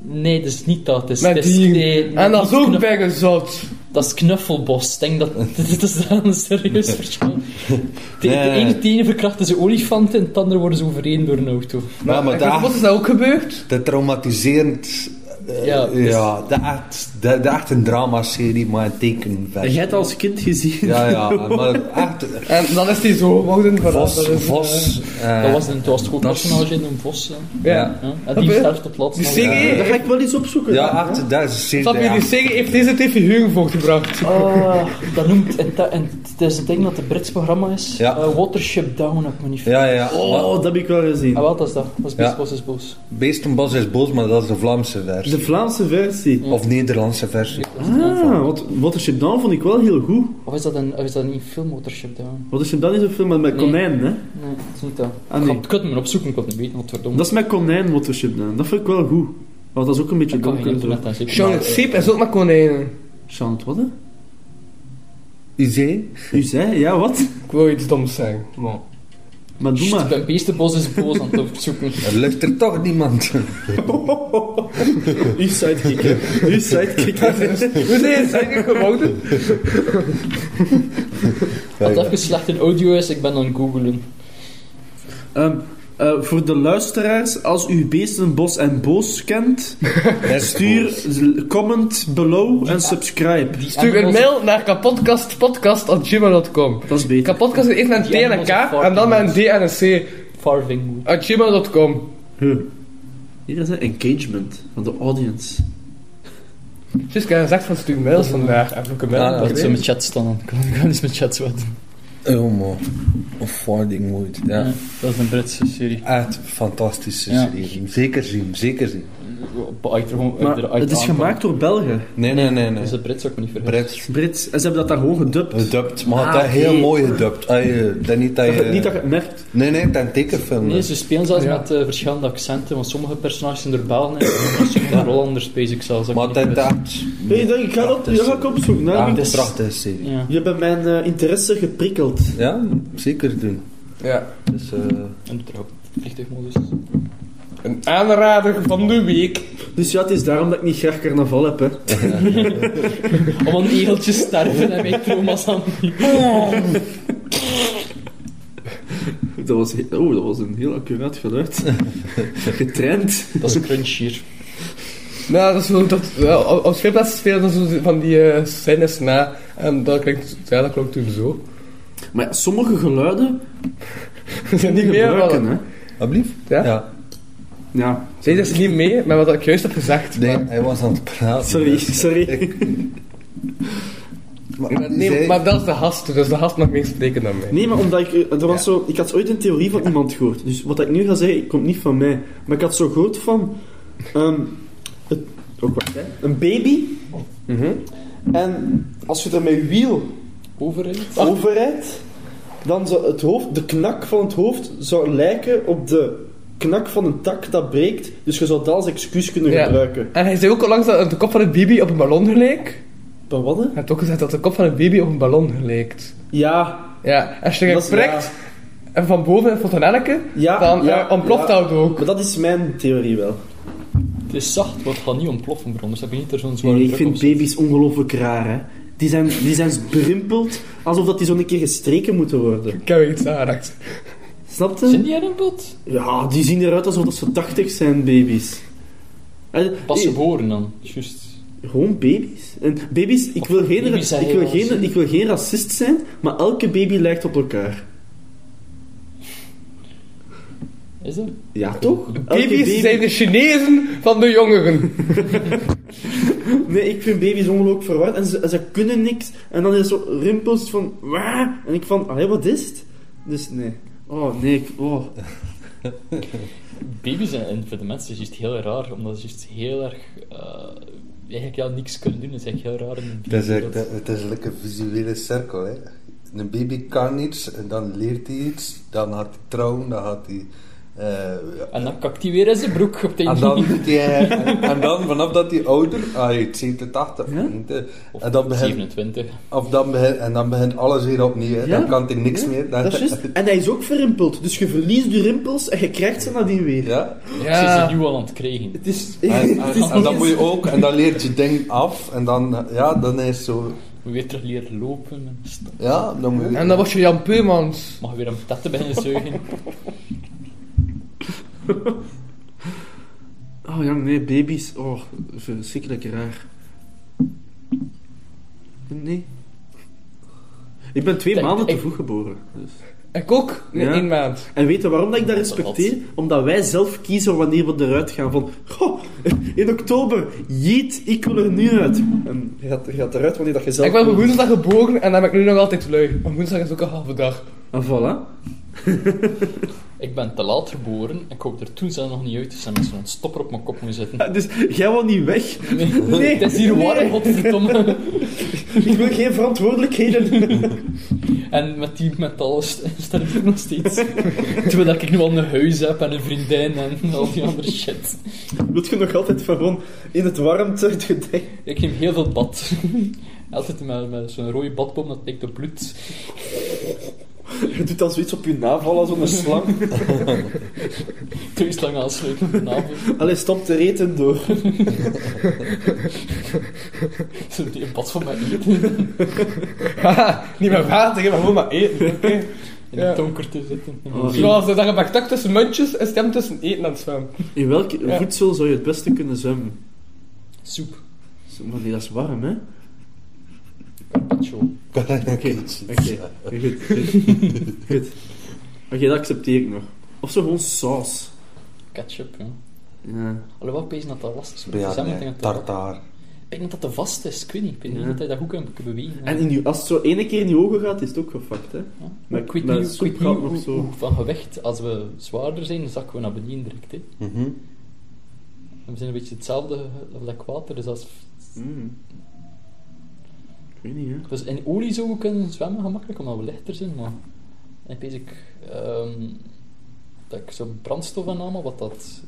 Speaker 2: Nee, dat is niet dat. Dat is,
Speaker 4: Met
Speaker 2: dat is-
Speaker 4: die.
Speaker 2: nee, nee,
Speaker 4: en dat is
Speaker 2: niet
Speaker 4: ook
Speaker 2: knuff-
Speaker 4: bijgezout.
Speaker 2: Dat is knuffelbos. Ik denk dat dit is dan een serieus verschil. De, de
Speaker 5: Nee.
Speaker 2: ene, de ene verkrachten ze olifanten en het andere worden ze overreden door een auto.
Speaker 5: Ja, maar
Speaker 4: En Wat
Speaker 5: dat,
Speaker 4: is dat ook gebeurd?
Speaker 5: dat traumatiserend. eh,
Speaker 2: Ja,
Speaker 5: ja,
Speaker 2: dus-
Speaker 5: dat, echt, dat, dat echt een dramaserie, maar een
Speaker 3: Jij
Speaker 5: tekenversie.
Speaker 3: hebt als kind gezien.
Speaker 5: Ja, ja, maar echt.
Speaker 4: En dan is hij zo geworden. voilà, dat
Speaker 5: Vos,
Speaker 4: is, eh,
Speaker 5: vos. eh,
Speaker 2: dat was een, het was toch ook
Speaker 5: dat is-
Speaker 2: personage in een bos. hè.
Speaker 4: ja.
Speaker 2: Ja, en die
Speaker 4: Oké. Dus
Speaker 2: sterft op laatst.
Speaker 4: Die
Speaker 2: nog.
Speaker 4: serie,
Speaker 3: Dat ga ik wel eens opzoeken.
Speaker 5: ja, echt, dat is zeer.
Speaker 4: snap je, die serie heeft deze twee figuren voortgebracht.
Speaker 2: Ah, dat noemt... En, dat- en het is een ding dat het Brits programma is.
Speaker 5: Ja.
Speaker 2: Eh, Watership Down, heb ik me niet
Speaker 5: Ja, ja.
Speaker 3: Oh, dat heb ik wel gezien.
Speaker 2: Ah, wel, dat is dat. Dat is
Speaker 5: Ja.
Speaker 2: Beestbos is boos.
Speaker 5: Beestenbos is boos, maar dat is de Vlaamse versie.
Speaker 3: De Vlaamse versie.
Speaker 5: Of Nederlandse versie.
Speaker 3: Ah, wat Watership Down vond ik wel heel goed.
Speaker 2: Of is dat, een, of is dat niet een film, Watership Down?
Speaker 3: Watership Down is een film met, met
Speaker 2: Nee.
Speaker 3: konijn, hè.
Speaker 2: Nee, dat is niet dat.
Speaker 3: Ah, nee.
Speaker 2: Ik kan het me opzoeken, ik kan het niet weten, wat verdomme.
Speaker 3: Dat is met konijn, Watership Down. Dat vind ik wel goed. Want dat is ook een beetje
Speaker 2: Ik kan geen
Speaker 3: donker. zo.
Speaker 2: internet aan zitten.
Speaker 4: Sean het Seep is ook maar konijnen.
Speaker 3: Charlotte, wat hè?
Speaker 5: Izee?
Speaker 3: U zei, ja, wat?
Speaker 4: Ik wil iets doms zeggen. maar-
Speaker 3: Maar doe
Speaker 2: Sst, Ik
Speaker 3: maar.
Speaker 2: ben Beestenbos is boos aan het opzoeken.
Speaker 5: Er lukt er toch niemand.
Speaker 3: Uw sidekick, hè. Uw sidekick.
Speaker 4: Hoe zijn ze eigenlijk geworden?
Speaker 2: Als dat even slecht in audio is, ik ben aan het googelen.
Speaker 3: Ehm, eh, voor de luisteraars, als u beesten bos en boos kent, stuur z- comment below en subscribe.
Speaker 2: Die
Speaker 4: Stuur een
Speaker 2: animals-
Speaker 4: mail naar kapodcastpodcast.gmail.com
Speaker 3: Dat is beter.
Speaker 4: Kapodcast is eerst met een T
Speaker 2: Die
Speaker 4: en een K
Speaker 2: animals
Speaker 4: en dan met een D en een C.
Speaker 2: Farving.
Speaker 4: At gmail.com.
Speaker 3: Huh. Hier is een engagement van de audience.
Speaker 4: Just ik heb gezegd van stuur mails vandaag. Heb ik een mail?
Speaker 5: Ja,
Speaker 2: Ah, Dat
Speaker 4: dat
Speaker 2: ze
Speaker 4: weet
Speaker 2: met
Speaker 4: ik.
Speaker 2: chat staan. Ik kan- ik kan eens met chat zwatten.
Speaker 5: Oh man. Of farting moet. Ja.
Speaker 2: Ja, dat is een Britse serie.
Speaker 5: Echt fantastische
Speaker 2: Ja.
Speaker 5: serie. Zeker zien, zeker zien.
Speaker 2: Uit, gewoon, uit,
Speaker 3: Maar
Speaker 2: uit
Speaker 3: het is
Speaker 2: aankomen.
Speaker 3: gemaakt door Belgen.
Speaker 5: Nee, nee, nee. nee.
Speaker 2: Dus het Brits ook niet vergeten.
Speaker 5: Brits.
Speaker 3: Brits. En ze hebben dat daar gewoon gedubt.
Speaker 5: Gedubt, maar
Speaker 3: Ah,
Speaker 5: dat
Speaker 3: oké.
Speaker 5: heel mooi gedubt. Ah, je- dat niet dat
Speaker 3: Dat je-
Speaker 5: je...
Speaker 3: Niet dat je het merkt.
Speaker 5: Nee, nee, dat een tekenfilm.
Speaker 2: Nee,
Speaker 5: is.
Speaker 2: ze spelen zelfs
Speaker 4: Ja.
Speaker 2: met eh, verschillende accenten, want sommige personages zijn er Belgen en sommige zijn Hollanders, bezig zelfs. dat ik
Speaker 5: Maar
Speaker 2: niet
Speaker 5: dat
Speaker 2: wist.
Speaker 5: dacht...
Speaker 3: Nee, dat, ik ga dat
Speaker 5: Prachtig.
Speaker 3: dat ga ik opzoeken. hè.
Speaker 5: Ja, een
Speaker 3: Ik-
Speaker 5: prachtige serie.
Speaker 2: Ja.
Speaker 3: Je hebt mijn eh, interesse geprikkeld.
Speaker 5: Ja, zeker doen.
Speaker 4: Ja.
Speaker 5: Dus, eh,
Speaker 2: En trouwens, vliegtuigmodus.
Speaker 4: Een aanrader van de week.
Speaker 3: Dus ja, het is daarom dat ik niet graag carnaval heb. Hè.
Speaker 2: Om aan egeltjes sterven en mijn trauma's aan.
Speaker 3: Dat was, he- oh, dat was een heel accuraat geluid. Getraind.
Speaker 2: Dat is crunch hier.
Speaker 4: Nou, dat is zo dat... ja, als als speelplaatsen spelen dan zo van die eh scènes na. En dat klinkt... Ja, dat klinkt toen zo.
Speaker 3: Maar ja, sommige geluiden
Speaker 4: Zijn
Speaker 3: niet
Speaker 4: niet meer
Speaker 3: gebruiken.
Speaker 4: vallen.
Speaker 3: Hè.
Speaker 5: alblieft?
Speaker 4: Ja?
Speaker 3: Ja,
Speaker 4: Zij dus niet mee met wat ik juist heb gezegd.
Speaker 5: Nee, hij was aan het praten.
Speaker 3: sorry, sorry.
Speaker 5: Maar,
Speaker 4: Nee, maar dat is de gast. Dus de gast mag meer spreken dan mij.
Speaker 3: Nee, maar omdat ik... eh, Er was zo, ik had ooit een theorie van iemand gehoord. Dus wat ik nu ga zeggen, komt niet van mij. Maar ik had zo gehoord van... ehm, het, ook wat, hè. Een baby En als je er met wiel
Speaker 2: Overheid?
Speaker 3: overrijdt, dan zou het hoofd, de knak van het hoofd zou lijken op de knak van een tak dat breekt. Dus je zou dat als excuus kunnen
Speaker 4: Ja.
Speaker 3: gebruiken.
Speaker 4: En hij zei ook al langs dat de kop van het baby op een ballon geleek.
Speaker 3: Maar wat? hè?
Speaker 4: Hij heeft ook gezegd dat de kop van het baby op een ballon geleek.
Speaker 3: Ja,
Speaker 4: Ja, als je
Speaker 3: Dat is-
Speaker 4: dat prikt en van boven een fontanelletje,
Speaker 3: Ja,
Speaker 4: dan
Speaker 3: ja,
Speaker 4: eh, ontploft
Speaker 3: ja.
Speaker 4: dat ook.
Speaker 3: maar dat is mijn theorie wel.
Speaker 2: Het is zacht, wat gaat niet ontploffen, bro. Dus heb je niet er zo'n zware
Speaker 3: ik
Speaker 2: druk op
Speaker 3: vind
Speaker 2: zit.
Speaker 3: baby's ongelooflijk raar, hè. Die zijn, die zijn berimpeld alsof dat die zo'n keer gestreken moeten worden.
Speaker 4: Ik heb iets aangeraakt.
Speaker 3: Snap
Speaker 2: Zijn
Speaker 3: je?
Speaker 2: die er een pot?
Speaker 3: Ja, die zien eruit alsof dat ze 80 zijn, baby's. En-
Speaker 2: Pas
Speaker 3: eh,
Speaker 2: geboren dan, juist.
Speaker 3: Gewoon baby's. En baby's, ik wil, geen,
Speaker 2: baby's zijn
Speaker 3: ik, wil
Speaker 2: heel
Speaker 3: geen,
Speaker 2: zin.
Speaker 3: ik wil geen racist zijn, maar elke baby lijkt op elkaar.
Speaker 2: Is dat?
Speaker 3: Ja, toch? Elke
Speaker 4: Baby's
Speaker 3: baby-
Speaker 4: zijn de Chinezen van de jongeren.
Speaker 3: Nee, ik vind baby's ongelooflijk verward en ze, en ze kunnen niks. En dan is er zo rimpels van... Waar? En ik van, allee, wat is het? Dus nee. Oh, nee, ik... Oh.
Speaker 2: Baby's en, en voor de mensen is juist heel raar, omdat ze juist heel erg... eh, eigenlijk ja, niks kunnen doen, dat is eigenlijk heel raar. in een
Speaker 5: Het is,
Speaker 2: baby
Speaker 5: echt, eh, het is like een visuele cirkel. Hè. Een baby kan iets, en dan leert hij iets, dan gaat hij trouwen, dan gaat hij. eh, ja.
Speaker 2: En dan kakt hij weer in zijn broek op de
Speaker 5: En dan, doet hij- en, en dan vanaf dat hij ouder, ah, 87, 90, en dan begint,
Speaker 2: 27.
Speaker 5: of dan begint, en dan begint alles weer opnieuw. hè.
Speaker 3: Ja.
Speaker 5: Dan kan hij niks meer. Dan,
Speaker 3: Dat is juist. En hij is ook verrimpeld. Dus je verliest de rimpels en je krijgt ze nadien weer.
Speaker 5: ja.
Speaker 2: Ze is
Speaker 4: Ja.
Speaker 2: nu al aan het krijgen.
Speaker 3: Het is...
Speaker 5: En,
Speaker 3: het
Speaker 5: en,
Speaker 3: is
Speaker 5: en dan
Speaker 3: niet
Speaker 5: moet je
Speaker 3: eens-
Speaker 5: ook, en dan leert je ding af, en dan, ja, dan is zo,
Speaker 2: Moet weer terug leren lopen. En st-
Speaker 5: ja, dan moet je.
Speaker 4: En dan was je Jan Peumans.
Speaker 2: mag weer een tetten beginnen zuigen.
Speaker 3: Oh, jong, nee, baby's. Oh, verschrikkelijk raar. Nee. Ik ben twee
Speaker 2: Kijk,
Speaker 3: maanden te
Speaker 2: ik-
Speaker 3: vroeg geboren. Dus.
Speaker 4: Ik ook, in
Speaker 3: Ja.
Speaker 4: één maand.
Speaker 3: En weet je waarom dat ik dat respecteer? Omdat wij zelf kiezen wanneer we eruit gaan. Van, goh, in oktober, jeet, ik wil er nu uit. En je gaat, je gaat eruit wanneer dat je zelf
Speaker 4: Ik ben
Speaker 3: wil.
Speaker 4: op woensdag geboren en dan ben ik nu nog altijd lui. Maar woensdag is ook een halve dag.
Speaker 3: En Ah, voilà.
Speaker 2: Ik ben te laat geboren. Ik hoop er toen zelf nog niet uit te zijn als ze een stopper op mijn kop moeten zetten.
Speaker 3: Dus jij wil niet weg.
Speaker 2: Nee,
Speaker 3: Nee,
Speaker 2: het is hier
Speaker 3: nee.
Speaker 2: warm, godverdomme.
Speaker 3: Ik wil geen verantwoordelijkheden.
Speaker 2: En met die mentale st- sterkte nog steeds. Terwijl ik nu al een huis heb en een vriendin en al die andere shit.
Speaker 3: Wil je nog altijd van gewoon in het warmte het gedenk?
Speaker 2: Ik neem heel veel bad. Altijd met, met zo'n rode badbom, dat lijkt op bloed.
Speaker 3: Je doet dan zoiets op je navel als een slang.
Speaker 2: Thuis lang aansluiten op de navel.
Speaker 3: Allee, stop te eten door.
Speaker 2: Zo'n die bad van mij eten.
Speaker 4: Haha, niet meer water, hè, maar gewoon maar eten. oké?
Speaker 2: In
Speaker 4: Ja. Dus
Speaker 2: het donker te zitten.
Speaker 3: Oh,
Speaker 4: Zoals eh, dat je contact tussen muntjes en stem tussen eten aan het zwemmen.
Speaker 3: In welk
Speaker 4: Ja.
Speaker 3: voedsel zou je het beste kunnen zwemmen?
Speaker 2: Soep.
Speaker 3: Zo, Maar nee, dat is warm, hè? Oké,
Speaker 2: Carpaccio.
Speaker 3: oké, goed, goed. goed. Oké, dat accepteer ik nog. Of zo gewoon saus.
Speaker 2: Ketchup, ja.
Speaker 3: Ja.
Speaker 2: Alhoewel, ik weet dat dat lastig is. met
Speaker 5: Ja,
Speaker 2: verzamelen, ik
Speaker 5: nee,
Speaker 2: denk dat dat-
Speaker 5: tartaar.
Speaker 2: Ik denk dat dat te vast is, ik weet niet. Ik weet niet
Speaker 3: Ja.
Speaker 2: dat hij dat goed kan kan bewegen.
Speaker 3: En in je, als het zo ene keer in je ogen gaat, is het ook gefakt, hè?
Speaker 2: Ja.
Speaker 3: Met-
Speaker 2: Ik weet
Speaker 3: met
Speaker 2: niet, ik weet niet
Speaker 3: zoetbraad
Speaker 2: hoe,
Speaker 3: of zo.
Speaker 2: hoe van gewicht, als we zwaarder zijn, zakken we naar beneden direct. Hè.
Speaker 5: Mhm.
Speaker 2: En we zijn een beetje hetzelfde vlak water. Dus, als,
Speaker 3: Mm. Ik weet niet, hè?
Speaker 2: dus in olie zouden we kunnen zwemmen gemakkelijk, omdat we lichter zijn. Maar in basic, ehm dat ik zo'n brandstof aanname, wat dat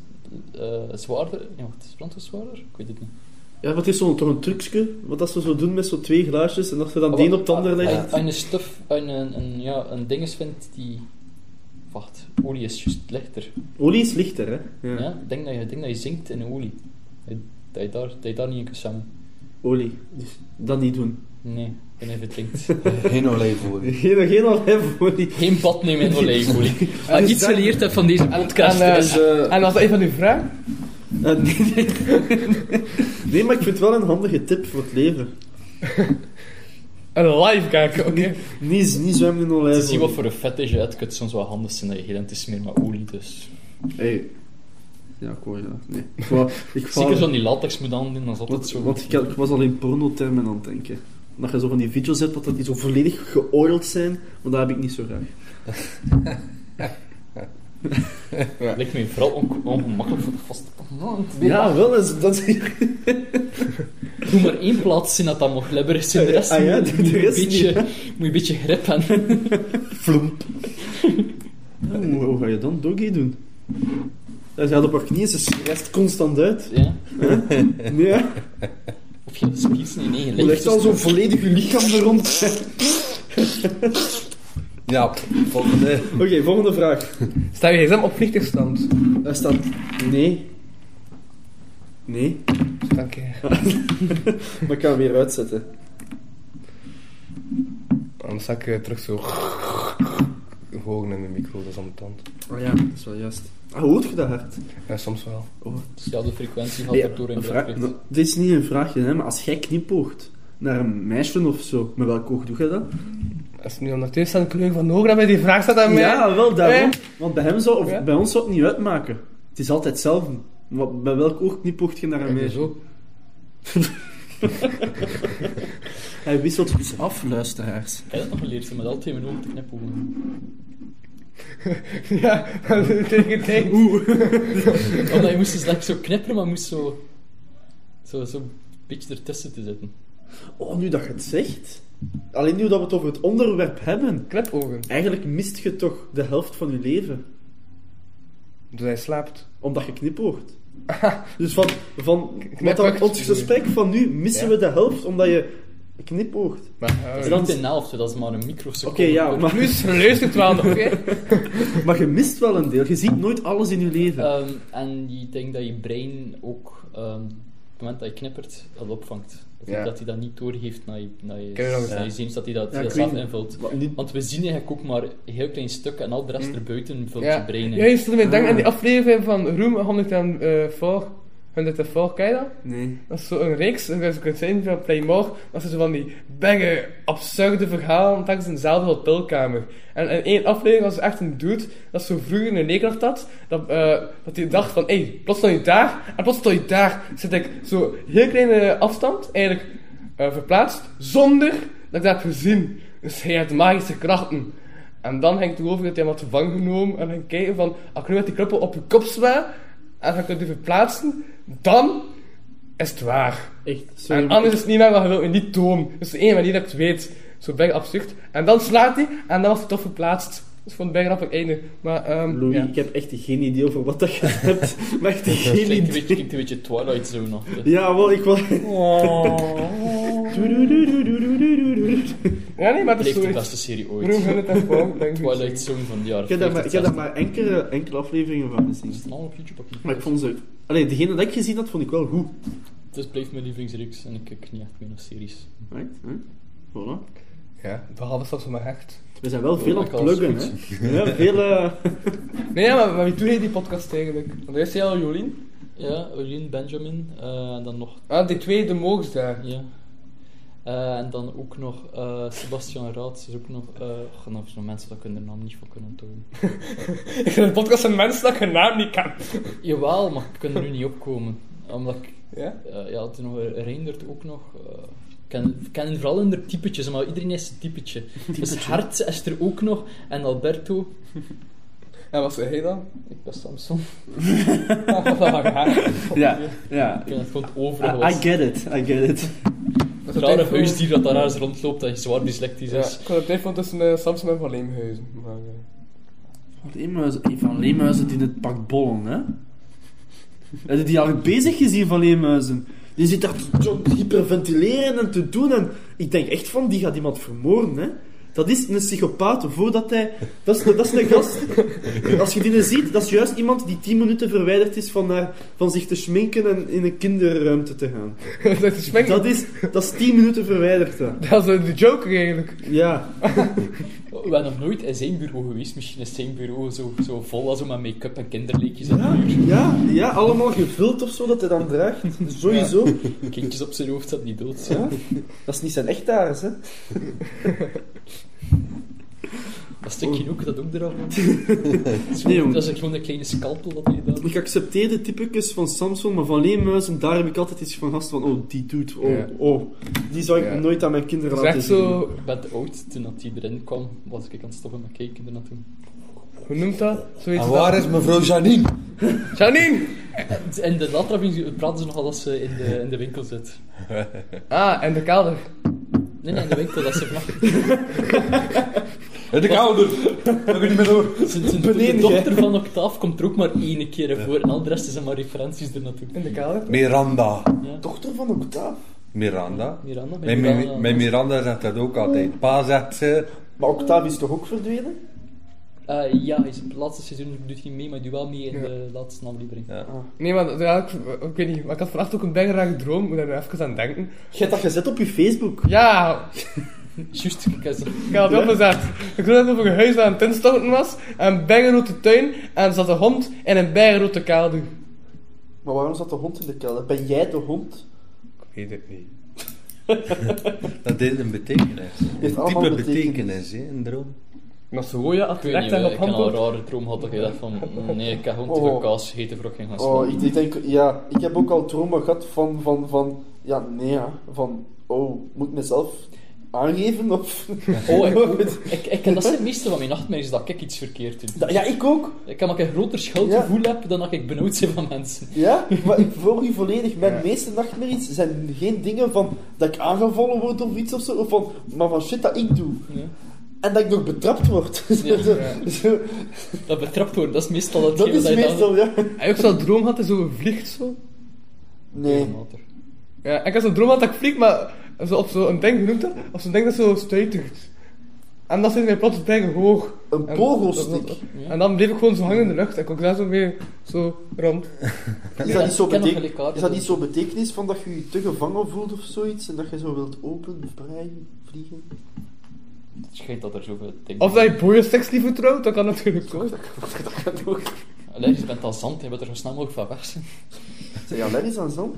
Speaker 2: eh, zwaarder... Ja, wat is brandstof zwaarder? Ik weet het niet.
Speaker 3: Ja, wat is zo'n toch een trucje? Wat dat ze zo doen met zo'n twee glaasjes en dat ze dan
Speaker 2: Ah,
Speaker 3: de een
Speaker 2: wat-
Speaker 3: op de ander
Speaker 2: ah,
Speaker 3: leggen?
Speaker 2: Als je een stof, een, een, een, ja, een dinges vindt die... Wacht, olie is juist lichter.
Speaker 3: Olie is lichter, hè? Ja.
Speaker 2: Ja, ik denk dat je, ik denk dat je zinkt in olie. Dat je- Dat je daar, dat je daar niet in kunt zwemmen.
Speaker 3: Olie. Dus dat niet doen.
Speaker 2: Nee, ik ben even drinkt.
Speaker 5: Geen olijfolie.
Speaker 3: Geen, geen olijfolie.
Speaker 2: Geen bad nemen in olijfolie. Als je
Speaker 3: Dus
Speaker 2: iets
Speaker 3: dan-
Speaker 2: geleerd hebt van deze podcast,
Speaker 4: En, eh,
Speaker 2: is-
Speaker 4: en was dat een van uw vragen?
Speaker 3: Eh, nee, nee. nee, maar ik vind het wel een handige tip voor het leven.
Speaker 4: Een live kijken, oké.
Speaker 3: Niet, niet zwemmen in
Speaker 2: te zien wat
Speaker 3: olijfolie.
Speaker 2: voor een fetish je hebt, het kunt soms wel handig zijn dat je heel te smeren met olie. Dus.
Speaker 3: Hey. Ja, ik hoor je dat. Nee. Ik wou, ik wou-
Speaker 2: Zeker zo'n die latex moet aandoen, dan is altijd
Speaker 3: want,
Speaker 2: zo.
Speaker 3: want ik, had- ik was al in pornotermen aan het denken. Dat je zo van die video's hebt, dat die zo volledig geoiled zijn. Maar dat heb ik niet zo graag.
Speaker 2: Lijkt me vooral onge- ongemakkelijk voor de vaste.
Speaker 3: Ja, wel eens. Dat
Speaker 2: doe maar één plaats zien dat dat nog libber is. In de rest
Speaker 3: Ah ja,
Speaker 2: moet,
Speaker 3: de-
Speaker 2: moet
Speaker 3: de
Speaker 2: je een
Speaker 3: rest
Speaker 2: beetje,
Speaker 3: niet, hè?
Speaker 2: moet je een beetje grip hebben.
Speaker 3: Hoe, hoe ga je dan doggy doen? Hij gaat op haar knieën, ze schrijft constant uit.
Speaker 2: Ja.
Speaker 3: Nee, hè?
Speaker 2: Of je spies in één
Speaker 3: je legt
Speaker 2: licht.
Speaker 3: al zo'n volledig je lichaam er rond.
Speaker 5: Ja, volgende.
Speaker 3: Oké, volgende vraag.
Speaker 4: Sta je gsm op vliegtuigstand?
Speaker 3: Daar staat... Nee. Nee.
Speaker 4: Dank je.
Speaker 3: Maar ik ga hem weer uitzetten.
Speaker 4: Anders zak ik eh, terug zo... Hoog in de micro, dat is aan de tand.
Speaker 3: Oh ja, dat is wel juist. Ah, hoort je dat hard?
Speaker 4: Ja, soms wel.
Speaker 2: Ja, de frequentie gaat
Speaker 3: Nee,
Speaker 2: er door in
Speaker 3: een
Speaker 2: de
Speaker 3: vraag-
Speaker 2: lucht.
Speaker 3: nou, dit is niet een vraagje, hè, maar als jij knipoogt naar een meisje of zo, met welk oog doe je dat?
Speaker 4: Als het nu ondertussen staat de kleur van de ogen dat bij die vraag staat aan mij.
Speaker 3: Ja, wel daarom.
Speaker 4: Eh?
Speaker 3: Want bij hem zou, of
Speaker 4: Ja.
Speaker 3: bij ons zou het niet uitmaken. Het is altijd hetzelfde. Wat, bij welk oog knipoogt je naar een
Speaker 4: Kijk,
Speaker 3: meisje?
Speaker 4: zo.
Speaker 3: Hij wisselt dus af, luisteraars.
Speaker 2: Heb je dat nog geleerd? Ze met al twee minuten te knippen.
Speaker 4: Ja, dat is tegen tegen. Oeh.
Speaker 2: Omdat je moest dus like, zo knipperen, maar moest zo... Zo, zo een beetje ertussen te zitten.
Speaker 3: Oh, nu dat je het zegt. Alleen nu dat we het over het onderwerp hebben.
Speaker 4: Knipogen.
Speaker 3: Eigenlijk mist je toch de helft van je leven.
Speaker 4: Dus hij slaapt.
Speaker 3: Omdat je knipoogt. Dus van, van wat
Speaker 4: knipoogt,
Speaker 3: dat- ons
Speaker 4: bedoel je?
Speaker 3: gesprek van nu missen
Speaker 4: Ja.
Speaker 3: we de helft omdat je knipoogt.
Speaker 4: Maar, eh,
Speaker 2: En dan de helft, dat is maar een microseconde.
Speaker 3: Oké, ja, maar,
Speaker 4: Plus, luistert wel nog, hè.
Speaker 3: maar je mist wel een deel. Je ziet nooit alles in je leven.
Speaker 2: Ehm, en je denkt dat je brein ook, ehm, op het moment dat je knippert, dat opvangt. Of
Speaker 4: Ja.
Speaker 2: dat hij dat niet doorgeeft naar je, naar je,
Speaker 4: Ken je dat?
Speaker 2: naar je zenuw, dat hij dat,
Speaker 3: Ja,
Speaker 2: dat
Speaker 3: ik
Speaker 2: zelf
Speaker 3: weet niet.
Speaker 2: invult.
Speaker 3: Wat niet-
Speaker 2: Want we zien eigenlijk ook maar een heel klein stuk en al de rest erbuiten vult
Speaker 4: Hm. Ja.
Speaker 2: je brein in.
Speaker 4: Ja, je stelde mij denken aan die aflevering van Room 104. 104, ken je dat?
Speaker 3: Nee.
Speaker 4: Dat is zo'n reeks, en zoals je kunt zien van Playmore, dat ze zo van die bange, absurde verhalen tijdens eenzelfde hotelkamer. En in één aflevering was er echt een dude, dat zo vroeger een leerkracht had, dat, eh, dat hij dacht van, hé, hey, plots stond je daar, en plots stond je daar. Zit ik zo heel kleine afstand, eigenlijk eh, verplaatst, zonder dat ik dat heb gezien. Dus hij had magische krachten. En dan ging het over dat hij hem had gevangen genomen, en ging kijken van, als ik nu met die knuppel op je kop sla, en dan kunt u verplaatsen, dan is het waar.
Speaker 3: Echt. Sorry.
Speaker 4: En anders is het niet waar, maar je wilt me niet toon. Dus de enige manier dat ik het weet. Zo ben ik absurd. En dan slaat hij, en dan was hij toch verplaatst. Dus ik vond het bijna grappig einde. Maar, ehm
Speaker 3: Louis,
Speaker 4: ja.
Speaker 3: ik heb echt geen idee over wat dat je hebt. Maar echt geen
Speaker 2: Klinkt een, beetje,
Speaker 3: idee.
Speaker 2: klinkt een beetje Twilight Zone af. hè.
Speaker 3: Ja, wel, ik wil...
Speaker 4: Oh. ja, nee, maar het
Speaker 2: Blijft de
Speaker 4: is zoiets.
Speaker 2: beste serie
Speaker 4: Roem
Speaker 2: ooit.
Speaker 4: hun het en volgen, denk ik.
Speaker 2: Twilight Zone van de jaren
Speaker 3: Ik heb daar maar,
Speaker 2: 50,
Speaker 3: ik
Speaker 2: 60.
Speaker 3: heb daar maar enkele, enkele afleveringen van gezien.
Speaker 2: Het is allemaal op YouTube. op YouTube.
Speaker 3: Maar ik vond ze... Allee, degene dat ik gezien had, vond ik wel goed.
Speaker 2: Dus het blijft mijn lievelingsreeks en ik kijk niet echt meer naar series.
Speaker 3: Right? Huh? Voilà.
Speaker 4: Ja, behalve zelfs maar echt.
Speaker 3: We zijn wel veel
Speaker 2: dat
Speaker 3: aan het
Speaker 2: kan wel
Speaker 3: pluggen, hè. Ja, veel... eh,
Speaker 4: Nee, ja, maar, maar wie doet hij die podcast eigenlijk? Want eerst jij al Jolien.
Speaker 2: Ja, Eulien, Benjamin eh, en dan nog
Speaker 4: Ah, die twee, de moogs daar.
Speaker 2: Ja. Eh, en dan ook nog eh, Sebastian Raad, is ook nog... eh och, nou, er zijn mensen dat kunnen de naam niet van kunnen onthouden.
Speaker 4: Ik vind een podcast een mens dat ik hun naam niet kan.
Speaker 2: Jawel, maar ik kan er nu niet opkomen. Omdat ik...
Speaker 4: Ja?
Speaker 2: eh, ja, toen nog Reindert ook nog... eh, ik ken, ik ken vooral in de typetjes, maar iedereen is een typetje. Dus Hart is er ook nog. En Alberto.
Speaker 4: En wat zei hij dan?
Speaker 2: Ik was Samson.
Speaker 4: Ah,
Speaker 3: ja, ja.
Speaker 2: Ik Ah, ken het gewoon het overige
Speaker 3: I, I
Speaker 2: was.
Speaker 3: get it, I get it.
Speaker 4: Dat
Speaker 2: Het rare huisdier dat daar eens rondloopt, dat je zwaar dyslectisch
Speaker 4: Ja,
Speaker 2: is.
Speaker 4: ik had het even tussen eh, Samson en Van Leemhuizen. Maar, eh.
Speaker 3: Wat Leemhuizen, die van Leemhuizen die in het pak bollen, hè? Heb je die al bezig gezien van Leemhuizen? Die zit daar te zo te hyperventileren en te doen. En ik denk echt van, die gaat iemand vermoorden, hè? Dat is een psychopaat voordat hij... Dat is, dat is een gast. Als je die ziet, dat is juist iemand die 10 minuten verwijderd is van, haar, van zich te schminken en in een kinderruimte te gaan.
Speaker 4: dat is mijn...
Speaker 3: Dat is, dat is 10 minuten verwijderd, hè.
Speaker 4: Dat is eh, de Joker eigenlijk.
Speaker 3: Ja.
Speaker 2: We zijn nog nooit in zijn bureau geweest. Misschien is zijn bureau zo, zo vol als zo met make-up en kinderleekjes en
Speaker 3: Ja,
Speaker 2: muur.
Speaker 3: ja, ja, allemaal gevuld of zo dat hij dan draagt. Sowieso.
Speaker 2: Kindjes op zijn hoofd dat niet dood zijn.
Speaker 3: Ja. Dat is niet zijn echt haar, hè?
Speaker 2: Dat stukje ook, dat ook eraf.
Speaker 3: Nee, jong.
Speaker 2: dat is gewoon een kleine scalpel dat hij gedaan
Speaker 3: Ik accepteer de typetjes van Samsung, maar van Leemhuizen, daar heb ik altijd iets van gast van, oh, die doet, oh,
Speaker 4: Ja.
Speaker 3: oh. Die zou ik
Speaker 4: Ja.
Speaker 3: nooit aan mijn kinderen
Speaker 4: Dat is
Speaker 3: laten
Speaker 4: echt
Speaker 3: zien.
Speaker 4: zo...
Speaker 2: Ik ben te oud toen dat hij erin kwam, was ik aan het stoppen met kijken ernaartoe.
Speaker 4: Hoe noemt dat? Zo heet
Speaker 5: En
Speaker 4: dat.
Speaker 5: waar is mevrouw Janine?
Speaker 4: Janine!
Speaker 2: In de latrap praten ze nogal dat ze in de, in de winkel zit.
Speaker 4: Ah, en de kelder.
Speaker 2: Nee, nee, in de winkel, dat ze vlak.
Speaker 5: In de kouder! Heb je niet meer door?
Speaker 2: Zijn, zijn de dochter van Octaaf komt er ook maar één keer voor en al de rest zijn maar referenties ernaartoe.
Speaker 4: In de kelder?
Speaker 5: Miranda.
Speaker 3: Dochter van Octave.
Speaker 5: Miranda?
Speaker 2: Miranda,
Speaker 5: Mijn,
Speaker 2: Miranda.
Speaker 5: Mi- mijn Miranda zegt dat ook altijd. Pa zegt ze...
Speaker 3: Maar Octave is toch ook verdwenen?
Speaker 2: Eh, ja, hij is het laatste seizoen doet hij mee, maar hij doet wel mee in de laatste aflevering.
Speaker 4: Nee, maar dat- ja, ik, ik weet niet. Maar ik had vannacht ook een bijgerage droom. Ik moet daar nu even aan denken.
Speaker 3: Je hebt dat gezet op je Facebook.
Speaker 4: Ja,
Speaker 2: Juist, ik heb ze-
Speaker 4: ik had het opgezet. Ik zat over een huis aan het instorten was. En bijgerote tuin. En zat een hond in een bijgerote kelder.
Speaker 3: Maar waarom zat de hond in de kelder? Ben jij de hond?
Speaker 4: Ik weet het niet.
Speaker 5: Dat heeft een betekenis.
Speaker 3: Heeft
Speaker 5: Een
Speaker 3: allemaal
Speaker 5: type
Speaker 3: betekenis.
Speaker 5: betekenis, hè, een droom.
Speaker 4: Maar zo ja, als
Speaker 2: Ik
Speaker 4: je
Speaker 2: weet niet,
Speaker 4: recht aan
Speaker 2: eh,
Speaker 4: op
Speaker 2: ik heb
Speaker 4: hand
Speaker 2: al
Speaker 4: wordt.
Speaker 2: een rare droom gehad dat je dacht van, nee, ik heb gewoon te
Speaker 3: Oh.
Speaker 2: veel kaas gegeten voor ik ging gaan
Speaker 3: Oh,
Speaker 2: slapen.
Speaker 3: ik, ik denk, ja, ik heb ook al trauma gehad van, van, van, ja, nee, ja, van, oh, moet ik mezelf aangeven of...
Speaker 2: Oh, ik ook. Ik, ik, dat zijn de meeste van mijn nachtmerries dat ik iets verkeerd doe.
Speaker 3: Dat- ja, ik ook.
Speaker 2: Ik heb maar een groter schuldgevoel heb dan dat ik benauwd ben van mensen.
Speaker 3: Ja, maar ik volg u volledig. Mijn meeste nachtmerries zijn geen dingen van dat ik aangevallen word of iets of zo, of van, maar van shit dat ik doe.
Speaker 2: Ja.
Speaker 3: En dat ik nog betrapt word.
Speaker 2: Ja.
Speaker 3: Zo- zo-
Speaker 2: Dat betrapt worden, dat is meestal
Speaker 3: dat
Speaker 2: hetgeen
Speaker 3: is
Speaker 2: je dan-
Speaker 3: meestal, ja.
Speaker 4: Heb je ook zo'n droom gehad dat je zo vliegt zo?
Speaker 3: Nee.
Speaker 2: Later.
Speaker 4: Ja, ik had zo'n droom gehad dat ik vlieg, maar zo op zo'n ding, hoe noemt dat? Op zo'n ding dat zo stuitert. En dan zit mij plots ding hoog.
Speaker 3: Een
Speaker 4: En-
Speaker 3: pogelstick.
Speaker 4: En dan bleef ik gewoon zo hangen in de lucht. En kon ik daar zo mee zo rond.
Speaker 3: Is dat, niet zo
Speaker 2: ik ken nog
Speaker 3: betek-
Speaker 2: gelijkaardig
Speaker 3: is dat niet zo betekenis van dat je je te gevangen voelt of zoiets en dat je zo wilt open, breien, vliegen?
Speaker 2: Het schijnt dat er zoveel dingen
Speaker 4: Of dat je boeiensteks niet vertrouwt, dan kan dat natuurlijk ook.
Speaker 2: Allee, je bent al zand, je bent er zo snel mogelijk van weg zijn.
Speaker 3: Zijn je allergisch aan zand?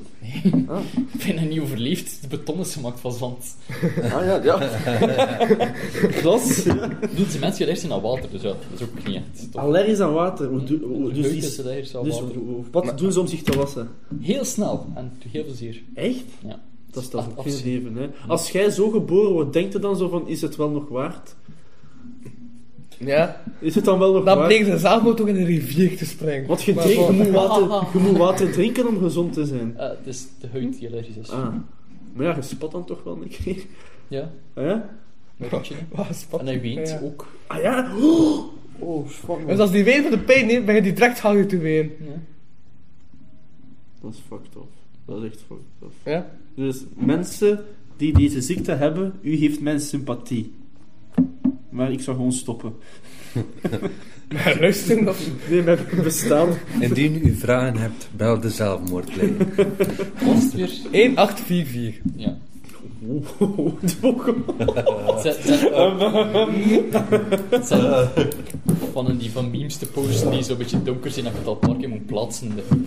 Speaker 2: Ik ben er niet overleefd, de beton is gemaakt van zand.
Speaker 3: Ah ja, ja. Glas.
Speaker 2: Doet die mensen allergisch zijn aan water, dus ja, dat is ook niet echt. Toch?
Speaker 3: Allergisch aan water. Hoe doe- hoe-
Speaker 2: Leuk
Speaker 3: Dus, die-
Speaker 2: is het allergisch aan
Speaker 3: dus
Speaker 2: water.
Speaker 3: hoe- wat doen ze om zich te wassen?
Speaker 2: Heel snel en heel plezier.
Speaker 3: Echt?
Speaker 2: Ja.
Speaker 3: Dat is dan
Speaker 2: Af-
Speaker 3: ook geen
Speaker 2: afzien.
Speaker 3: leven, hè. Als jij zo geboren wordt, denkt je dan zo van, is het wel nog waard?
Speaker 4: Ja.
Speaker 3: Is het dan wel nog
Speaker 4: Dan
Speaker 3: waard?
Speaker 4: bleek ze zelfmoord ook in een rivier te springen.
Speaker 3: Want je,
Speaker 4: Maar
Speaker 3: drinkt-
Speaker 4: zo-
Speaker 3: je, moet water, je moet water drinken om gezond te zijn.
Speaker 2: Eh, het is de huid die allergisch is.
Speaker 3: Ah. Maar ja, je spat dan toch wel een keer.
Speaker 2: Ja,
Speaker 3: Ah ja?
Speaker 2: met een beetje, hè.
Speaker 4: Wat een spat.
Speaker 2: En hij weent
Speaker 4: Ja.
Speaker 2: ook.
Speaker 3: Ah ja? Oh, oh fuck.
Speaker 4: Dus
Speaker 3: man.
Speaker 4: als die ween van de pijn neemt, ben je die direct hangen te ween.
Speaker 2: Ja.
Speaker 3: Dat is fucked up. Dat is echt fucked up.
Speaker 4: Ja.
Speaker 3: Dus mensen die deze ziekte hebben, u geeft mijn sympathie. Maar ik zou gewoon stoppen.
Speaker 4: Maar Rusten of...
Speaker 3: Nee, mijn bestaan.
Speaker 5: Indien u vragen hebt, bel de zelfmoordlijn.
Speaker 2: Was het weer?
Speaker 4: 1844.
Speaker 2: Ja.
Speaker 3: Oeh, de Pokémon.
Speaker 2: Zet, zet, zet eh, van die van memes te posten die zo'n beetje donker zijn, dat je het al een paar keer moet plaatsen. in de-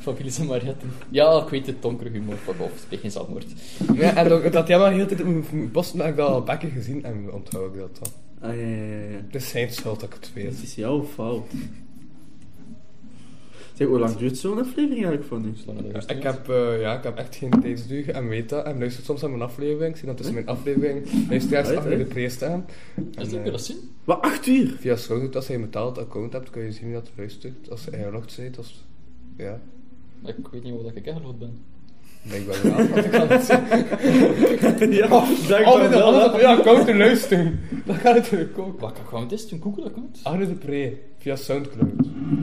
Speaker 2: Van Philips en Mariette. Ja, ik weet het, donkere humor, fuck off, het is geen zelfmoord.
Speaker 4: Ja, en ook, dat jij maar de hele tijd in Boston heb ik dat al bekken gezien en onthoud ik dat dan.
Speaker 3: Ah, ja, ja, ja, ja.
Speaker 4: Het is zijn schuld dat ik het weet.
Speaker 3: Het is jouw fout. Zeg, hoe lang duurt zo'n aflevering eigenlijk van nu?
Speaker 2: Zolang dat
Speaker 4: Ik heb, eh, ja, ik heb echt geen tijdsduur en weet dat. En luister soms aan mijn aflevering. Ik zie dat tussen mijn aflevering luisteraars
Speaker 3: Uit,
Speaker 4: achter de
Speaker 3: uit.
Speaker 4: pre staan.
Speaker 2: Is
Speaker 4: En,
Speaker 2: dat
Speaker 4: eh,
Speaker 2: weer dat zin?
Speaker 3: Wat, acht uur?
Speaker 4: Via Soundcloud, als je een betaald account hebt, kun je zien wie dat luistert. Als je ingelogd bent, als... Ja,
Speaker 2: Ik weet niet wat ik ingelogd ben.
Speaker 4: blijkbaar wel. Want ik kan het zien.
Speaker 3: ja,
Speaker 4: Oh,
Speaker 3: dankbaar
Speaker 4: dat
Speaker 3: wel.
Speaker 4: alles op
Speaker 3: hè.
Speaker 4: je account te luisteren. Dat kan natuurlijk ook.
Speaker 2: Wat kan ik gewoon dit doen? Google account?
Speaker 4: Arne de Pre, via Soundcloud.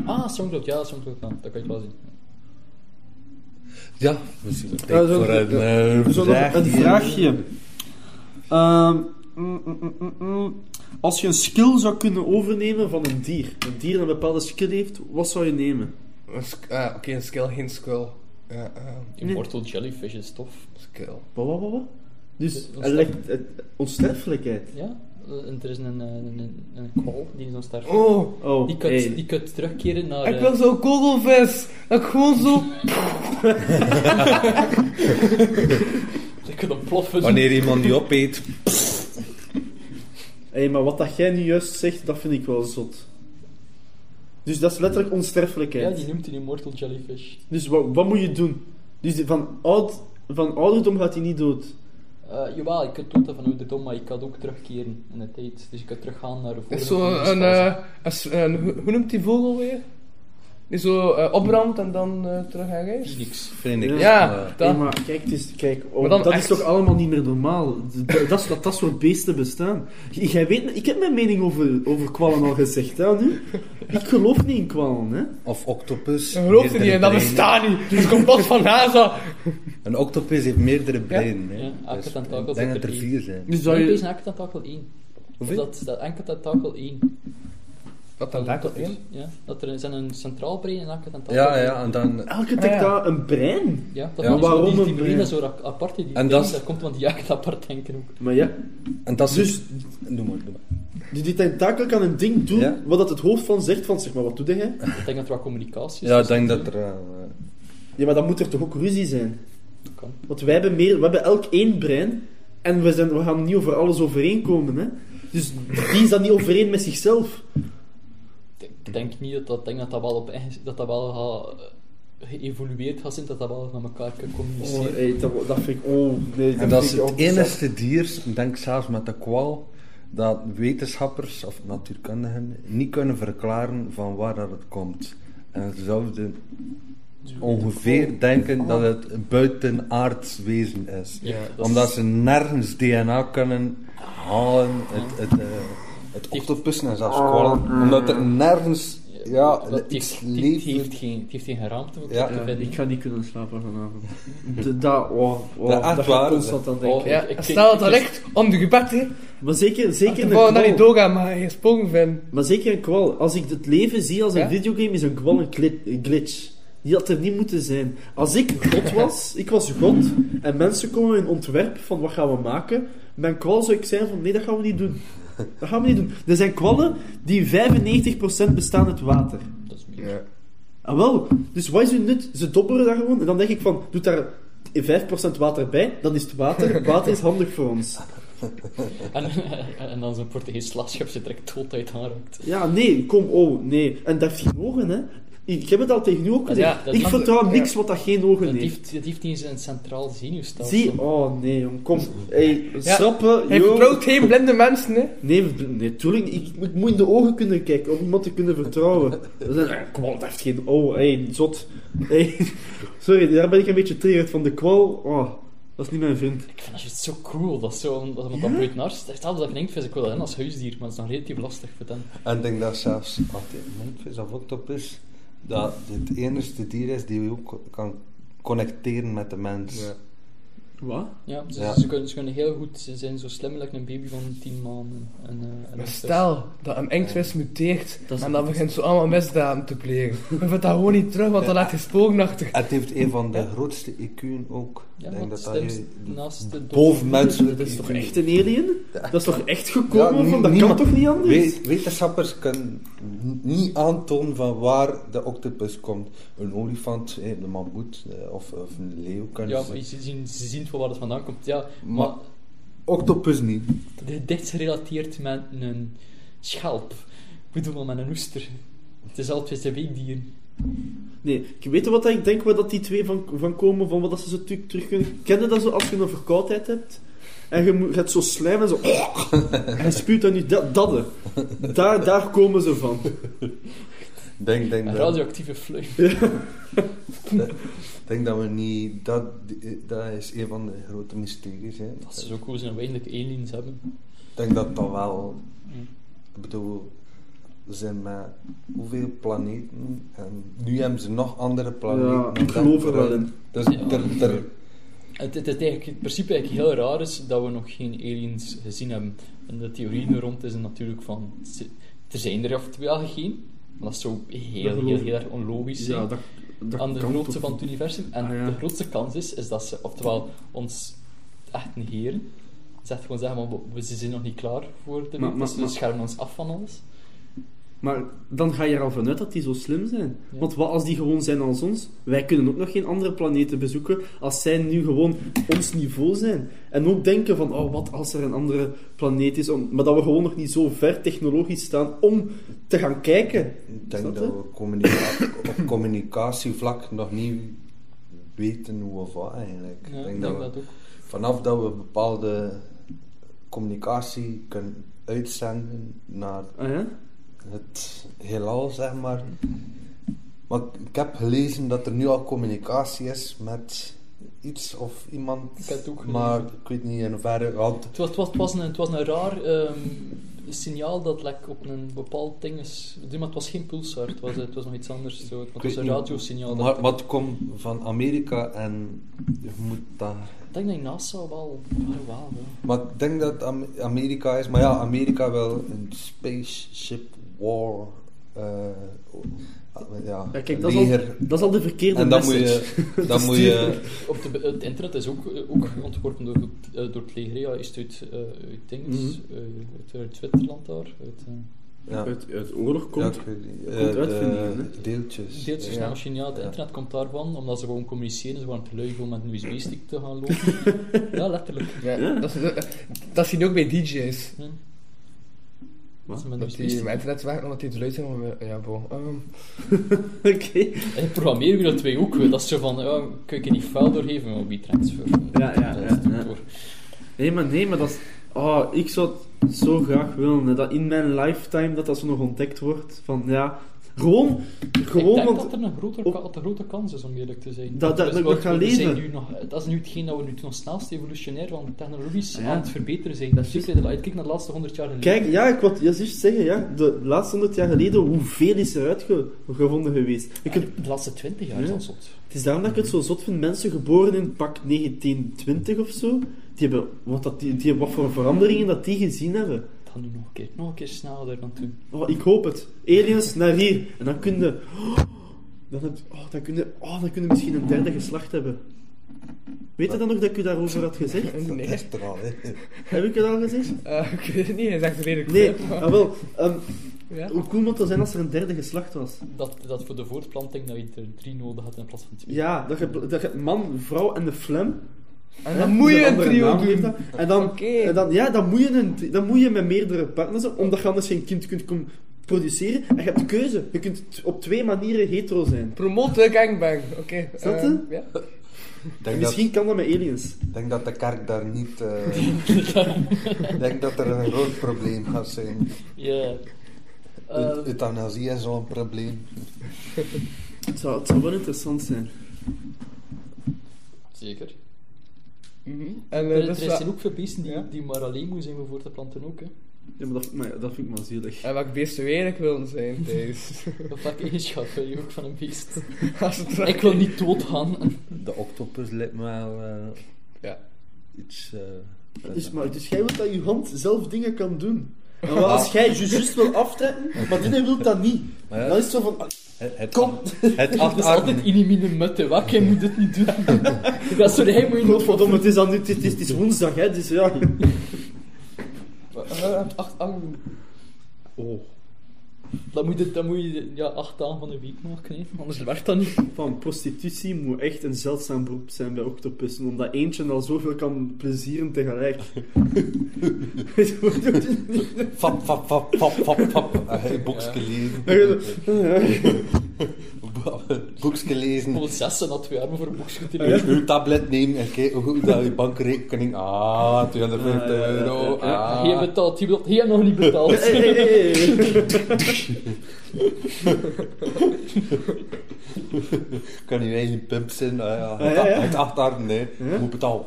Speaker 2: Ah, Soundcloud, ja, Soundcloud, ja, dat kan je wel zien.
Speaker 5: Ja, misschien tijd
Speaker 3: Ja, zo-
Speaker 5: voor een eh,
Speaker 3: Zo nog
Speaker 5: vraag
Speaker 3: een
Speaker 5: hier.
Speaker 3: vraagje. Ehm, mm, mm, mm, mm, mm. Als je een skill zou kunnen overnemen van een dier, een dier dat een bepaalde skill heeft, wat zou je nemen?
Speaker 4: Een sk- eh, Oké, een skill, geen skill. Ja, eh,
Speaker 2: Immortal Jellyfish is tof.
Speaker 4: skill.
Speaker 3: Wat, wat, wat, wat? Dus,
Speaker 2: Onsterfelijk.
Speaker 3: hij legt- eh, onsterfelijkheid.
Speaker 2: Ja, eh, en er is een, eh, een, een, een kwal die is onsterfelijk.
Speaker 4: Oh,
Speaker 3: Oh,
Speaker 2: Die kunt,
Speaker 3: hey.
Speaker 2: die kunt terugkeren naar...
Speaker 4: ik
Speaker 2: eh,
Speaker 4: wil zo'n kogelvis. Dat ik gewoon zo...
Speaker 2: Die kunt ontploffen.
Speaker 5: Wanneer iemand die opeet,
Speaker 3: Hey, maar wat dat jij nu juist zegt, dat vind ik wel zot. Dus dat is letterlijk
Speaker 2: Ja,
Speaker 3: onsterfelijkheid.
Speaker 2: die noemt hij Immortal Jellyfish.
Speaker 3: Dus wat, wat moet je doen? Dus die- van, oud, van ouderdom gaat hij niet dood.
Speaker 2: Eh, Eh, jawel, je kunt dood van ouderdom, maar je kan ook terugkeren in de tijd. Dus je kunt teruggaan naar de vorige
Speaker 4: Is zo een,
Speaker 2: levensfase.
Speaker 4: eh, een s- een- hoe hoe noemt die vogel weer? Die zo eh, opbrandt en dan eh, terug herrijst?
Speaker 2: Phoenix.
Speaker 5: Vind ik. eh,
Speaker 4: Ja,
Speaker 3: Nee,
Speaker 4: dat.
Speaker 3: maar kijk, het is, kijk oh,
Speaker 4: Maar dan
Speaker 3: dat is
Speaker 4: echt.
Speaker 3: toch allemaal niet meer normaal? D- Dat, dat, dat, dat soort beesten bestaan. J- Jij weet, ik heb mijn mening over, over kwallen al gezegd, hè, nu. Ik geloof niet in kwallen, hè.
Speaker 5: Of octopus.
Speaker 4: Ik geloofde
Speaker 5: meerdere
Speaker 4: niet en dat
Speaker 5: breinen.
Speaker 4: bestaat niet. Dus komt pas van NASA.
Speaker 5: Een octopus heeft meerdere breinen. hè.
Speaker 2: Ja, elke
Speaker 5: Dus
Speaker 2: tentakel
Speaker 5: ik
Speaker 2: zit
Speaker 5: denk dat
Speaker 2: er
Speaker 5: er
Speaker 2: drie.
Speaker 5: vier zijn.
Speaker 4: Dus
Speaker 2: Zou
Speaker 4: zou
Speaker 2: je...
Speaker 4: je...
Speaker 2: Deze enkel tentakel 1.
Speaker 5: Hoeveel?
Speaker 2: Dat, dat enkel tentakel 1.
Speaker 4: Wat dan daar tot in?
Speaker 2: Ja, dat er zijn een centraal brein en enkel tentakel
Speaker 5: Ja,
Speaker 2: één.
Speaker 5: ja, en dan...
Speaker 3: Elke
Speaker 4: Ah, ja.
Speaker 3: tekta een brein.
Speaker 2: Ja, dat
Speaker 5: Ja.
Speaker 2: is
Speaker 3: Waarom
Speaker 2: die,
Speaker 3: een
Speaker 2: die brein
Speaker 3: brein?
Speaker 2: is zo ra- apart. Die
Speaker 5: En
Speaker 2: en
Speaker 5: dat is-
Speaker 2: dat... komt van die jacht apart denken ook.
Speaker 3: Maar ja,
Speaker 5: En dat is...
Speaker 3: Dus-
Speaker 5: Noem maar, noem maar.
Speaker 3: die, die tentakel kan een ding doen
Speaker 5: Ja.
Speaker 3: wat dat het hoofd van zegt van, zeg maar, wat doe jij?
Speaker 2: Ik denk dat er wel communicatie is.
Speaker 5: Ja, ik
Speaker 2: dus
Speaker 5: denk dat er... eh, eh,
Speaker 3: Ja, maar dan moet er toch ook ruzie zijn?
Speaker 2: dat kan.
Speaker 3: Want wij hebben, meer, we hebben elk één brein en we, zijn, we gaan niet over alles overeenkomen, hè. Dus die is dan niet overeen met zichzelf.
Speaker 2: Ik denk niet dat dat, ik denk dat, dat wel op eigen- dat dat wel gaat, eh, geëvolueerd gaat zijn, dat dat wel naar elkaar kan
Speaker 3: Oh,
Speaker 2: communiceren.
Speaker 3: ey, dat, dat vind ik... Oh, nee,
Speaker 5: En dat is
Speaker 3: vind ik
Speaker 5: het
Speaker 3: ook bizar.
Speaker 5: enige dier, ik denk zelfs met de kwal, dat wetenschappers of natuurkundigen niet kunnen verklaren van waar dat het komt. En ze zouden
Speaker 2: Oh.
Speaker 5: ongeveer denken dat het een buitenaards wezen is.
Speaker 2: Ja, dat is-
Speaker 5: Omdat ze nergens DNA kunnen halen, het, het, eh, het octopussen en zelfs kwallen. Omdat er nergens ja,
Speaker 2: dat heeft,
Speaker 5: iets
Speaker 2: die- die
Speaker 5: leeft.
Speaker 2: heeft geen, die heeft geen geraamte voor
Speaker 5: Ja.
Speaker 2: te
Speaker 3: Ja,
Speaker 2: vinden.
Speaker 3: ik ga niet kunnen slapen vanavond. De, dat, oh, oh,
Speaker 5: Dat echt
Speaker 3: dat
Speaker 5: waar,
Speaker 3: gaat constant aan denken.
Speaker 2: Oh,
Speaker 4: Ja,
Speaker 2: Ik- ik-
Speaker 4: stel dat
Speaker 2: ik-
Speaker 4: dat echt om de gebed, hè.
Speaker 3: Maar zeker, zeker
Speaker 4: Ik
Speaker 3: een
Speaker 4: wou naar die
Speaker 3: kwal.
Speaker 4: doga, maar je sprong van.
Speaker 3: Maar zeker een kwal. Als ik het leven zie als een
Speaker 4: Ja?
Speaker 3: videogame, is een kwal een glit- een glitch. Die had er niet moeten zijn. Als ik god was, ik was god, en mensen komen met een ontwerp van wat gaan we maken, mijn kwal zou ik zijn van nee, dat gaan we niet doen. Dat gaan we niet doen. Er zijn kwallen die 95% bestaan uit water.
Speaker 2: Dat is meer.
Speaker 5: Ja.
Speaker 3: Ah wel, dus wat is hun nut? Ze dobberen daar gewoon en dan denk ik van, doet daar 5% water bij, dan is het water. Water is handig voor ons.
Speaker 2: En, en dan zo'n Portugees slaatschap ze direct dood uit aanraakt.
Speaker 3: Ja, nee, kom, oh, nee. En dat heeft geen ogen, hè. Ik heb het al tegen u ook gezegd.
Speaker 2: Ja, dat
Speaker 3: ik
Speaker 2: mag-
Speaker 3: vertrouw
Speaker 4: ja.
Speaker 3: niks wat dat geen ogen
Speaker 2: Dat
Speaker 3: heeft.
Speaker 2: heeft, dat heeft niet eens een centraal zenuwstelsel.
Speaker 3: Zie, oh nee, jong, kom. Hey,
Speaker 4: Ja.
Speaker 3: schrappen,
Speaker 4: Hij
Speaker 3: joh.
Speaker 4: vertrouwt geen blinde mensen, hè.
Speaker 3: Nee, v- nee, tuurlijk, ik, ik moet in de ogen kunnen kijken om iemand te kunnen vertrouwen. Dat is een- eh, Kwal, dat heeft geen... Oh, hey, zot. Hey, sorry, daar ben ik een beetje triggerd van de kwal. Oh, dat is niet mijn vriend.
Speaker 2: Ik vind dat juist zo cool, dat zo, dat iemand dat broeit naar Hetzelfde dat ik denk, vind ik wel in als huisdier, maar dat is dan relatief lastig voor hen.
Speaker 5: En ik denk dat zelfs als die Memphis of octopus, dat dit het enige dier is die ook kan connecteren met de mens.
Speaker 4: Ja.
Speaker 3: Wat?
Speaker 2: Ja, ze,
Speaker 5: Ja.
Speaker 2: Ze, kunnen, ze kunnen heel goed, ze zijn zo slim als een baby van 10 maanden. En, eh, en
Speaker 4: Maar
Speaker 2: dat is-
Speaker 4: stel dat een engvis muteert
Speaker 3: Dat is-
Speaker 4: en dan begint zo allemaal misdaden te plegen. We vindt dat gewoon niet terug, want dan laat je sporen achter.
Speaker 5: Het heeft een van de grootste IQ'en ook.
Speaker 2: Ja,
Speaker 5: ik
Speaker 2: want
Speaker 5: denk
Speaker 2: dat
Speaker 5: dat dat hier
Speaker 2: naast de
Speaker 5: bovenmenselijk
Speaker 3: Dat is toch echt een alien? Dat is toch echt
Speaker 5: Ja,
Speaker 3: gekomen?
Speaker 5: nie-
Speaker 3: van, dat
Speaker 5: niemand-
Speaker 3: kan toch niet anders?
Speaker 5: Weet- wetenschappers kunnen n- niet aantonen van waar de octopus komt. Een olifant, eh, een mammoet eh, of, of een leeuw kunnen
Speaker 2: Ja,
Speaker 5: ze-
Speaker 2: maar je ziet, ze zien van waar het vandaan komt. Ja,
Speaker 5: Maar-
Speaker 2: maar
Speaker 5: Octopus niet.
Speaker 2: dit is dicht gerelateerd met een schelp. Ik bedoel, maar met een oester. Het is altijd de weekdier.
Speaker 3: Nee, ik weet wat ik denk waar dat die twee van, van komen, van wat dat ze zo terug, terug kunnen... Ken je dat zo als je een verkoudheid hebt? En je moet- je hebt zo slijm en zo... en je spuwt dan niet dat, dat hè. daar, daar komen ze van.
Speaker 5: Denk, denk,
Speaker 2: Een
Speaker 5: dat,
Speaker 2: radioactieve fluim.
Speaker 5: denk dat we niet... Dat, eh, dat is een van de grote mysteries. Hè.
Speaker 2: Dat is ook hoe ze een weinig aliens hebben.
Speaker 5: Ik denk dat dat wel.
Speaker 2: Mm.
Speaker 5: Ik bedoel, we zijn met hoeveel planeten en nu hebben ze nog andere
Speaker 3: Ja,
Speaker 5: planeten.
Speaker 3: ik geloof er wel in.
Speaker 5: Dus
Speaker 2: Ja.
Speaker 5: ter, ter,
Speaker 2: Het, het is eigenlijk in principe eigenlijk heel raar is dat we nog geen aliens gezien hebben. En de theorie er rond is natuurlijk van, ze- er zijn er oftewel geen. Maar dat zou heel, heel, heel, erg onlogisch zijn.
Speaker 3: dat, dat
Speaker 2: aan de
Speaker 3: kan
Speaker 2: grootste
Speaker 3: toch
Speaker 2: van
Speaker 3: niet?
Speaker 2: het universum. En
Speaker 3: Ah, ja.
Speaker 2: de grootste kans is, is dat ze oftewel ons echt negeren. Ze echt gewoon zeggen, van, we- we ze zijn nog niet klaar voor de
Speaker 3: Maar-
Speaker 2: wereld,
Speaker 3: maar-
Speaker 2: dus ze
Speaker 3: maar-
Speaker 2: schermen ons af van alles.
Speaker 3: Maar dan ga je er al vanuit dat die zo slim zijn. Want wat als die gewoon zijn als ons? Wij kunnen ook nog geen andere planeten bezoeken als zij nu gewoon ons niveau zijn. En ook denken van, oh, wat als er een andere planeet is? Om, maar dat we gewoon nog niet zo ver technologisch staan om te gaan kijken.
Speaker 5: ik
Speaker 3: Is
Speaker 5: denk
Speaker 3: dat
Speaker 5: dat
Speaker 3: het?
Speaker 5: we communica op communicatievlak nog niet weten hoe of wat eigenlijk.
Speaker 2: Ja,
Speaker 5: Ik
Speaker 2: ik
Speaker 5: denk
Speaker 2: denk
Speaker 5: we-
Speaker 2: dat ook.
Speaker 5: vanaf dat we bepaalde communicatie kunnen uitzenden naar
Speaker 3: Ah ja?
Speaker 5: het heelal, zeg maar. Maar ik- ik heb gelezen dat er nu al communicatie is met iets of iemand.
Speaker 2: heb het ook gelezen.
Speaker 5: maar ik weet niet in hoeverre. Want
Speaker 2: Het was, het was, het was, een, het was een raar ehm, signaal dat like, op een bepaald ding is. Maar het was geen pulsar, het was, het was nog iets anders. Zo. Het was
Speaker 5: weet
Speaker 2: een
Speaker 5: niet-
Speaker 2: radiosignaal. dat-
Speaker 5: maar, maar het komt van Amerika en je moet daar.
Speaker 2: Ik denk dat je NASA wel. wel, wel ja.
Speaker 5: Maar ik denk dat Am- Amerika is. Maar ja, Amerika wil een spaceship war. eh, ja,
Speaker 3: Ja, kijk,
Speaker 5: een
Speaker 3: dat is, al,
Speaker 5: leger.
Speaker 3: dat is al de verkeerde
Speaker 5: En dan moet
Speaker 3: message.
Speaker 5: je. Dan moet je
Speaker 2: Op de, het internet is ook, eh, ook ontworpen door, het- eh, door het leger. Ja, is het uit, eh, uit Dings,
Speaker 5: Mhm.
Speaker 2: eh, uit, uit Zwitserland daar. Uit, eh,
Speaker 5: ja.
Speaker 3: Uit, uit oorlog
Speaker 5: Ja,
Speaker 3: komt.
Speaker 5: ik weet niet.
Speaker 3: komt
Speaker 5: Eh,
Speaker 3: uit
Speaker 5: de
Speaker 3: Finland,
Speaker 5: Deeltjes.
Speaker 2: deeltjes
Speaker 5: Ja.
Speaker 3: nou.
Speaker 2: naar China. Ja, het
Speaker 5: Ja.
Speaker 2: internet komt daarvan, omdat ze gewoon communiceren. Ze waren te lui om met een USB-stick te gaan lopen. ja, letterlijk.
Speaker 4: Ja, Dat, is, dat, dat zie je ook bij DJ's.
Speaker 2: Ja.
Speaker 3: Wat?
Speaker 2: Ze met een
Speaker 4: Dat die
Speaker 2: USB-stick.
Speaker 4: met internet werken omdat die te luid zijn om... eh, Ja, bon. ehm,
Speaker 3: Oké.
Speaker 2: En je programmeert dat twee ook. hè. Dat is zo van, ja, kun je die file doorgeven op die transfer.
Speaker 3: Ja, ja,
Speaker 2: Dat is
Speaker 3: ja,
Speaker 2: het
Speaker 3: ja.
Speaker 2: door.
Speaker 3: Nee, maar nee, maar dat is... Oh, ik zou het zo graag willen. hè, Dat in mijn lifetime dat dat zo nog ontdekt wordt. Van, ja... Gewoon...
Speaker 2: ik
Speaker 3: Gewoon,
Speaker 2: denk
Speaker 3: want...
Speaker 2: dat er een grote,
Speaker 3: op-
Speaker 2: dat er grote kans is, om eerlijk te zijn.
Speaker 3: Dat- dat-
Speaker 2: is
Speaker 3: dat ik
Speaker 2: wat
Speaker 3: dat ga
Speaker 2: we zijn
Speaker 3: lezen.
Speaker 2: Nu nog, dat is nu hetgeen dat we nu nog snelst evolutionair van technologisch
Speaker 3: Ja.
Speaker 2: aan het verbeteren zijn. Dat is juist, hè, dat- kijk naar de laatste 100 jaar geleden.
Speaker 3: Kijk, ja, ik wou juist zeggen, ja. De laatste honderd jaar geleden, hoeveel is er uitgevonden geweest? Je kunt-
Speaker 2: de laatste 20 jaar
Speaker 3: Ja.
Speaker 2: zelfs zot.
Speaker 3: het is daarom dat ik het zo zot vind. Mensen geboren in pak 1920 of zo, die hebben... Wat, dat, die, die, wat voor veranderingen dat die gezien hebben.
Speaker 2: Dat nu nog een keer, nog een keer sneller dan toen.
Speaker 3: Oh, ik hoop het. Aliens naar hier. En dan kun je... oh, dan, heb, oh, dan, kun je, oh, dan kun je misschien een derde geslacht hebben. Weet je dan nog dat ik u daarover had gezegd?
Speaker 5: Dat
Speaker 4: nee.
Speaker 5: is er al, hè.
Speaker 3: Heb ik het al gezegd?
Speaker 4: Eh, ik weet het niet, hij zegt het redelijk
Speaker 3: Nee,
Speaker 4: veel.
Speaker 3: ah, wel. ehm,
Speaker 4: Ja.
Speaker 3: hoe cool moet dat zijn als er een derde geslacht was?
Speaker 2: Dat, dat voor de voortplanting dat je er drie nodig had in plaats van twee.
Speaker 3: Ja, dat je, dat je man, vrouw en de flem.
Speaker 4: En dan moet je een
Speaker 3: andere
Speaker 4: trio
Speaker 3: naam geeft
Speaker 4: doen.
Speaker 3: dat. En dan,
Speaker 4: Oké.
Speaker 3: en dan, ja, dan moet, je een, tri- dan moet je met meerdere partners, hebben, omdat je anders geen kind kunt com- produceren. En je hebt keuze. Je kunt t- op twee manieren hetero zijn.
Speaker 4: Promote de gangbang. Oké.
Speaker 3: dat
Speaker 4: eh,
Speaker 3: het?
Speaker 4: Ja.
Speaker 5: Ik denk, dat,
Speaker 3: Misschien kan dat met aliens.
Speaker 5: ik denk dat de kerk daar niet. eh, ik denk dat er een groot probleem gaat zijn.
Speaker 2: Ja. Eh,
Speaker 5: Eut- Euthanasie is al een probleem.
Speaker 3: Het zou, het zou wel interessant zijn.
Speaker 2: zeker.
Speaker 4: En eh,
Speaker 2: Er,
Speaker 4: dat is
Speaker 2: er
Speaker 4: wel-
Speaker 2: zijn ook veel beesten die,
Speaker 4: Ja.
Speaker 2: die maar alleen moeten zijn om voor te planten ook. Hè.
Speaker 3: Ja, maar dat, maar ja, dat vind ik maar zielig.
Speaker 4: En welk beest zou je eigenlijk willen zijn, Thijs?
Speaker 2: Of welke eigenschap wil je ook van een beest?
Speaker 4: Als het
Speaker 2: Ik wil niet doodgaan.
Speaker 5: De octopus lijkt me wel eh,
Speaker 4: Ja.
Speaker 5: iets. eh,
Speaker 3: Dus, maar, dus jij wilt dat je hand zelf dingen kan doen. En wat als jij ju- juist wil aftrekken, maar die wil dat niet.
Speaker 5: Maar ja,
Speaker 3: Dan is het zo van... ah,
Speaker 5: het, het,
Speaker 3: Kom.
Speaker 5: het
Speaker 2: Dat is altijd
Speaker 5: achtarmen.
Speaker 2: in die mine mutte. Wat, jij moet dit niet doen. Dat is zo, hij moet je niet
Speaker 3: Godverdomme, het is, dan, het, is, het is woensdag, hè, dus ja.
Speaker 4: Eh, Acht angelen.
Speaker 3: Oh,
Speaker 2: ah, Dan moet je, dan moet je ja, acht dagen van de week maken, hè. anders werkt dat niet.
Speaker 3: van prostitutie moet echt een zeldzaam beroep zijn bij octopussen, omdat eentje al zoveel kan plezieren tegelijk. Weet je wat ik bedoel?
Speaker 5: Fap, fap, fap, fap, fap, fap. Eh, hey, boekske lezen. Boekske lezen.
Speaker 2: Bijvoorbeeld zes en dat twee armen voor een boekje te
Speaker 5: Uw,
Speaker 2: lezen.
Speaker 5: uw tablet nemen en kijk hoe dat je bankrekening. Ah, 250
Speaker 3: Ah, ja, ja, ja,
Speaker 5: euro.
Speaker 3: ja, ja.
Speaker 5: Ah.
Speaker 2: Hij betaalt, hij betaalt, hij heeft nog niet betaald.
Speaker 3: Hey, hey, hey, hey.
Speaker 5: kan je eigen pimp zijn. Ah, ja.
Speaker 3: ja, ja.
Speaker 5: Het achterarm, nee. Moet betalen.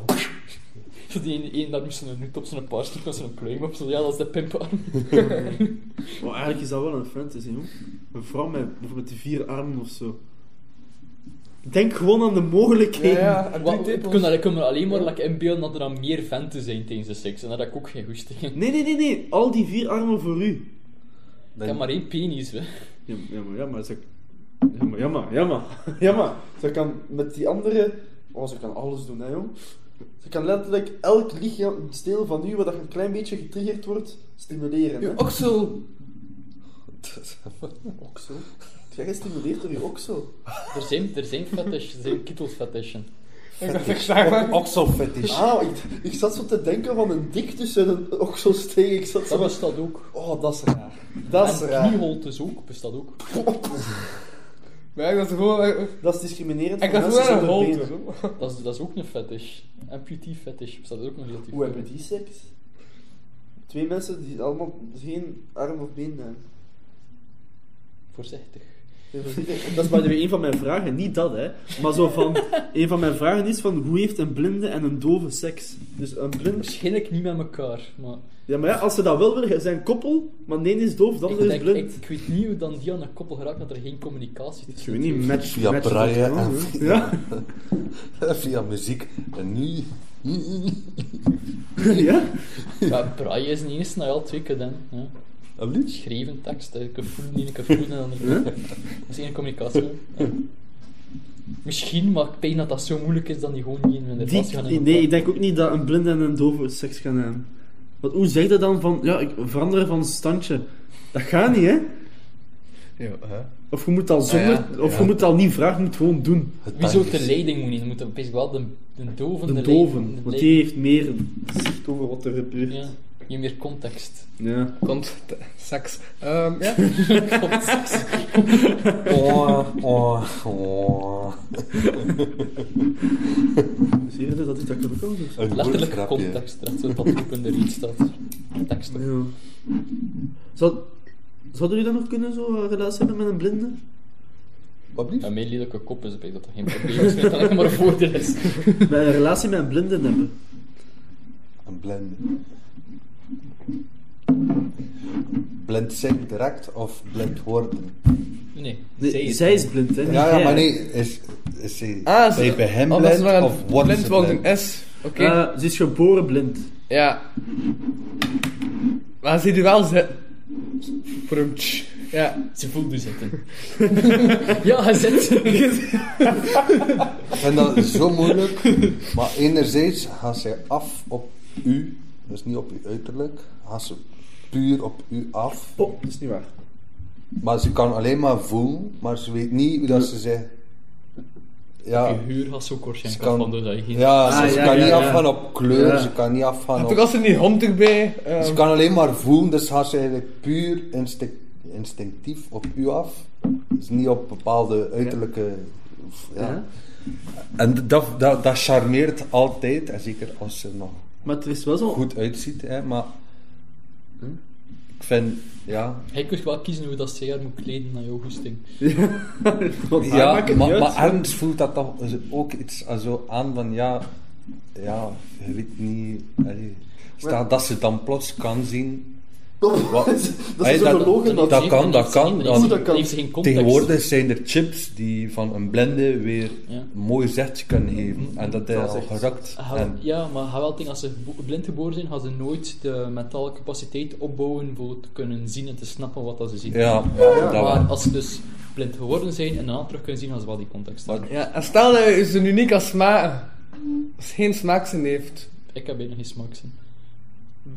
Speaker 2: Zo Die ene- ene daar moest een hoed op, zijn paar stuk en zijn pluim op. Zo, ja, dat is de pimparm.
Speaker 3: Maar eigenlijk is dat wel een fantasy, hoor. Een vrouw met bijvoorbeeld vier armen of zo. Denk gewoon aan de mogelijkheden.
Speaker 4: Ja, en
Speaker 2: Wat-
Speaker 4: drie
Speaker 2: Ik
Speaker 4: tepels.
Speaker 2: kan daar- ik kan me alleen maar like, inbeelden dat er dan meer venten zijn tijdens de seks. En daar heb ik ook geen goesting in.
Speaker 3: Nee, nee, nee, nee. Al die vier armen voor u.
Speaker 2: Ik heb maar één penis, hè.
Speaker 3: Ja, ja, maar, ja, maar, ze... ja, maar, ja, maar, ja, maar, ja, maar. Ze kan met die andere... Oh, ze kan alles doen, hè, jong. Ze kan letterlijk elk lichaamsdeel van u, waar dat je een klein beetje getriggerd wordt, stimuleren, hè.
Speaker 4: Oksel.
Speaker 3: Oksel. Jij gestimuleerd door je oksel.
Speaker 2: Er zijn, er zijn fetish, er zijn kittelfetishen.
Speaker 4: Ik dacht, ik zag
Speaker 5: Oh,
Speaker 4: maar.
Speaker 5: Okselfetish.
Speaker 3: Ah, ik, ik zat zo te denken van een dik tussen een okselsteek. Ik zat zo
Speaker 2: Dat
Speaker 3: van...
Speaker 2: bestaat ook.
Speaker 3: Oh, dat is raar. Dat is
Speaker 2: en dus
Speaker 3: raar.
Speaker 2: knieholtes ook, bestaat ook.
Speaker 4: Maar ja, dat is gewoon... eh,
Speaker 3: Dat is discriminerend.
Speaker 4: Ik
Speaker 3: voor
Speaker 4: had
Speaker 3: mensen
Speaker 4: gewoon aan een
Speaker 3: zonder
Speaker 4: hol
Speaker 3: benen.
Speaker 4: doen.
Speaker 2: Dat is, dat is ook een fetish. Amputee fetish bestaat ook nog relatief
Speaker 3: Hoe
Speaker 2: veel.
Speaker 3: hebben die seks? Twee mensen die allemaal Dus geen arm of been hebben.
Speaker 2: Voorzichtig.
Speaker 3: Dat is by the way een van mijn vragen, niet dat hè. Maar zo van, een van mijn vragen is van hoe heeft een blinde en een dove seks? Dus een blinde...
Speaker 2: Waarschijnlijk niet met elkaar, maar...
Speaker 3: Ja maar ja, als ze dat wel willen, zijn koppel, maar de een is doof, de
Speaker 2: Ik,
Speaker 3: ander is
Speaker 2: denk- ik,
Speaker 3: blind.
Speaker 2: ik weet niet hoe dan die aan een koppel geraakt dat er geen communicatie tussen
Speaker 3: Ik weet niet,
Speaker 2: zit.
Speaker 3: match...
Speaker 5: Via
Speaker 3: match-
Speaker 5: braaien
Speaker 3: match-
Speaker 5: en
Speaker 3: Ja,
Speaker 5: via muziek. En nu...
Speaker 3: ja.
Speaker 2: Ja, braille is niet eens, nou ja, twee keer dan. Ja. Geschreven tekst, hè. ik kan voelen, niet, ik kan voelen en dan... Dat is één communicatie. hè. Ja. Misschien, maar ik denk dat dat zo moeilijk is dat die gewoon niet in hun relatie gaan
Speaker 3: Die, nee, ik denk ook niet dat een blinde en een dove seks gaan hebben. Want hoe zeg je dan van, ja, ik veranderen van standje? Dat gaat niet hè.
Speaker 4: Ja, hè.
Speaker 3: Of je moet dat zonder,
Speaker 4: Ah, ja.
Speaker 3: of je
Speaker 4: Ja.
Speaker 3: moet dat niet vragen, je moet het gewoon doen.
Speaker 2: Wie zou de leiding moeten? Moet dat best wel de, de doven...
Speaker 3: De
Speaker 2: leiding-
Speaker 3: doven,
Speaker 2: de
Speaker 3: want die
Speaker 2: leiding-
Speaker 3: heeft meer zicht over wat er gebeurt.
Speaker 2: Ja, je hebt meer context.
Speaker 3: Ja.
Speaker 4: Kont, t- eh, seks. Ehm, ja.
Speaker 2: context.
Speaker 5: Oh, oh, oh.
Speaker 3: Zie je dat is dat kan ook wel dus.
Speaker 5: Een
Speaker 2: Letterlijk
Speaker 5: woordgrapje.
Speaker 2: context, dat zo dat ook in de read staat. Tekst.
Speaker 3: Ja. Zou, zouden jullie dan nog kunnen zo eh, relatie hebben met een blinde?
Speaker 5: Wat blieft?
Speaker 2: Ja, mijn lelijke kop is bij dat dat geen probleem is, dat alleen maar een voordeel is.
Speaker 3: Met een relatie met een blinde hebben.
Speaker 5: Een blend. Blend zijn direct of blend worden?
Speaker 2: Nee,
Speaker 3: Nee,
Speaker 2: zij is
Speaker 3: zij is blind, hè? niet
Speaker 5: Ja, ja,
Speaker 3: hij.
Speaker 5: maar nee, is, is ze
Speaker 4: Ah,
Speaker 5: bij,
Speaker 4: ze-
Speaker 5: bij hem
Speaker 4: oh, dat is
Speaker 5: blend
Speaker 4: wel een
Speaker 5: of wordt
Speaker 4: blind
Speaker 5: ze
Speaker 4: want
Speaker 5: blend?
Speaker 4: een S. Oké.
Speaker 3: Eh, ze is geboren blind.
Speaker 4: Ja. Maar ziet u wel ze... Prumtsch. Ja.
Speaker 2: Ze voelt u zitten. ja, hij zit.
Speaker 5: Ik vind dat zo moeilijk, maar enerzijds gaan zij af op u, dus niet op uw uiterlijk, gaan ze puur op u af.
Speaker 3: Oh, dat is niet waar.
Speaker 5: Maar ze kan alleen maar voelen, maar ze weet niet hoe dat ze zich...
Speaker 2: Je
Speaker 5: Ja,
Speaker 2: huur had zo kort
Speaker 5: ze
Speaker 2: zijn kan van
Speaker 5: kan,
Speaker 2: doen dat je geen...
Speaker 5: ja, ze,
Speaker 3: Ah,
Speaker 5: ze
Speaker 3: ja,
Speaker 5: kan
Speaker 3: ja,
Speaker 5: niet
Speaker 3: ja.
Speaker 5: afgaan op kleur,
Speaker 3: Ja.
Speaker 5: ze kan niet afgaan
Speaker 4: Toch
Speaker 5: op...
Speaker 4: als er niet hond erbij. ehm,
Speaker 5: Ze Dus kan alleen maar voelen, dus gaat ze eigenlijk puur instinct, instinctief op u af. Dus niet op bepaalde uiterlijke... Ja.
Speaker 3: Ja.
Speaker 5: En d- dat, dat, dat charmeert altijd, en zeker als ze nog
Speaker 3: Maar er is wel zo...
Speaker 5: goed uitziet, hè, maar
Speaker 3: Hm?
Speaker 5: ik vind, ja,
Speaker 2: Hij kunt wel kiezen hoe dat zij haar moet kleden naar jouw goesting.
Speaker 3: Want haar maakt
Speaker 5: ja
Speaker 3: het niet
Speaker 5: maar,
Speaker 3: uit.
Speaker 5: maar ergens voelt dat toch ook iets eh, zo aan van, ja, ja, je weet niet, allee, stel dat ze dan plots kan zien, wat,
Speaker 3: dat
Speaker 5: Hey,
Speaker 3: is
Speaker 5: dat-
Speaker 3: een logen
Speaker 5: dat-
Speaker 3: dat...
Speaker 2: Heeft-
Speaker 5: kan, dat kan,
Speaker 2: heeft-
Speaker 5: dan-
Speaker 2: heeft- heeft ze geen context.
Speaker 5: tegenwoordig zijn er chips die van een blinde weer
Speaker 2: Ja.
Speaker 5: een mooi zetje kunnen geven, en dat is al gerakt.
Speaker 2: Ga-
Speaker 5: En,
Speaker 2: ja, maar ga wel denken, als ze gebo- blind geboren zijn, gaan ze nooit de mentale capaciteit opbouwen voor te kunnen zien en te snappen wat dat ze zien.
Speaker 5: ja, ja, dat wel.
Speaker 2: Maar als ze dus blind geworden zijn en daarna terug kunnen zien, gaan ze wel die context hebben.
Speaker 4: Ja, en stel dat je ze nu niet kan smaken. Als geen smaakzin heeft.
Speaker 2: Ik heb bijna geen smaakzin.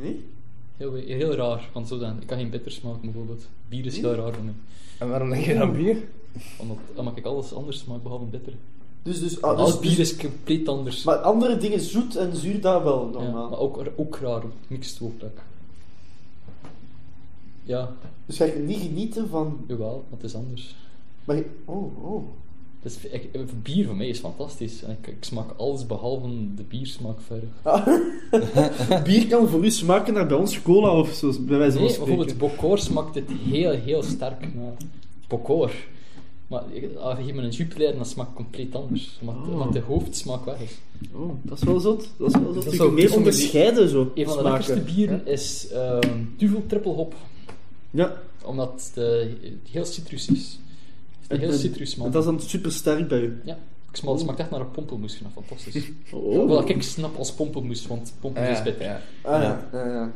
Speaker 3: Nee?
Speaker 2: Heel, heel raar, want zo dan. Ik kan geen bitters smaken bijvoorbeeld. Bier is heel raar voor mij.
Speaker 4: En waarom denk je dan bier?
Speaker 2: Omdat dan maak ik alles anders smaak behalve bitter.
Speaker 3: Dus, dus, ah, dus,
Speaker 2: Als bier
Speaker 3: dus-
Speaker 2: is compleet anders.
Speaker 3: Maar andere dingen, zoet en zuur, dat wel
Speaker 2: ja,
Speaker 3: normaal.
Speaker 2: maar ook, ook raar, mixed woordelijk. Ja,
Speaker 3: Dus ga je niet genieten van...
Speaker 2: jawel, maar het is anders.
Speaker 3: Maar je- Oh, oh.
Speaker 2: Dus ik, bier voor mij is fantastisch. En ik, ik smaak alles behalve de biersmaak verder.
Speaker 3: Bier kan voor u smaken naar bij ons cola of zo, bij wijze van
Speaker 2: Nee,
Speaker 3: spreken.
Speaker 2: bijvoorbeeld Bokor smaakt het heel, heel sterk naar Bokor. Maar ik- als je geeft me een Jupiler, dan smaakt het compleet anders. Maar de-
Speaker 3: Oh.
Speaker 2: maar de hoofdsmaak weg is.
Speaker 3: Oh, dat is wel zot. Dat is wel zot.
Speaker 4: is
Speaker 3: je
Speaker 4: ook
Speaker 3: kunt meer
Speaker 4: tussen de-
Speaker 3: onderscheiden zo.
Speaker 2: Een van de
Speaker 3: smaken.
Speaker 2: lekkerste bieren is ehm Duvel Triple Hop.
Speaker 3: Ja.
Speaker 2: Omdat de- het heel citrus is. Het is een heel
Speaker 3: En-
Speaker 2: citrus
Speaker 3: en
Speaker 2: smaak.
Speaker 3: Dat is dan super sterk bij u.
Speaker 2: Ja. Ik smaak, het smaakt echt naar een pompelmoes. Ik vind dat fantastisch.
Speaker 3: Oh.
Speaker 2: Wat ik snap als pompelmoes, want pompelmoes is beter.
Speaker 4: ja.
Speaker 3: Ah, ja. ja, ja.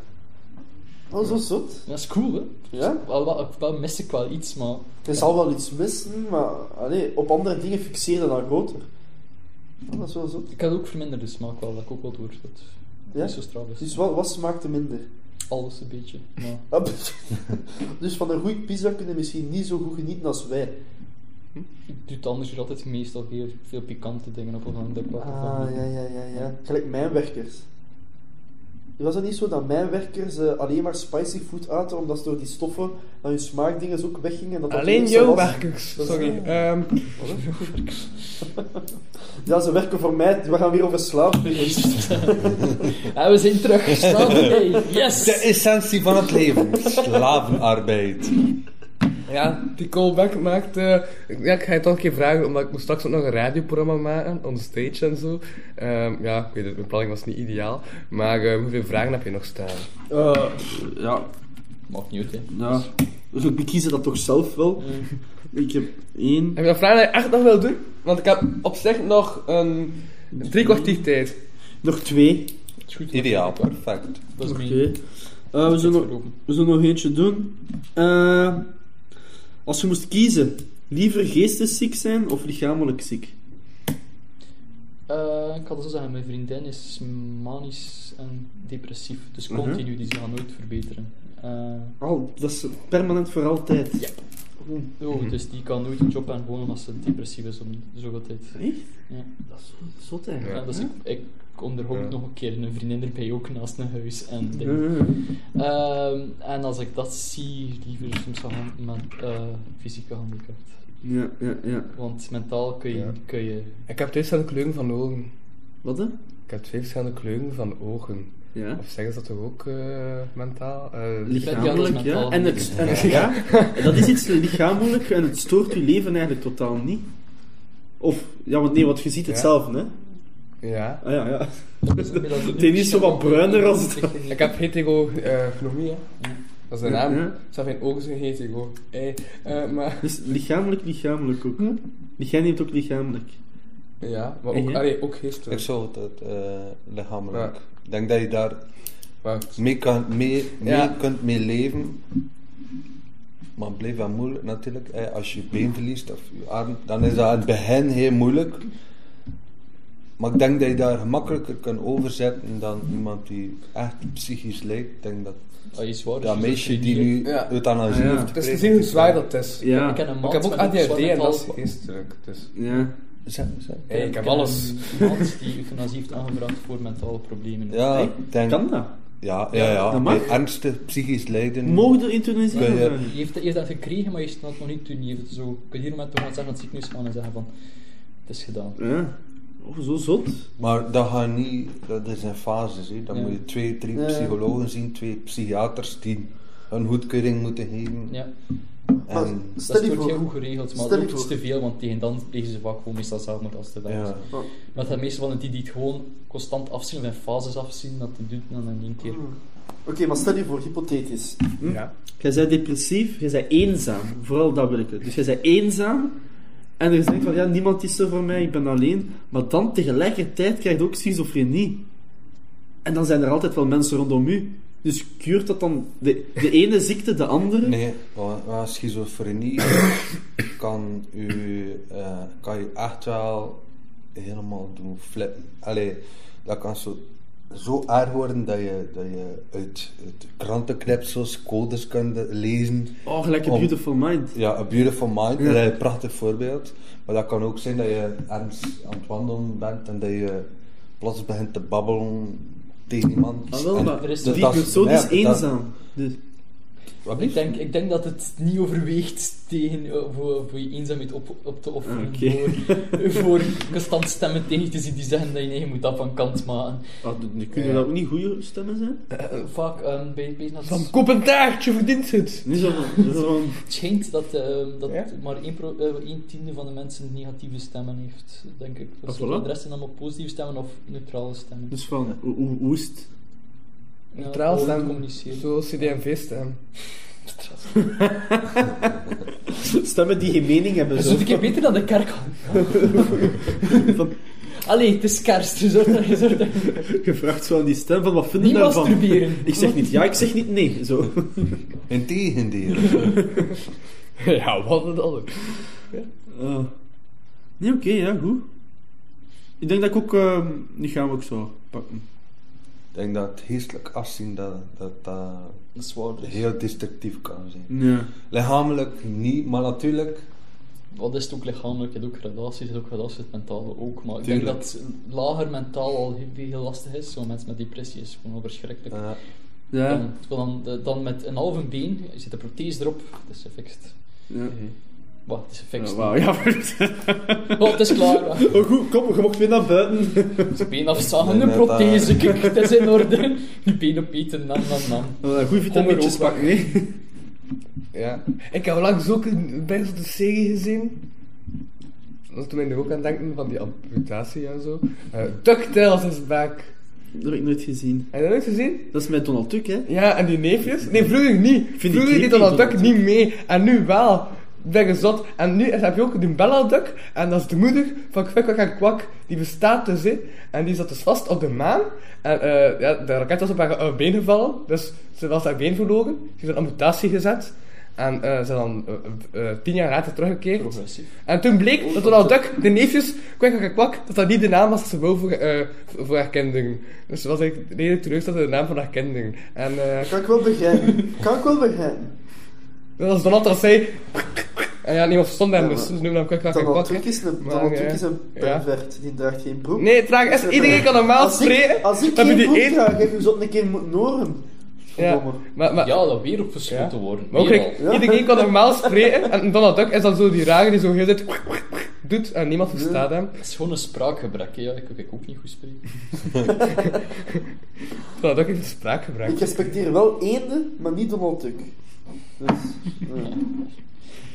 Speaker 3: Oh, zo zot.
Speaker 2: Dat is cool, hè?
Speaker 3: Ja?
Speaker 2: Wel, wel, wel mis ik wel iets, maar...
Speaker 3: Er zal wel iets missen, maar allee, op andere dingen fixeren dan groter. Oh, dat is wel zot.
Speaker 2: Ik had ook verminderde smaak wel, dat ik ook wel door. Dat
Speaker 3: Ja?
Speaker 2: niet zo straf is.
Speaker 3: Dus wat, wat smaakte minder?
Speaker 2: Alles een beetje. Maar
Speaker 3: Ah, dus van een goede pizza kunnen we misschien niet zo goed genieten als wij.
Speaker 2: ik doe het anders hier altijd meestal heel veel Ah. pikante dingen op of een dekwater.
Speaker 3: Ah, ja, ja, ja, ja. Gelijk mijnwerkers. Was het niet zo dat mijnwerkers eh, alleen maar spicy food aten, omdat ze door die stoffen dat hun smaakdingen ook weggingen? en Dat dat
Speaker 4: Alleen
Speaker 3: het eerste
Speaker 4: jouw
Speaker 3: was?
Speaker 4: werkers. Sorry. Ehm,
Speaker 3: Ja, ze werken voor mij. We gaan weer over slaaf beginnen.
Speaker 2: En we zijn terug. Slavernij. Yes!
Speaker 5: De essentie van het leven. Slavenarbeid.
Speaker 4: ja, die callback maakt... eh, ja, ik ga je toch een keer vragen, omdat ik moet straks ook nog een radioprogramma maken, on stage en zo. Ehm, ja, ik weet het, mijn planning was niet ideaal. Maar eh, hoeveel vragen heb je nog staan?
Speaker 3: Eh, ja,
Speaker 2: Maakt niet uit, hè.
Speaker 3: ja. Dus we kiezen dat toch zelf wel. Ik heb één.
Speaker 4: Heb je nog vragen die je echt nog wil doen? Want ik heb op zich nog een drie kwartier tijd.
Speaker 3: Nog twee.
Speaker 2: Is goed.
Speaker 5: Ideaal, perfect.
Speaker 2: Dat is
Speaker 3: Oké.
Speaker 2: mijn...
Speaker 3: Eh, we, zullen, nog-
Speaker 2: verlopen.
Speaker 3: we zullen nog eentje doen. Eh, als je moest kiezen, liever geestesziek zijn of lichamelijk ziek?
Speaker 2: Eh, ik had het zo zeggen, mijn vriendin is manisch en depressief. Dus continu, die ze gaan nooit verbeteren. Eh,
Speaker 3: Al, dat is permanent voor altijd.
Speaker 2: Ja. oh, Dus die kan nooit een job aan gewoon omdat ze depressief is om zoveel tijd.
Speaker 3: Echt?
Speaker 2: Ja.
Speaker 3: Dat is zo- zot
Speaker 2: Ja,
Speaker 3: eigenlijk.
Speaker 2: dus ik, ik onderhoud nog een keer een vriendin erbij ook naast een huis en dingen.
Speaker 3: Eh, eh.
Speaker 2: Ehm, en als ik dat zie, liever soms gaan met eh, fysieke handicap.
Speaker 3: Ja, ja, ja.
Speaker 2: Want mentaal kun je... Kun je
Speaker 4: Ik heb twee verschillende kleuren van ogen.
Speaker 3: Wat hè?
Speaker 4: Ik heb twee verschillende kleuren van ogen.
Speaker 3: Ja.
Speaker 4: Of zeggen ze dat toch ook eh, mentaal? Eh,
Speaker 3: Lichamelijk,
Speaker 2: Ja,
Speaker 3: ja.
Speaker 2: dat is
Speaker 3: En het, en het, ja. Dat is iets lichamelijk en het stoort je leven eigenlijk totaal niet. Of, ja, want nee, want je ziet het
Speaker 4: Ja.
Speaker 3: zelf, hè?
Speaker 4: ja.
Speaker 3: Ah ja, ja.
Speaker 2: het
Speaker 3: is zo wat bruiner als het-
Speaker 4: Ik heb heterochronomie, hè. Dat is de naam.
Speaker 3: Ja.
Speaker 4: Zelf mijn ogen zijn hetero. Hey. eh, maar
Speaker 3: Dus lichamelijk, lichamelijk ook. Dus Jij neemt ook lichamelijk.
Speaker 4: ja, maar
Speaker 3: En
Speaker 4: ook,
Speaker 3: jij?
Speaker 4: allee, ook
Speaker 5: Ik
Speaker 4: geestelijk.
Speaker 5: zou het eh, lichamelijk.
Speaker 4: Ja.
Speaker 5: Ik denk dat je daar
Speaker 4: Maar
Speaker 5: mee, kan, mee, mee
Speaker 4: Ja.
Speaker 5: kunt mee leven. Maar het blijft wel moeilijk natuurlijk. hè. Als je je been verliest of je arm, dan is dat aan het begin heel moeilijk. Maar ik denk dat je daar gemakkelijker kan overzetten dan iemand die echt psychisch leeft. Ik denk dat
Speaker 2: Ah, je zwaar,
Speaker 5: dat
Speaker 2: dus
Speaker 5: meisje
Speaker 2: je-
Speaker 5: die nu
Speaker 4: Ja.
Speaker 5: euthanasie
Speaker 3: Ah, ja.
Speaker 5: heeft
Speaker 4: het is
Speaker 5: gekregen,
Speaker 4: gezien hoe zwaar dat is.
Speaker 3: Ja.
Speaker 2: Ik ken een
Speaker 4: Maar
Speaker 2: man
Speaker 4: Ik heb ook
Speaker 2: met een
Speaker 4: ADHD
Speaker 2: zwaar
Speaker 4: en dat
Speaker 2: mentaal-
Speaker 4: is geestelijk. Dus,
Speaker 3: Ja.
Speaker 5: Zeg- zeg.
Speaker 4: hey, ik
Speaker 2: Ik
Speaker 4: heb
Speaker 2: ken
Speaker 4: alles.
Speaker 2: Een man die euthanasie heeft aangevraagd voor mentale problemen.
Speaker 5: Ja, ik denk,
Speaker 3: Kan dat?
Speaker 5: ja, ja, ja.
Speaker 3: Dat mag.
Speaker 5: Bij ernstig psychisch lijden.
Speaker 3: Mogen er intonatie
Speaker 5: Kun je-
Speaker 3: aanvragen?
Speaker 2: Je heeft, je heeft dat gekregen, maar je staat het nog niet toe. Je heeft het zo, kun je hier met toch zeggen dat ziekenhuis gaan en zeggen van, het is gedaan.
Speaker 3: Ja. Oh, zo zot.
Speaker 5: Maar dat gaat niet, dat is in fases. Hè. Dan
Speaker 2: Ja.
Speaker 5: moet je twee, drie
Speaker 3: Ja.
Speaker 5: psychologen zien, twee psychiaters die een goedkeuring moeten geven.
Speaker 2: Ja,
Speaker 5: En,
Speaker 2: dat is heel goed geregeld, maar
Speaker 3: stel je
Speaker 2: ook iets
Speaker 3: voor-
Speaker 2: te veel, want tegen dan plegen ze vaak gewoon meestal zelfmoord als het te
Speaker 5: ja.
Speaker 2: ja. Maar dat meestal van die die het gewoon constant afzien of in fases afzien, dat die doet dan in één keer.
Speaker 4: Mm.
Speaker 3: Oké, maar stel je voor, hypothetisch.
Speaker 4: Ja.
Speaker 3: Hm? Jij bent depressief, jij bent eenzaam. Vooral dat wil ik het. Dus jij bent eenzaam. En er is denk van, ja, niemand is er voor mij, ik ben alleen. Maar dan tegelijkertijd krijg je ook schizofrenie. En dan zijn er altijd wel mensen rondom u. Dus kuurt dat dan de, de ene ziekte de andere?
Speaker 5: Nee, want- want schizofrenie kan, u, eh, kan je echt wel helemaal doen flippen. Allee, dat kan zo, zo erg worden dat je, dat je uit, uit krantenknipsels codes kunt lezen.
Speaker 3: Oh, gelijk een
Speaker 5: Om-
Speaker 3: Beautiful Mind.
Speaker 5: Ja, A Beautiful Mind,
Speaker 3: Ja.
Speaker 5: dat is een prachtig voorbeeld. Maar dat kan ook zijn dat je ergens aan het wandelen bent en dat je plots begint te babbelen tegen iemand.
Speaker 3: Ah, wel,
Speaker 5: En
Speaker 3: maar
Speaker 2: is-
Speaker 5: dat-
Speaker 3: die
Speaker 5: dat is-
Speaker 3: persoon
Speaker 5: ja,
Speaker 3: is
Speaker 5: dat-
Speaker 3: eenzaam. Dus,
Speaker 5: Wat
Speaker 2: Ik
Speaker 5: blieft?
Speaker 2: denk, ik denk dat het niet overweegt tegen, eh, voor, voor je eenzaamheid op, op te offeren.
Speaker 3: Oké.
Speaker 2: Voor, voor constant stemmen tegen te zien die zeggen dat je eigen moet dat van kant maken.
Speaker 3: ah, d- d- kunnen dat ook niet goede stemmen zijn?
Speaker 2: Eh, Vaak ehm, bij bij dat
Speaker 4: Van koop een taartje, verdient het.
Speaker 3: Niet zo van, zo van-
Speaker 2: het schijnt dat, ehm, dat
Speaker 4: Ja?
Speaker 2: maar 1, pro, eh, één tiende van de mensen negatieve stemmen heeft, denk ik. Dus
Speaker 3: Ah, voilà.
Speaker 2: De rest zijn allemaal positieve stemmen of neutrale stemmen.
Speaker 3: dus van, hoe- hoe hoe is het?
Speaker 2: Ja,
Speaker 4: Neutraal
Speaker 2: gewoon
Speaker 4: staan.
Speaker 2: communiceren.
Speaker 4: Zo CDMV staan.
Speaker 3: Stemmen die geen mening hebben.
Speaker 2: Dat
Speaker 3: Zo.
Speaker 2: is een keer beter dan de kerk Allee, het is kerst, dus zorg dat je zorg dat je-
Speaker 3: Je vraagt zo aan die stem van, wat vind je
Speaker 2: Niet
Speaker 3: daarvan?
Speaker 2: masturberen.
Speaker 3: Ik zeg niet ja, ik zeg niet nee. Zo.
Speaker 5: Integendeel.
Speaker 4: ja, wat een ander.
Speaker 3: Eh, nee, oké, ja, goed. Ik denk dat ik ook... ehm, die gaan we ook zo pakken.
Speaker 5: ik denk dat het geestelijk afzien dat, dat, dat
Speaker 2: Dat is waar, dus.
Speaker 5: heel destructief kan zijn.
Speaker 3: Ja.
Speaker 5: Lichamelijk niet, maar natuurlijk
Speaker 2: Wat is het ook lichamelijk? Je hebt ook gradaties, je hebt ook gradaties, het mentale ook. Maar ik denk dat lager mentaal al heel, heel lastig is. Zo mensen met depressie is gewoon al verschrikkelijk.
Speaker 5: Eh,
Speaker 3: Ja.
Speaker 2: Dan, dan, de- dan met een halve been, je zit een prothese erop, het is gefixt.
Speaker 3: Ja.
Speaker 2: Wat, het is gefixt.
Speaker 3: Oh,
Speaker 2: Oh,
Speaker 3: Wauw, ja.
Speaker 2: het is klaar.
Speaker 3: Oh, goed, kom, je mocht weer naar buiten.
Speaker 2: Zijn been afzagen,
Speaker 5: Nee,
Speaker 2: een
Speaker 5: net, eh.
Speaker 2: prothese, kijk, het is in orde. Je been opeten, nam, nam, nam.
Speaker 3: Goeie vitamintjes
Speaker 4: Kom maar
Speaker 3: pakken, hè.
Speaker 4: Ja. Ik heb langs ook een best de serie gezien. Dat was toen mij er ook aan het denken van die amputatie en zo. Eh DuckTales is back.
Speaker 3: Dat heb ik nooit gezien.
Speaker 4: Heb je dat nooit gezien?
Speaker 3: Dat is met Donald Duck, hè?
Speaker 4: Ja, en die neefjes? Nee, vroeger niet.
Speaker 3: die
Speaker 4: vroeger
Speaker 3: creepy,
Speaker 4: deed Donald Duck
Speaker 3: Donald
Speaker 4: niet mee. En nu wel. Ik Ben je zot. En nu heb je ook de Bella Duck. En dat is de moeder van Kwik, Kwak en Kwak. Die bestaat dus, hè. En die zat dus vast op de maan. En eh, ja, de raket was op haar eh, been gevallen. Dus ze was haar been verloren. Ze heeft een amputatie gezet. En eh, ze is dan eh, eh, eh, tien jaar later teruggekeerd.
Speaker 2: Progressief.
Speaker 4: En toen bleek dat Donald Duck, de neefjes, kwak kwak kwak, dat dat niet de naam was die ze wou voor, eh, voor haar kinderen. Dus ze was eigenlijk redelijk teleurgesteld in de naam van haar kinderen. En eh,
Speaker 3: Kan ik wel begrijpen. Kan ik wel begrijpen.
Speaker 4: dat was Donald dat zei... En ja, niemand verstond hem,
Speaker 3: Ja,
Speaker 4: dus
Speaker 3: maar
Speaker 4: ze noemden hem kwak kwak kwak.
Speaker 3: Donald
Speaker 4: kwak.
Speaker 3: Duck is een,
Speaker 4: Maar,
Speaker 3: Donald Duck
Speaker 4: eh,
Speaker 3: is een
Speaker 4: ja.
Speaker 3: pervert. Die draagt geen broek.
Speaker 4: Nee, het raar is, iedereen kan normaal
Speaker 3: als ik,
Speaker 4: spreken.
Speaker 3: als ik
Speaker 4: dan
Speaker 3: geen
Speaker 4: moet die
Speaker 3: broek
Speaker 4: één-
Speaker 3: draag, heb je zo een keer moeten horen.
Speaker 4: Ja,
Speaker 3: Verdomme.
Speaker 4: maar, maar,
Speaker 2: Ja, dat weer opgeschoten worden.
Speaker 4: maar ook,
Speaker 2: Weer
Speaker 4: kijk,
Speaker 2: al.
Speaker 3: Ja.
Speaker 4: iedereen kan normaal spreken. En Donald Duck is dan zo die rare die zo heel de tijd kwak, kwak, kwak doet en niemand verstaat hem.
Speaker 2: Het is gewoon een spraakgebrek, hè. ja. Ik kan ook niet goed spreken.
Speaker 4: Donald Duck heeft een spraakgebrek.
Speaker 3: Ik respecteer wel eenden, maar niet Donald Duck. Dus, ja.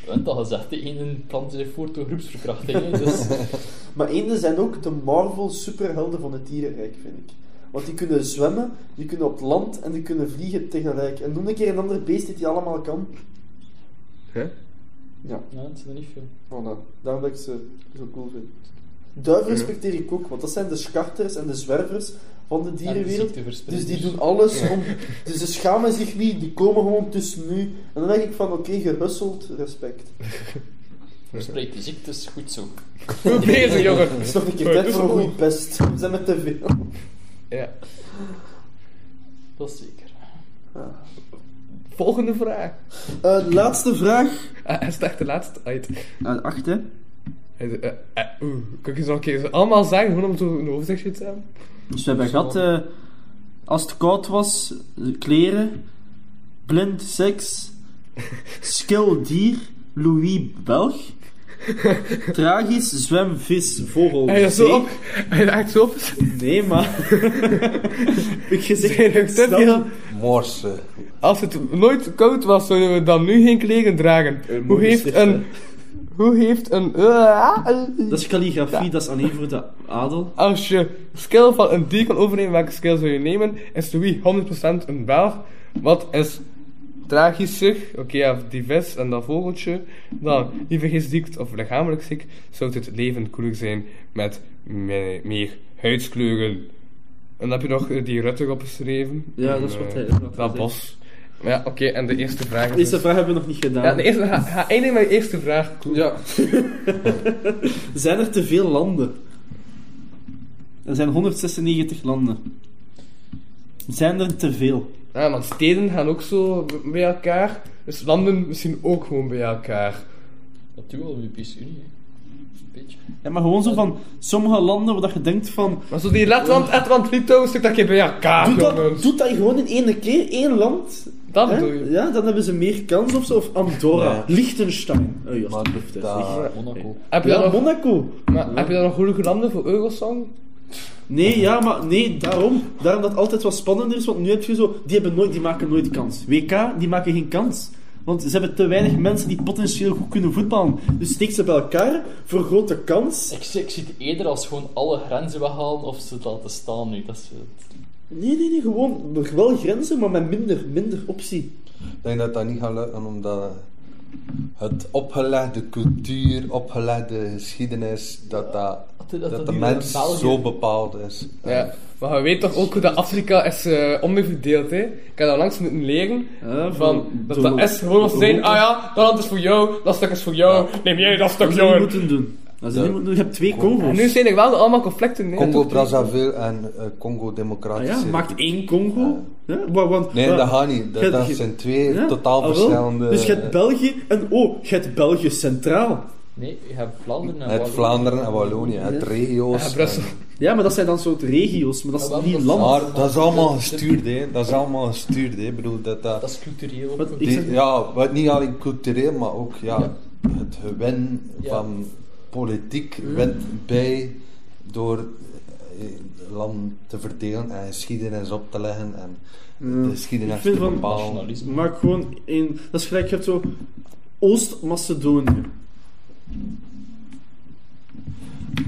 Speaker 2: Je hebt al gezegd, de ene plant zich voor tot groepsverkrachting. hè. Dus
Speaker 3: Maar eenden zijn ook de Marvel superhelden van het dierenrijk, vind ik. Want die kunnen zwemmen, die kunnen op het land en die kunnen vliegen tegelijk. En noem een keer een ander beest dat die allemaal kan.
Speaker 4: Hè?
Speaker 3: Ja,
Speaker 2: ja, het zijn er niet veel.
Speaker 3: voilà. Daarom dat ik ze zo cool vind. Duiven respecteer ik ook, want dat zijn de scharters en de zwervers van de
Speaker 2: En de
Speaker 3: dierenwereld. Dus
Speaker 2: ziekteverspreiders.
Speaker 3: die doen alles om... Dus ze schamen zich niet, die komen gewoon tussen nu. En dan denk ik van, oké, gehusseld, respect.
Speaker 2: Verspreid die ziektes, goed zo.
Speaker 4: Goed bezig, jongen.
Speaker 3: Het is nog een keer tijd voor een
Speaker 4: Goed.
Speaker 3: goede pest. We zijn met te veel.
Speaker 4: Ja.
Speaker 2: Dat is zeker.
Speaker 4: Volgende vraag.
Speaker 3: Eh, laatste vraag.
Speaker 4: Ah, hij staat de laatste uit.
Speaker 3: Uh, acht, hè.
Speaker 4: Hij zei, eh, eh, oeh, kan ik eens nog een keer zo allemaal zeggen, gewoon om zo een overzichtje te hebben?
Speaker 3: Dus we hebben gehad, eh, als het koud was, eh, kleren, blind seks, skil dier, Louis Belg, tragisch zwem vis, vogel.
Speaker 4: Hij is zo
Speaker 3: zee.
Speaker 4: op. Hij is echt zo op.
Speaker 3: Nee, maar. Heb ik
Speaker 4: Zijn er
Speaker 3: gezegd,
Speaker 4: te
Speaker 3: snel.
Speaker 4: veel?
Speaker 5: morsen.
Speaker 4: Als het nooit koud was, zouden we dan nu geen kleren dragen. Hoe
Speaker 3: mooi
Speaker 4: heeft
Speaker 3: gezicht,
Speaker 4: een... Hoe heeft een... Ah,
Speaker 3: Dat is kalligrafie, dat is alleen voor de adel.
Speaker 4: Als je skill van een dier kan overnemen, welke skill zou je nemen? Is Louis 100% een Belg? Wat is tragischer? Oké, ja, die vis en dat vogeltje. Dan, liever geen ziekt of lichamelijk ziek, zou het leven koeler zijn met me- meer huidskleuren. En dan heb je nog eh, die Ruttig opgeschreven.
Speaker 3: Ja,
Speaker 4: En,
Speaker 3: dat is wat
Speaker 4: eh,
Speaker 3: hij- dat is wat hij
Speaker 4: Dat bos. Ja, oké, en de eerste vraag is...
Speaker 3: Deze
Speaker 4: dus-
Speaker 3: vraag hebben we nog niet gedaan.
Speaker 4: Ja, de eerste, ga, ga eindigen met de eerste vraag.
Speaker 5: Ja.
Speaker 3: Zijn er te veel landen? Er zijn 196 landen. Zijn er te veel?
Speaker 4: Ja, want steden gaan ook zo b- bij elkaar. Dus landen misschien ook gewoon bij elkaar.
Speaker 2: Dat doen we al in de Europese Unie, hè. Een beetje.
Speaker 3: Ja, maar gewoon zo van sommige landen waar dat je denkt van.
Speaker 4: Maar zo die Letland, Letland, Litouwen, stuk dat je bij elkaar
Speaker 3: Doe dat,
Speaker 4: jongens.
Speaker 3: doe dat gewoon in één keer, één land.
Speaker 4: Dat
Speaker 3: hè?
Speaker 4: doe je.
Speaker 3: Ja, dan hebben ze meer kans of zo. Of Andorra,
Speaker 5: Ja.
Speaker 3: Liechtenstein. Oh, ja,
Speaker 5: Maar
Speaker 3: alsjeblieft, hè.
Speaker 5: daar...
Speaker 2: Monaco.
Speaker 4: Heb je,
Speaker 3: Ja,
Speaker 4: dan nog,
Speaker 3: Monaco.
Speaker 4: maar, heb je dan nog goede landen voor Eurosong?
Speaker 3: Nee, ja, maar nee, daarom. Daarom dat het altijd wat spannender is, want nu heb je zo... Die, hebben nooit, die maken nooit kans. WK, die maken geen kans. Want ze hebben te weinig mensen die potentieel goed kunnen voetballen. Dus steek ze bij elkaar voor een grote kans.
Speaker 2: Ik, zie- ik zie het eerder als gewoon alle grenzen weghalen of ze het laten staan nu. Dat is, eh,
Speaker 3: Nee, nee, nee, gewoon wel grenzen, maar met minder, minder optie.
Speaker 5: Ik denk dat dat niet gaat lukken, omdat het opgelegde cultuur, opgelegde geschiedenis, dat, dat,
Speaker 2: dat-
Speaker 5: dat,
Speaker 2: dat
Speaker 5: de
Speaker 2: nu in
Speaker 5: mens
Speaker 2: België-
Speaker 5: zo bepaald is.
Speaker 4: Ja. Maar je weet toch ook hoe dat Afrika is eh onderverdeeld, hè? Ik heb dat langs moeten leren.
Speaker 3: Ja,
Speaker 4: Van,
Speaker 3: van-
Speaker 4: dat
Speaker 3: zo-
Speaker 4: dat is gewoon als
Speaker 3: zo-
Speaker 4: zijn, ah ja, dat land is voor jou, dat stuk is voor jou, neem jij dat stuk,
Speaker 3: Dat zou je
Speaker 4: jongen.
Speaker 3: moeten doen. Dat zou je moeten doen. Je hebt twee Congo's.
Speaker 4: En nu zijn er wel allemaal conflicten, hè?
Speaker 5: Congo
Speaker 4: tot nu toe.
Speaker 5: Brazzaville en eh, Congo
Speaker 3: Ah
Speaker 5: Democratische
Speaker 3: ja, maakt één Congo. Ja, maar, want,
Speaker 5: Nee,
Speaker 3: maar-
Speaker 5: dat gaat niet. Dat,
Speaker 3: Je-
Speaker 5: dat
Speaker 3: je-
Speaker 5: zijn twee
Speaker 3: Ja,
Speaker 5: totaal
Speaker 3: ah, wel.
Speaker 5: verschillende...
Speaker 3: Dus je hebt België en oh, je hebt België Centraal.
Speaker 2: Nee, je hebt Vlaanderen en
Speaker 5: Het
Speaker 2: Wallonië.
Speaker 5: Vlaanderen en Wallonië, het regio's.
Speaker 4: Ja, Brussel.
Speaker 3: Ja, maar dat zijn dan soort regio's, maar dat
Speaker 2: Maar
Speaker 3: is
Speaker 2: wel
Speaker 3: niet
Speaker 2: dat-
Speaker 3: land.
Speaker 5: Maar dat is allemaal gestuurd, hè. Dat is allemaal gestuurd, hè. Ik bedoel, dat... dat,
Speaker 2: Dat is cultureel.
Speaker 3: Wat- ik
Speaker 5: die-
Speaker 3: zeg-
Speaker 5: ja, wat, niet alleen cultureel, maar ook ja,
Speaker 2: Ja.
Speaker 5: het gewin
Speaker 2: Ja.
Speaker 5: van politiek wint bij door eh, land te verdelen en geschiedenis op te leggen en de geschiedenis
Speaker 3: Ik vind
Speaker 5: te
Speaker 3: van-
Speaker 5: bepalen.
Speaker 2: Nationalisme.
Speaker 3: Maar gewoon in. Dat is gelijk, je hebt zo. Oost-Macedonië.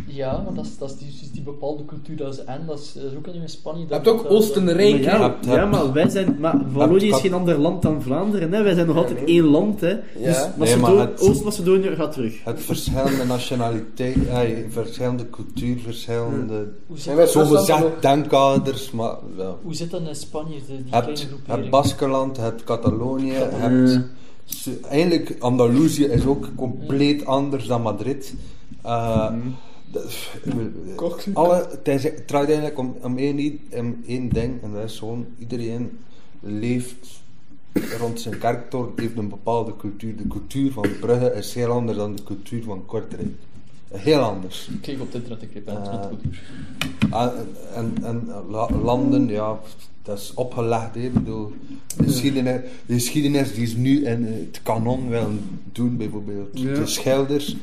Speaker 2: Ja, want dat is, dat is die, dus die bepaalde cultuur dat is en dat is, dat is ook alleen in Spanje.
Speaker 4: Je
Speaker 2: Dat
Speaker 4: hebt ook
Speaker 2: dat-
Speaker 4: Oostenrijk.
Speaker 3: Maar ja,
Speaker 5: Hebt-
Speaker 3: ja,
Speaker 5: hebt-
Speaker 3: maar wij zijn. Maar Wallonië is
Speaker 5: kap-
Speaker 3: geen ander land dan Vlaanderen, hè? Wij zijn nog altijd één land, hè? Dus
Speaker 5: Nee, maar
Speaker 3: Macedo-
Speaker 5: het-
Speaker 3: Oost-Macedonië gaat terug.
Speaker 5: Het verschillende nationaliteiten, eh, verschillende cultuur, verschillende...
Speaker 2: Hoe zit,
Speaker 4: Zijn wij
Speaker 5: Zo
Speaker 4: Rusland dan ook?
Speaker 5: gezegd denkkaders, maar... Ja.
Speaker 2: hoe zit dat in Spanje, de, die kleine
Speaker 5: hebt, hebt
Speaker 2: groepering?
Speaker 5: Baskeland, hebt Catalonië, hebt... Su- Eigenlijk, Andalusië is ook compleet anders dan Madrid. Eh, dat-
Speaker 4: Kort.
Speaker 5: alle, het, is, het draait eigenlijk om, om, één, i- om één ding, en dat is gewoon, iedereen leeft rond zijn kerktoren, heeft een bepaalde cultuur. De cultuur van Brugge is heel anders dan de cultuur van Kortrijk. Heel anders.
Speaker 2: Ik kreeg op het internet, ik kreeg bij het
Speaker 5: Eh,
Speaker 2: internet cultuur.
Speaker 5: En, Ah, en, en la- landen, ja, dat is opgelegd. hè. Ik bedoel, de geschiedenis, de geschiedenis die ze nu in het kanon willen doen, bijvoorbeeld
Speaker 3: Ja.
Speaker 5: de schilders,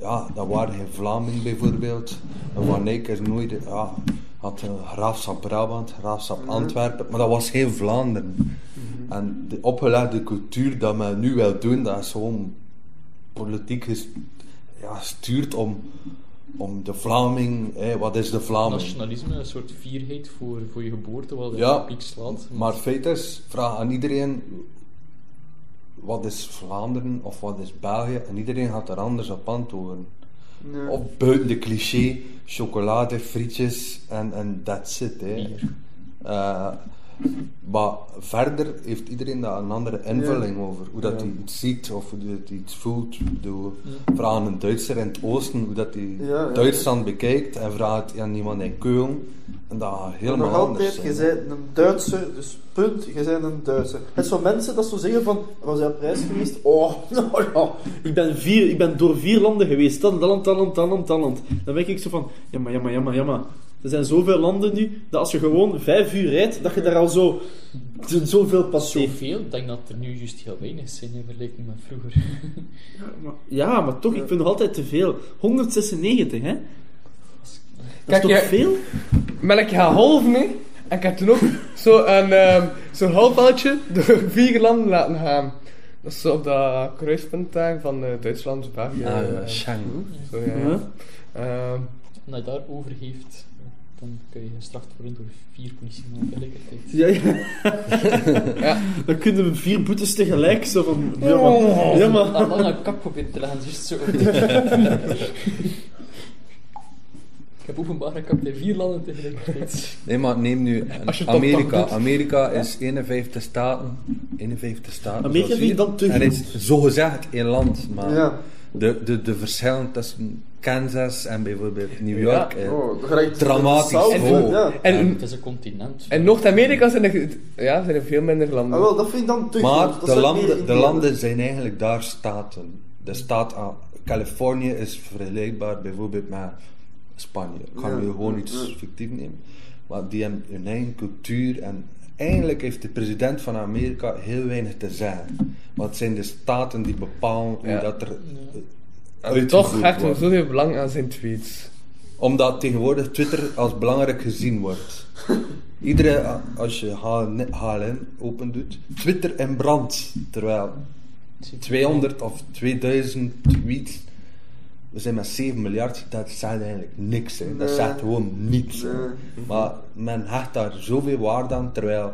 Speaker 5: ja, dat waren geen Vlamingen bijvoorbeeld. En Van Eyck is nooit, ja, had een graafschap Brabant, graafschap Antwerpen, maar dat was geen Vlaanderen. En de opgelegde cultuur dat men nu wil doen, dat is gewoon politiek ges- ja, gestuurd om, om de Vlaming, hè, wat is de Vlaming?
Speaker 2: Nationalisme, een soort vierheid voor, voor je geboorte, wat
Speaker 5: Ja,
Speaker 2: op piek slaat.
Speaker 5: Maar feit is, vraag aan iedereen wat is Vlaanderen of wat is België en iedereen gaat er anders op antwoorden. Of buiten de cliché, chocolade, frietjes en en that's it. Hè. Eh, maar verder heeft iedereen daar een andere invulling over. Hoe dat hij iets ziet of hoe dat hij iets voelt. Ik bedoel, Vraag aan een Duitser in het oosten hoe dat hij Duitsland bekijkt en vraag het aan iemand in Keulen. En dat gaat helemaal
Speaker 9: Nog altijd,
Speaker 5: anders zijn.
Speaker 9: je bent een Duitser, dus punt, je bent een Duitser. Het zijn mensen dat zo zeggen van, was hij op reis geweest? Oh, nou ja.
Speaker 3: Ik ben, vier, ik ben door vier landen geweest. Dat, dat land, dat land, dat land, dat land. Dan denk ik zo van, ja maar, ja maar, ja maar, ja maar. Er zijn zoveel landen nu, dat als je gewoon vijf uur rijdt, dat je daar al zo... Zoveel passie.
Speaker 2: Zoveel, ik denk dat er nu juist heel weinig zijn in vergelijking met vroeger.
Speaker 3: Ja, maar toch, ik vind nog altijd te veel. 196, hè? Dat
Speaker 4: Kijk,
Speaker 3: is toch
Speaker 4: jij-
Speaker 3: veel?
Speaker 4: Maar ik ga half mee. En ik heb toen ook zo'n ehm zo'n halfpaaltje door vier landen laten gaan. Dat is zo op dat kruispunt daar van eh, Duitsland, België.
Speaker 5: Ah, ja,
Speaker 4: eh,
Speaker 5: Schengen.
Speaker 4: zo, ja, ja.
Speaker 3: Huh?
Speaker 4: Ehm,
Speaker 2: Als je daarover heeft, dan kun je gestraft worden door vier politiemannen tegelijkertijd.
Speaker 3: Ja, ja. Dan kunnen we vier boetes tegelijk, zo van... Ja, maar... Ja, maar.
Speaker 2: Ah, dan een kap proberen te leggen, juist zo. ik heb openbare kap in vier landen tegelijkertijd.
Speaker 5: Nee, maar neem nu eh,
Speaker 4: Als je het dan
Speaker 5: Amerika.
Speaker 4: toch doet.
Speaker 5: Amerika is 51 staten. 51 staten.
Speaker 3: Amerika
Speaker 5: zoals hier.
Speaker 3: vind ik dan te
Speaker 5: En
Speaker 3: groot.
Speaker 5: is zogezegd één land, maar
Speaker 9: Ja.
Speaker 5: de, de, de verschillen tussen Kansas en bijvoorbeeld New York. eh,
Speaker 9: Oh, dat gelijk-
Speaker 5: Dramatisch
Speaker 9: Oh, dat is
Speaker 5: hoog.
Speaker 9: zout, Ja.
Speaker 4: en
Speaker 2: Het is een continent.
Speaker 4: in Noord-Amerika zijn er, ja, zijn er veel minder landen.
Speaker 9: Ah, wel, dat vind ik dan te groot.
Speaker 5: Maar
Speaker 9: Dat
Speaker 5: de
Speaker 9: zou ik meer
Speaker 5: landen, de
Speaker 9: indelen.
Speaker 5: landen zijn eigenlijk daar staten. De staat aan Californië is vergelijkbaar bijvoorbeeld met Spanje. Ik ga nu gewoon iets fictief nemen. Maar die hebben hun eigen cultuur en eigenlijk heeft de president van Amerika heel weinig te zeggen. Want het zijn de staten die bepalen hoe
Speaker 4: Ja.
Speaker 5: dat er eh,
Speaker 4: En toch hecht er
Speaker 5: wordt.
Speaker 4: zoveel belang aan zijn tweets.
Speaker 5: Omdat tegenwoordig Twitter als belangrijk gezien wordt. Iedereen, a- als je HN HLN open doet, Twitter in brand. Terwijl 200 of 2000 tweets, we zijn met 7 miljard, dat zegt eigenlijk niks. Hè. Dat zegt gewoon niets. hè. Maar men hecht daar zoveel waarde aan, terwijl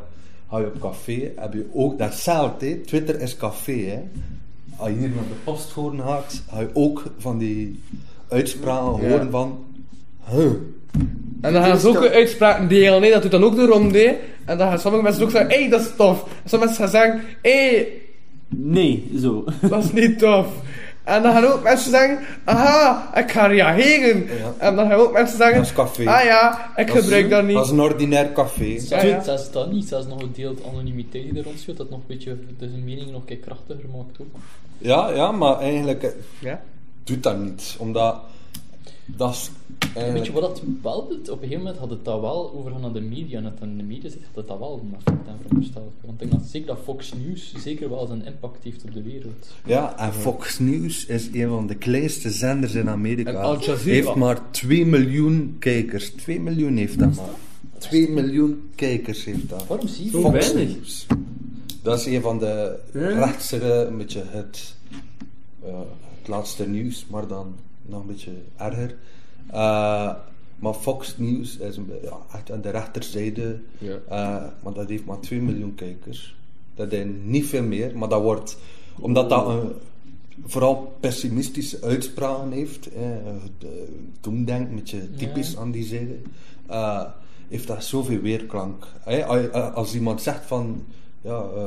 Speaker 5: ga je op café, heb je ook datzelfde. hè. Twitter is café. Hè. Als je hier naar de post horen gaat, ga je ook van die uitspraken
Speaker 4: Ja.
Speaker 5: horen van... Huh.
Speaker 4: En dan gaan ze ook uitspraken delen, nee, dat doet dan ook de ronde. En dan gaan sommige mensen ook zeggen, hé, hey, dat is tof. En sommige mensen gaan zeggen, hé, hey,
Speaker 3: Nee, zo.
Speaker 4: dat is niet tof. En dan gaan ook mensen zeggen, aha, ik ga reageren. En dan gaan ook mensen zeggen,
Speaker 5: Dat is café.
Speaker 4: ah ja, ik
Speaker 5: is-
Speaker 4: gebruik dat niet.
Speaker 5: Dat is een ordinair café.
Speaker 4: Ja, ja.
Speaker 2: Zelfs dat niet, zelfs nog een deel anonimiteit die er rondschot, dus dat nog een beetje de mening nog een keer krachtiger maakt ook.
Speaker 5: Ja, ja, maar eigenlijk... eh,
Speaker 4: Ja.
Speaker 5: doet dat niet. Omdat dat is
Speaker 2: Weet je
Speaker 5: eigenlijk...
Speaker 2: wat dat wel doet? Op een gegeven moment had het dat wel overgaan naar de media. net. En de media zegt dat het dat wel een effect aan veronderstel ik. Want ik denk dat zeker dat Fox News zeker wel zijn impact heeft op de wereld.
Speaker 5: Ja, en Fox News is een van de kleinste zenders in Amerika.
Speaker 4: En Al Jazeera.
Speaker 5: Heeft maar 2 miljoen kijkers. 2 miljoen heeft dat maar. 2 miljoen kijkers heeft dat.
Speaker 2: Waarom zie je
Speaker 4: Zo
Speaker 5: Fox
Speaker 4: weinig.
Speaker 5: News. Dat is een van de rechtse, een beetje het, eh, het laatste nieuws, maar dan nog een beetje erger. Eh, maar Fox News is een, be- ja, echt aan de rechterzijde,
Speaker 4: Ja.
Speaker 5: eh, maar dat heeft maar 2 miljoen kijkers. Dat is niet veel meer, maar dat wordt, omdat dat een, vooral pessimistische uitspraken heeft, eh, de- doemdenk, een beetje typisch aan die zijde, eh, heeft dat zoveel weerklank. Eh, als- als iemand zegt van, ja, eh,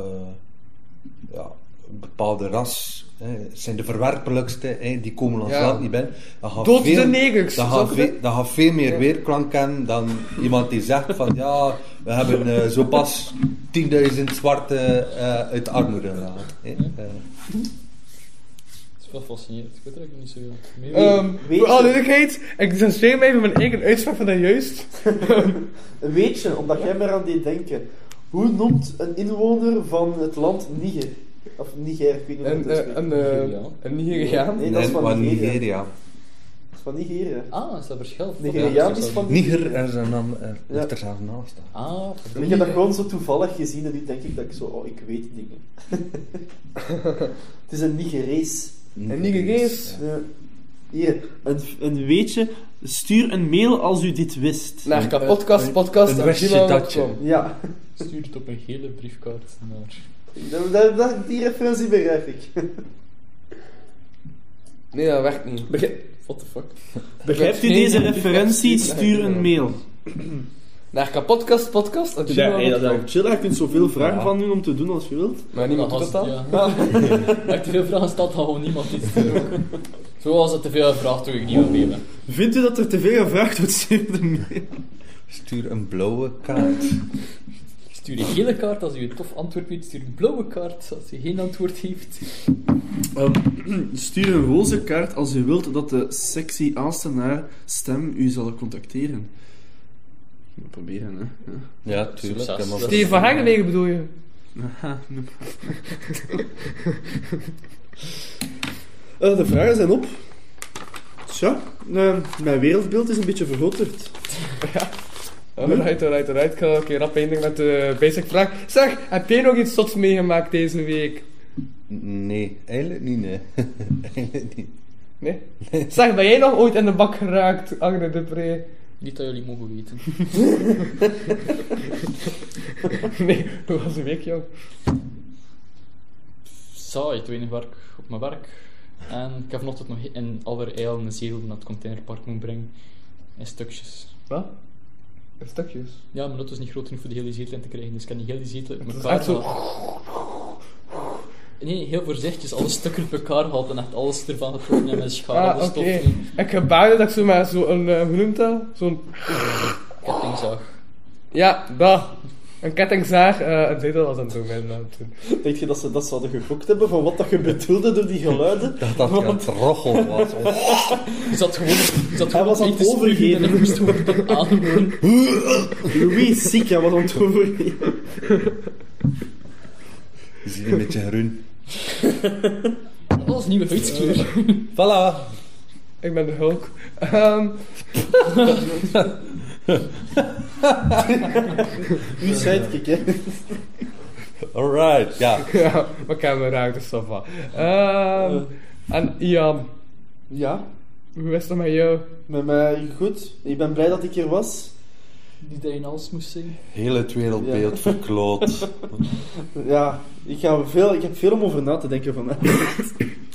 Speaker 5: ja, een bepaalde ras hè, zijn de verwerpelijkste, hè, die komen ons
Speaker 4: Ja.
Speaker 5: land niet binnen. Dan gaat
Speaker 4: Dood de
Speaker 5: veel-
Speaker 4: negers,
Speaker 5: Dan
Speaker 4: zou
Speaker 5: gaat
Speaker 4: ik
Speaker 5: veel,
Speaker 4: zeggen.
Speaker 5: dan gaat veel meer weerklank hebben dan iemand die zegt van ja, we hebben eh, zo pas 10.000 zwarte eh, uit de armoede gehaald. hè. Eh,
Speaker 2: Het is wel fascinerend. Ik weet er eigenlijk niet zo veel mee.
Speaker 4: Ehm
Speaker 9: Weet
Speaker 4: voor
Speaker 9: je-
Speaker 4: alle duidelijkheid, ik distancieer mij van mijn eigen uitspraak van daarjuist.
Speaker 9: Weet je, omdat jij maar aan deed denken. Hoe noemt een inwoner van het land Niger? Of Niger, ik weet niet hoe
Speaker 4: En,
Speaker 9: het is.
Speaker 4: eh, en, eh,
Speaker 2: Nigeria.
Speaker 4: en Nigeriaan.
Speaker 9: nee, dat is
Speaker 5: en-
Speaker 9: van
Speaker 5: maar
Speaker 9: Nigeria.
Speaker 5: Nigeria.
Speaker 9: Dat is van Nigeria.
Speaker 2: Ah, is dat verschil?
Speaker 9: Nigeriaans is van
Speaker 5: Niger er zijn dan er,
Speaker 9: Ja.
Speaker 5: ligt er zelfs naast. hè.
Speaker 2: Ah,
Speaker 9: Ik heb dat gewoon zo toevallig gezien en nu denk ik dat ik zo, oh, ik weet dingen. het is een Nigerees.
Speaker 4: En Nigeriaans.
Speaker 9: Ja. Hier, een, een weetje. Stuur een mail als u dit wist.
Speaker 4: Naar kapotkast, podcast,
Speaker 5: een westje datje.
Speaker 9: Ja,
Speaker 2: Stuur het op een gele briefkaart naar...
Speaker 9: dat, dat, dat- die referentie begrijp ik.
Speaker 4: Nee, dat werkt niet.
Speaker 2: What the fuck?
Speaker 9: Begrijpt u deze referentie? Stuur een mail.
Speaker 4: Naar kapotkast, podcast,
Speaker 3: Ja, hey, dat is wel chill. Je kunt zoveel vragen van doen om te doen als je wilt.
Speaker 4: Maar niemand doet dat dan?
Speaker 2: Ja. Als ik te veel vragen stelt, dan gewoon niemand iets doen. Zoals het te veel vraagt, doe ik niet aan mee. ben.
Speaker 3: Vindt u dat er te veel gevraagd wordt? Stuur de mail.
Speaker 5: Stuur een blauwe kaart.
Speaker 2: Stuur een gele kaart als u een tof antwoord weet. Stuur een blauwe kaart als u geen antwoord heeft.
Speaker 3: Ehm, stuur een roze kaart als u wilt dat de sexy aanstenaar stem u zal contacteren. We proberen, hè. Ja.
Speaker 5: Ja, tuurlijk.
Speaker 2: Succes.
Speaker 5: hè, maar-
Speaker 4: Die van Hagenegen bedoel je?
Speaker 3: Aha, no. Eh, de vragen zijn op. Tja, eh,
Speaker 9: ehm,
Speaker 3: mijn wereldbeeld is een beetje vergrooterd.
Speaker 4: Alright, alright, alright. Ik ga een keer rap eindigen met de basic vraag. Zeg, heb jij nog iets zots meegemaakt deze week?
Speaker 5: Nee, eigenlijk niet, nee. eigenlijk niet.
Speaker 4: Nee? Zeg, ben jij nog ooit in de bak geraakt, Agne Dupré?
Speaker 2: Niet dat jullie mogen weten.
Speaker 4: Nee, dat was een week, joh.
Speaker 2: Saai, het weinig werk op mijn werk. En ik heb vanochtend nog in Allerijl een zetel naar het containerpark moet brengen. In stukjes.
Speaker 4: Wat? In stukjes.
Speaker 2: Ja, mijn auto is niet groot genoeg voor de hele zetel in te krijgen, dus ik kan die hele zetel uit
Speaker 4: is
Speaker 2: elkaar
Speaker 4: echt zo-
Speaker 2: halen. Nee, nee, heel voorzichtig, alle stukken uit elkaar gehaald en echt alles ervan getrokken en met schade
Speaker 4: Ah, oké.
Speaker 2: gestopt. en
Speaker 4: Ik gebaarde dat ik zo met zo'n, eh, hoe noemt dat? Zo'n
Speaker 2: Kettingzaag.
Speaker 4: Ja, dat. Een kettingzaag, eh een zetel was aan het doen, mijn naam toen.
Speaker 9: Denk je dat ze dat zouden gegokt hebben van wat dat je bedoelde door die geluiden?
Speaker 5: Dat dat een trochel was. Oh.
Speaker 2: Ik zat gewoon, ik zat
Speaker 9: Hij
Speaker 2: gewoon
Speaker 9: was aan
Speaker 2: niet
Speaker 9: het
Speaker 2: te spugen
Speaker 9: overgeven.
Speaker 2: en ik moest gewoon tot ademen.
Speaker 9: Louis is ziek, ja, wat aan het overgeven.
Speaker 5: Is hier een beetje groen.
Speaker 2: Dat was nieuwe huidskleur.
Speaker 5: Voilà.
Speaker 4: Ik ben de Hulk. Ehm
Speaker 9: U schijt ik, hè.
Speaker 5: Alright, ja.
Speaker 4: ja, maar ik heb me raakt, dus dat va. Ehm en Ian,
Speaker 9: Ja,
Speaker 4: hoe is het met jou?
Speaker 9: met mij goed. Ik ben blij dat ik hier was.
Speaker 2: Die dat je in alles moest zingen.
Speaker 5: Heel het wereldbeeld verkloot.
Speaker 9: Ja, ik, ga veel, ik heb veel om over na te denken vandaag.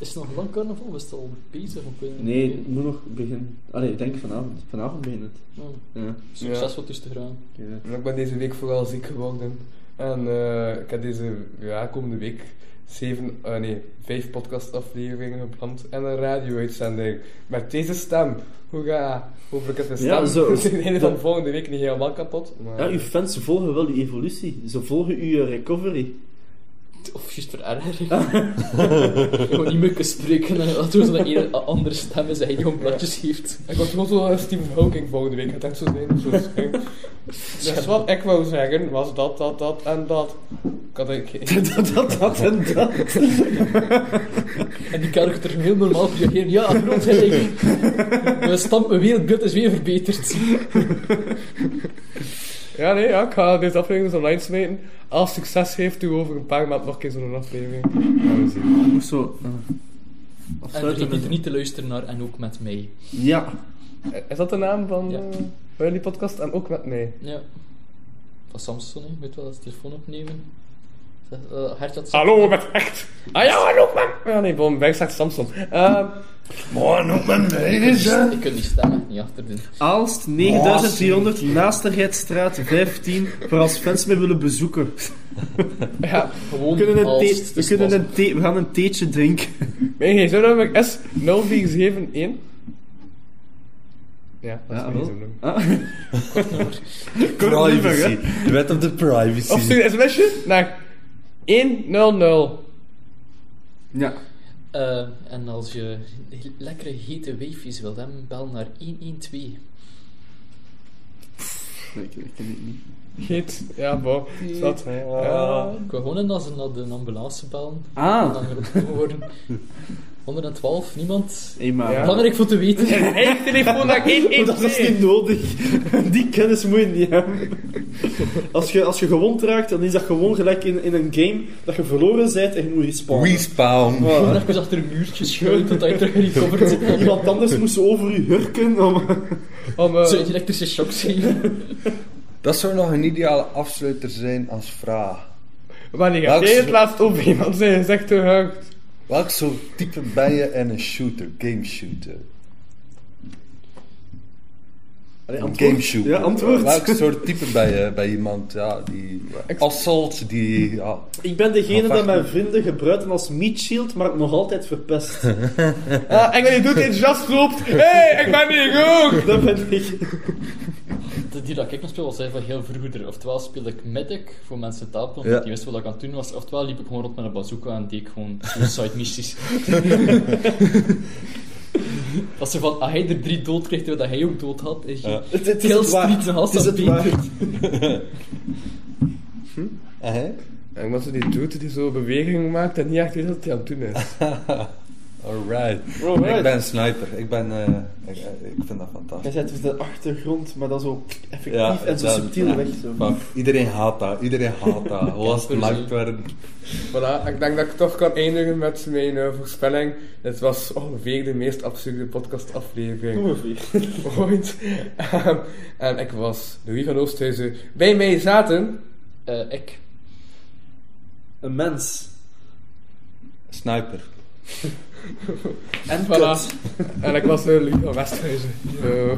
Speaker 2: Is het nog lang carnaval? Was het al bezig? Of eh,
Speaker 9: Nee, het moet nog beginnen. Allee, ik denk vanavond. Vanavond begint het.
Speaker 2: Oh,
Speaker 9: Ja.
Speaker 2: succesvol tussen te gaan.
Speaker 9: ja.
Speaker 4: Ik ben deze week vooral ziek geworden. En eh, ik heb deze ja, komende week zeven, eh, nee, vijf podcastafleveringen gepland en een radio-uitzending. Met deze stem. Hoera! Hopelijk is mijn stem
Speaker 3: Ja, zo.
Speaker 4: in het einde van
Speaker 3: Dat-
Speaker 4: volgende week niet helemaal kapot. Maar...
Speaker 9: eh,
Speaker 3: Ja, uw fans volgen wel uw evolutie. Ze volgen uw recovery.
Speaker 2: Of juist verergering. gewoon niet meer kunnen spreken eh, en dat doen zodat ieder een andere stem is en hij gewoon bladjes heeft.
Speaker 4: Ik was gewoon zo eh, Stephen Hawking volgende week. Het echt zo zijn. Zo zijn. dus wat ik wou zeggen was dat, dat, dat en dat. Ik had ik...
Speaker 3: dat, dat, dat en dat.
Speaker 2: En die karakter heel normaal op reageren. Ja, groot gelijk. Mijn stamp, mijn wereldbeeld is weer verbeterd.
Speaker 4: Ja, nee, ja, ik ga deze aflevering dus online smeten. Als het succes heeft, doen we over een paar maanden nog een keer zo'n aflevering. Gaan we zien.
Speaker 3: Moest zo. eh,
Speaker 2: En
Speaker 3: afsluiten
Speaker 2: vergeet
Speaker 3: met
Speaker 2: niet te luisteren naar en ook met mij.
Speaker 3: Ja.
Speaker 4: Is dat de naam van,
Speaker 2: Ja.
Speaker 4: eh, van jullie podcast? En ook met mij.
Speaker 2: Ja. Van Samsung, hè. weet wel, als telefoon opnemen. Zeg, eh, Hert dat
Speaker 4: Hallo, met echt! Ah ja, hallo, man! Ja, nee, bom, wij straks Samsung. Ehm,
Speaker 5: Maar noem me
Speaker 2: Ik kan niet- Ik kan niet stemmen, niet achterdoen.
Speaker 3: Aalst
Speaker 9: Oh,
Speaker 3: 9400 Naastigheidstraat 15 voor als fans mij willen bezoeken.
Speaker 4: ja,
Speaker 2: Gewoon
Speaker 3: We kunnen een,
Speaker 2: als
Speaker 3: thee,
Speaker 2: het
Speaker 3: we,
Speaker 2: is
Speaker 3: kunnen
Speaker 2: possible.
Speaker 3: een thee, we gaan een theetje drinken.
Speaker 4: mijn gsm heb ik S0471. Ja, dat is
Speaker 3: Ja,
Speaker 4: mijn
Speaker 3: wel.
Speaker 4: gsm nummer.
Speaker 3: Ah.
Speaker 5: Privacy. De wet op de privacy.
Speaker 4: Of stuur een sms'je naar 100.
Speaker 3: Ja.
Speaker 2: Eh, en als je he- lekkere hete weefjes wilt hebben, bel naar 112.
Speaker 3: Nee, ik, ik ken dit niet.
Speaker 4: Geet, ja, bo. Dat, ja.
Speaker 2: Ik wil gewoon dat ze naar de ambulance bellen. En
Speaker 3: Ah,
Speaker 2: dan geroepen worden. 112, niemand.
Speaker 3: hey, maar.
Speaker 4: Ja. eh,
Speaker 2: Belangrijk voor te weten.
Speaker 4: Hey, telefoon naar
Speaker 3: Maar Dat is
Speaker 4: 112.
Speaker 3: niet nodig. Die kennis moet je niet hebben. Als je, als je gewond raakt, dan is dat gewoon gelijk in, in een game dat je verloren bent en je moet respawnen.
Speaker 5: Respawn.
Speaker 2: Gewoon even achter een muurtje schuilen tot je terug recovered zit.
Speaker 3: Iemand anders moest over je hurken om...
Speaker 4: Om, eh,
Speaker 2: Zou je elektrische shock zien?
Speaker 5: Dat zou nog een ideale afsluiter zijn als vraag.
Speaker 4: Wanneer heb
Speaker 5: Welk
Speaker 4: jij het
Speaker 5: zo-
Speaker 4: laatst op iemand zijn gezegd te huikt?
Speaker 5: Welk soort type ben je en een shooter? Game shooter.
Speaker 3: Allee,
Speaker 5: Een
Speaker 3: antwoord.
Speaker 5: game shooter.
Speaker 3: Ja, antwoord.
Speaker 5: Welk soort type ben je bij iemand? Ja, die... Assault, die... Ja.
Speaker 3: Ik ben degene
Speaker 5: Of
Speaker 3: dat
Speaker 5: wacht,
Speaker 3: mijn
Speaker 5: nee.
Speaker 3: vrienden gebruiken als meat shield, maar het nog altijd verpest.
Speaker 4: Ah, en je doet dit jas loopt. Hé, hey, ik ben hier ook!
Speaker 3: Dat ben ik.
Speaker 2: De die dat ik nog speel was eigenlijk heel vroeger. Oftewel speelde ik medic voor mensen tafel, omdat
Speaker 5: Ja.
Speaker 2: die wisten wat ik aan het doen was. Oftewel liep ik gewoon rond met een bazooka en deed ik gewoon suicide missies. Als ze van, als hij er drie dood kreeg, terwijl hij ook dood had, is je
Speaker 5: Ja.
Speaker 3: Het, het is
Speaker 2: heel
Speaker 3: het waar.
Speaker 2: street en
Speaker 3: Het is
Speaker 2: Hassan
Speaker 3: het
Speaker 2: beter.
Speaker 3: waar.
Speaker 5: Eh, hè?
Speaker 4: En wat ze die doet, die zo bewegingen maakt en niet echt weet wat hij aan het doen is.
Speaker 5: Alright.
Speaker 3: Alright.
Speaker 5: Ik ben sniper. Ik ben... eh, ik, eh, ik vind dat
Speaker 3: Hij
Speaker 5: fantastisch.
Speaker 3: zet dus de achtergrond, maar dan zo effectief
Speaker 5: Ja,
Speaker 3: en zo
Speaker 5: dat-
Speaker 3: subtiel
Speaker 5: ja.
Speaker 3: weg. Zo.
Speaker 5: Maar iedereen haat dat. Iedereen haat dat. Gewoon sniper.
Speaker 4: Voilà, ik denk dat ik toch kan eindigen met mijn eh, voorspelling. Dit was ongeveer de meest absurde podcastaflevering
Speaker 3: Ongeveer.
Speaker 4: ooit. Ehm, en ik was Louis van Oosthuizen. Bij mij zaten...
Speaker 2: Eh, ik.
Speaker 3: Een mens.
Speaker 5: Sniper.
Speaker 3: En
Speaker 4: Voilà.
Speaker 3: kut.
Speaker 4: En ik was eh, Louis van Westhuizen. Eh,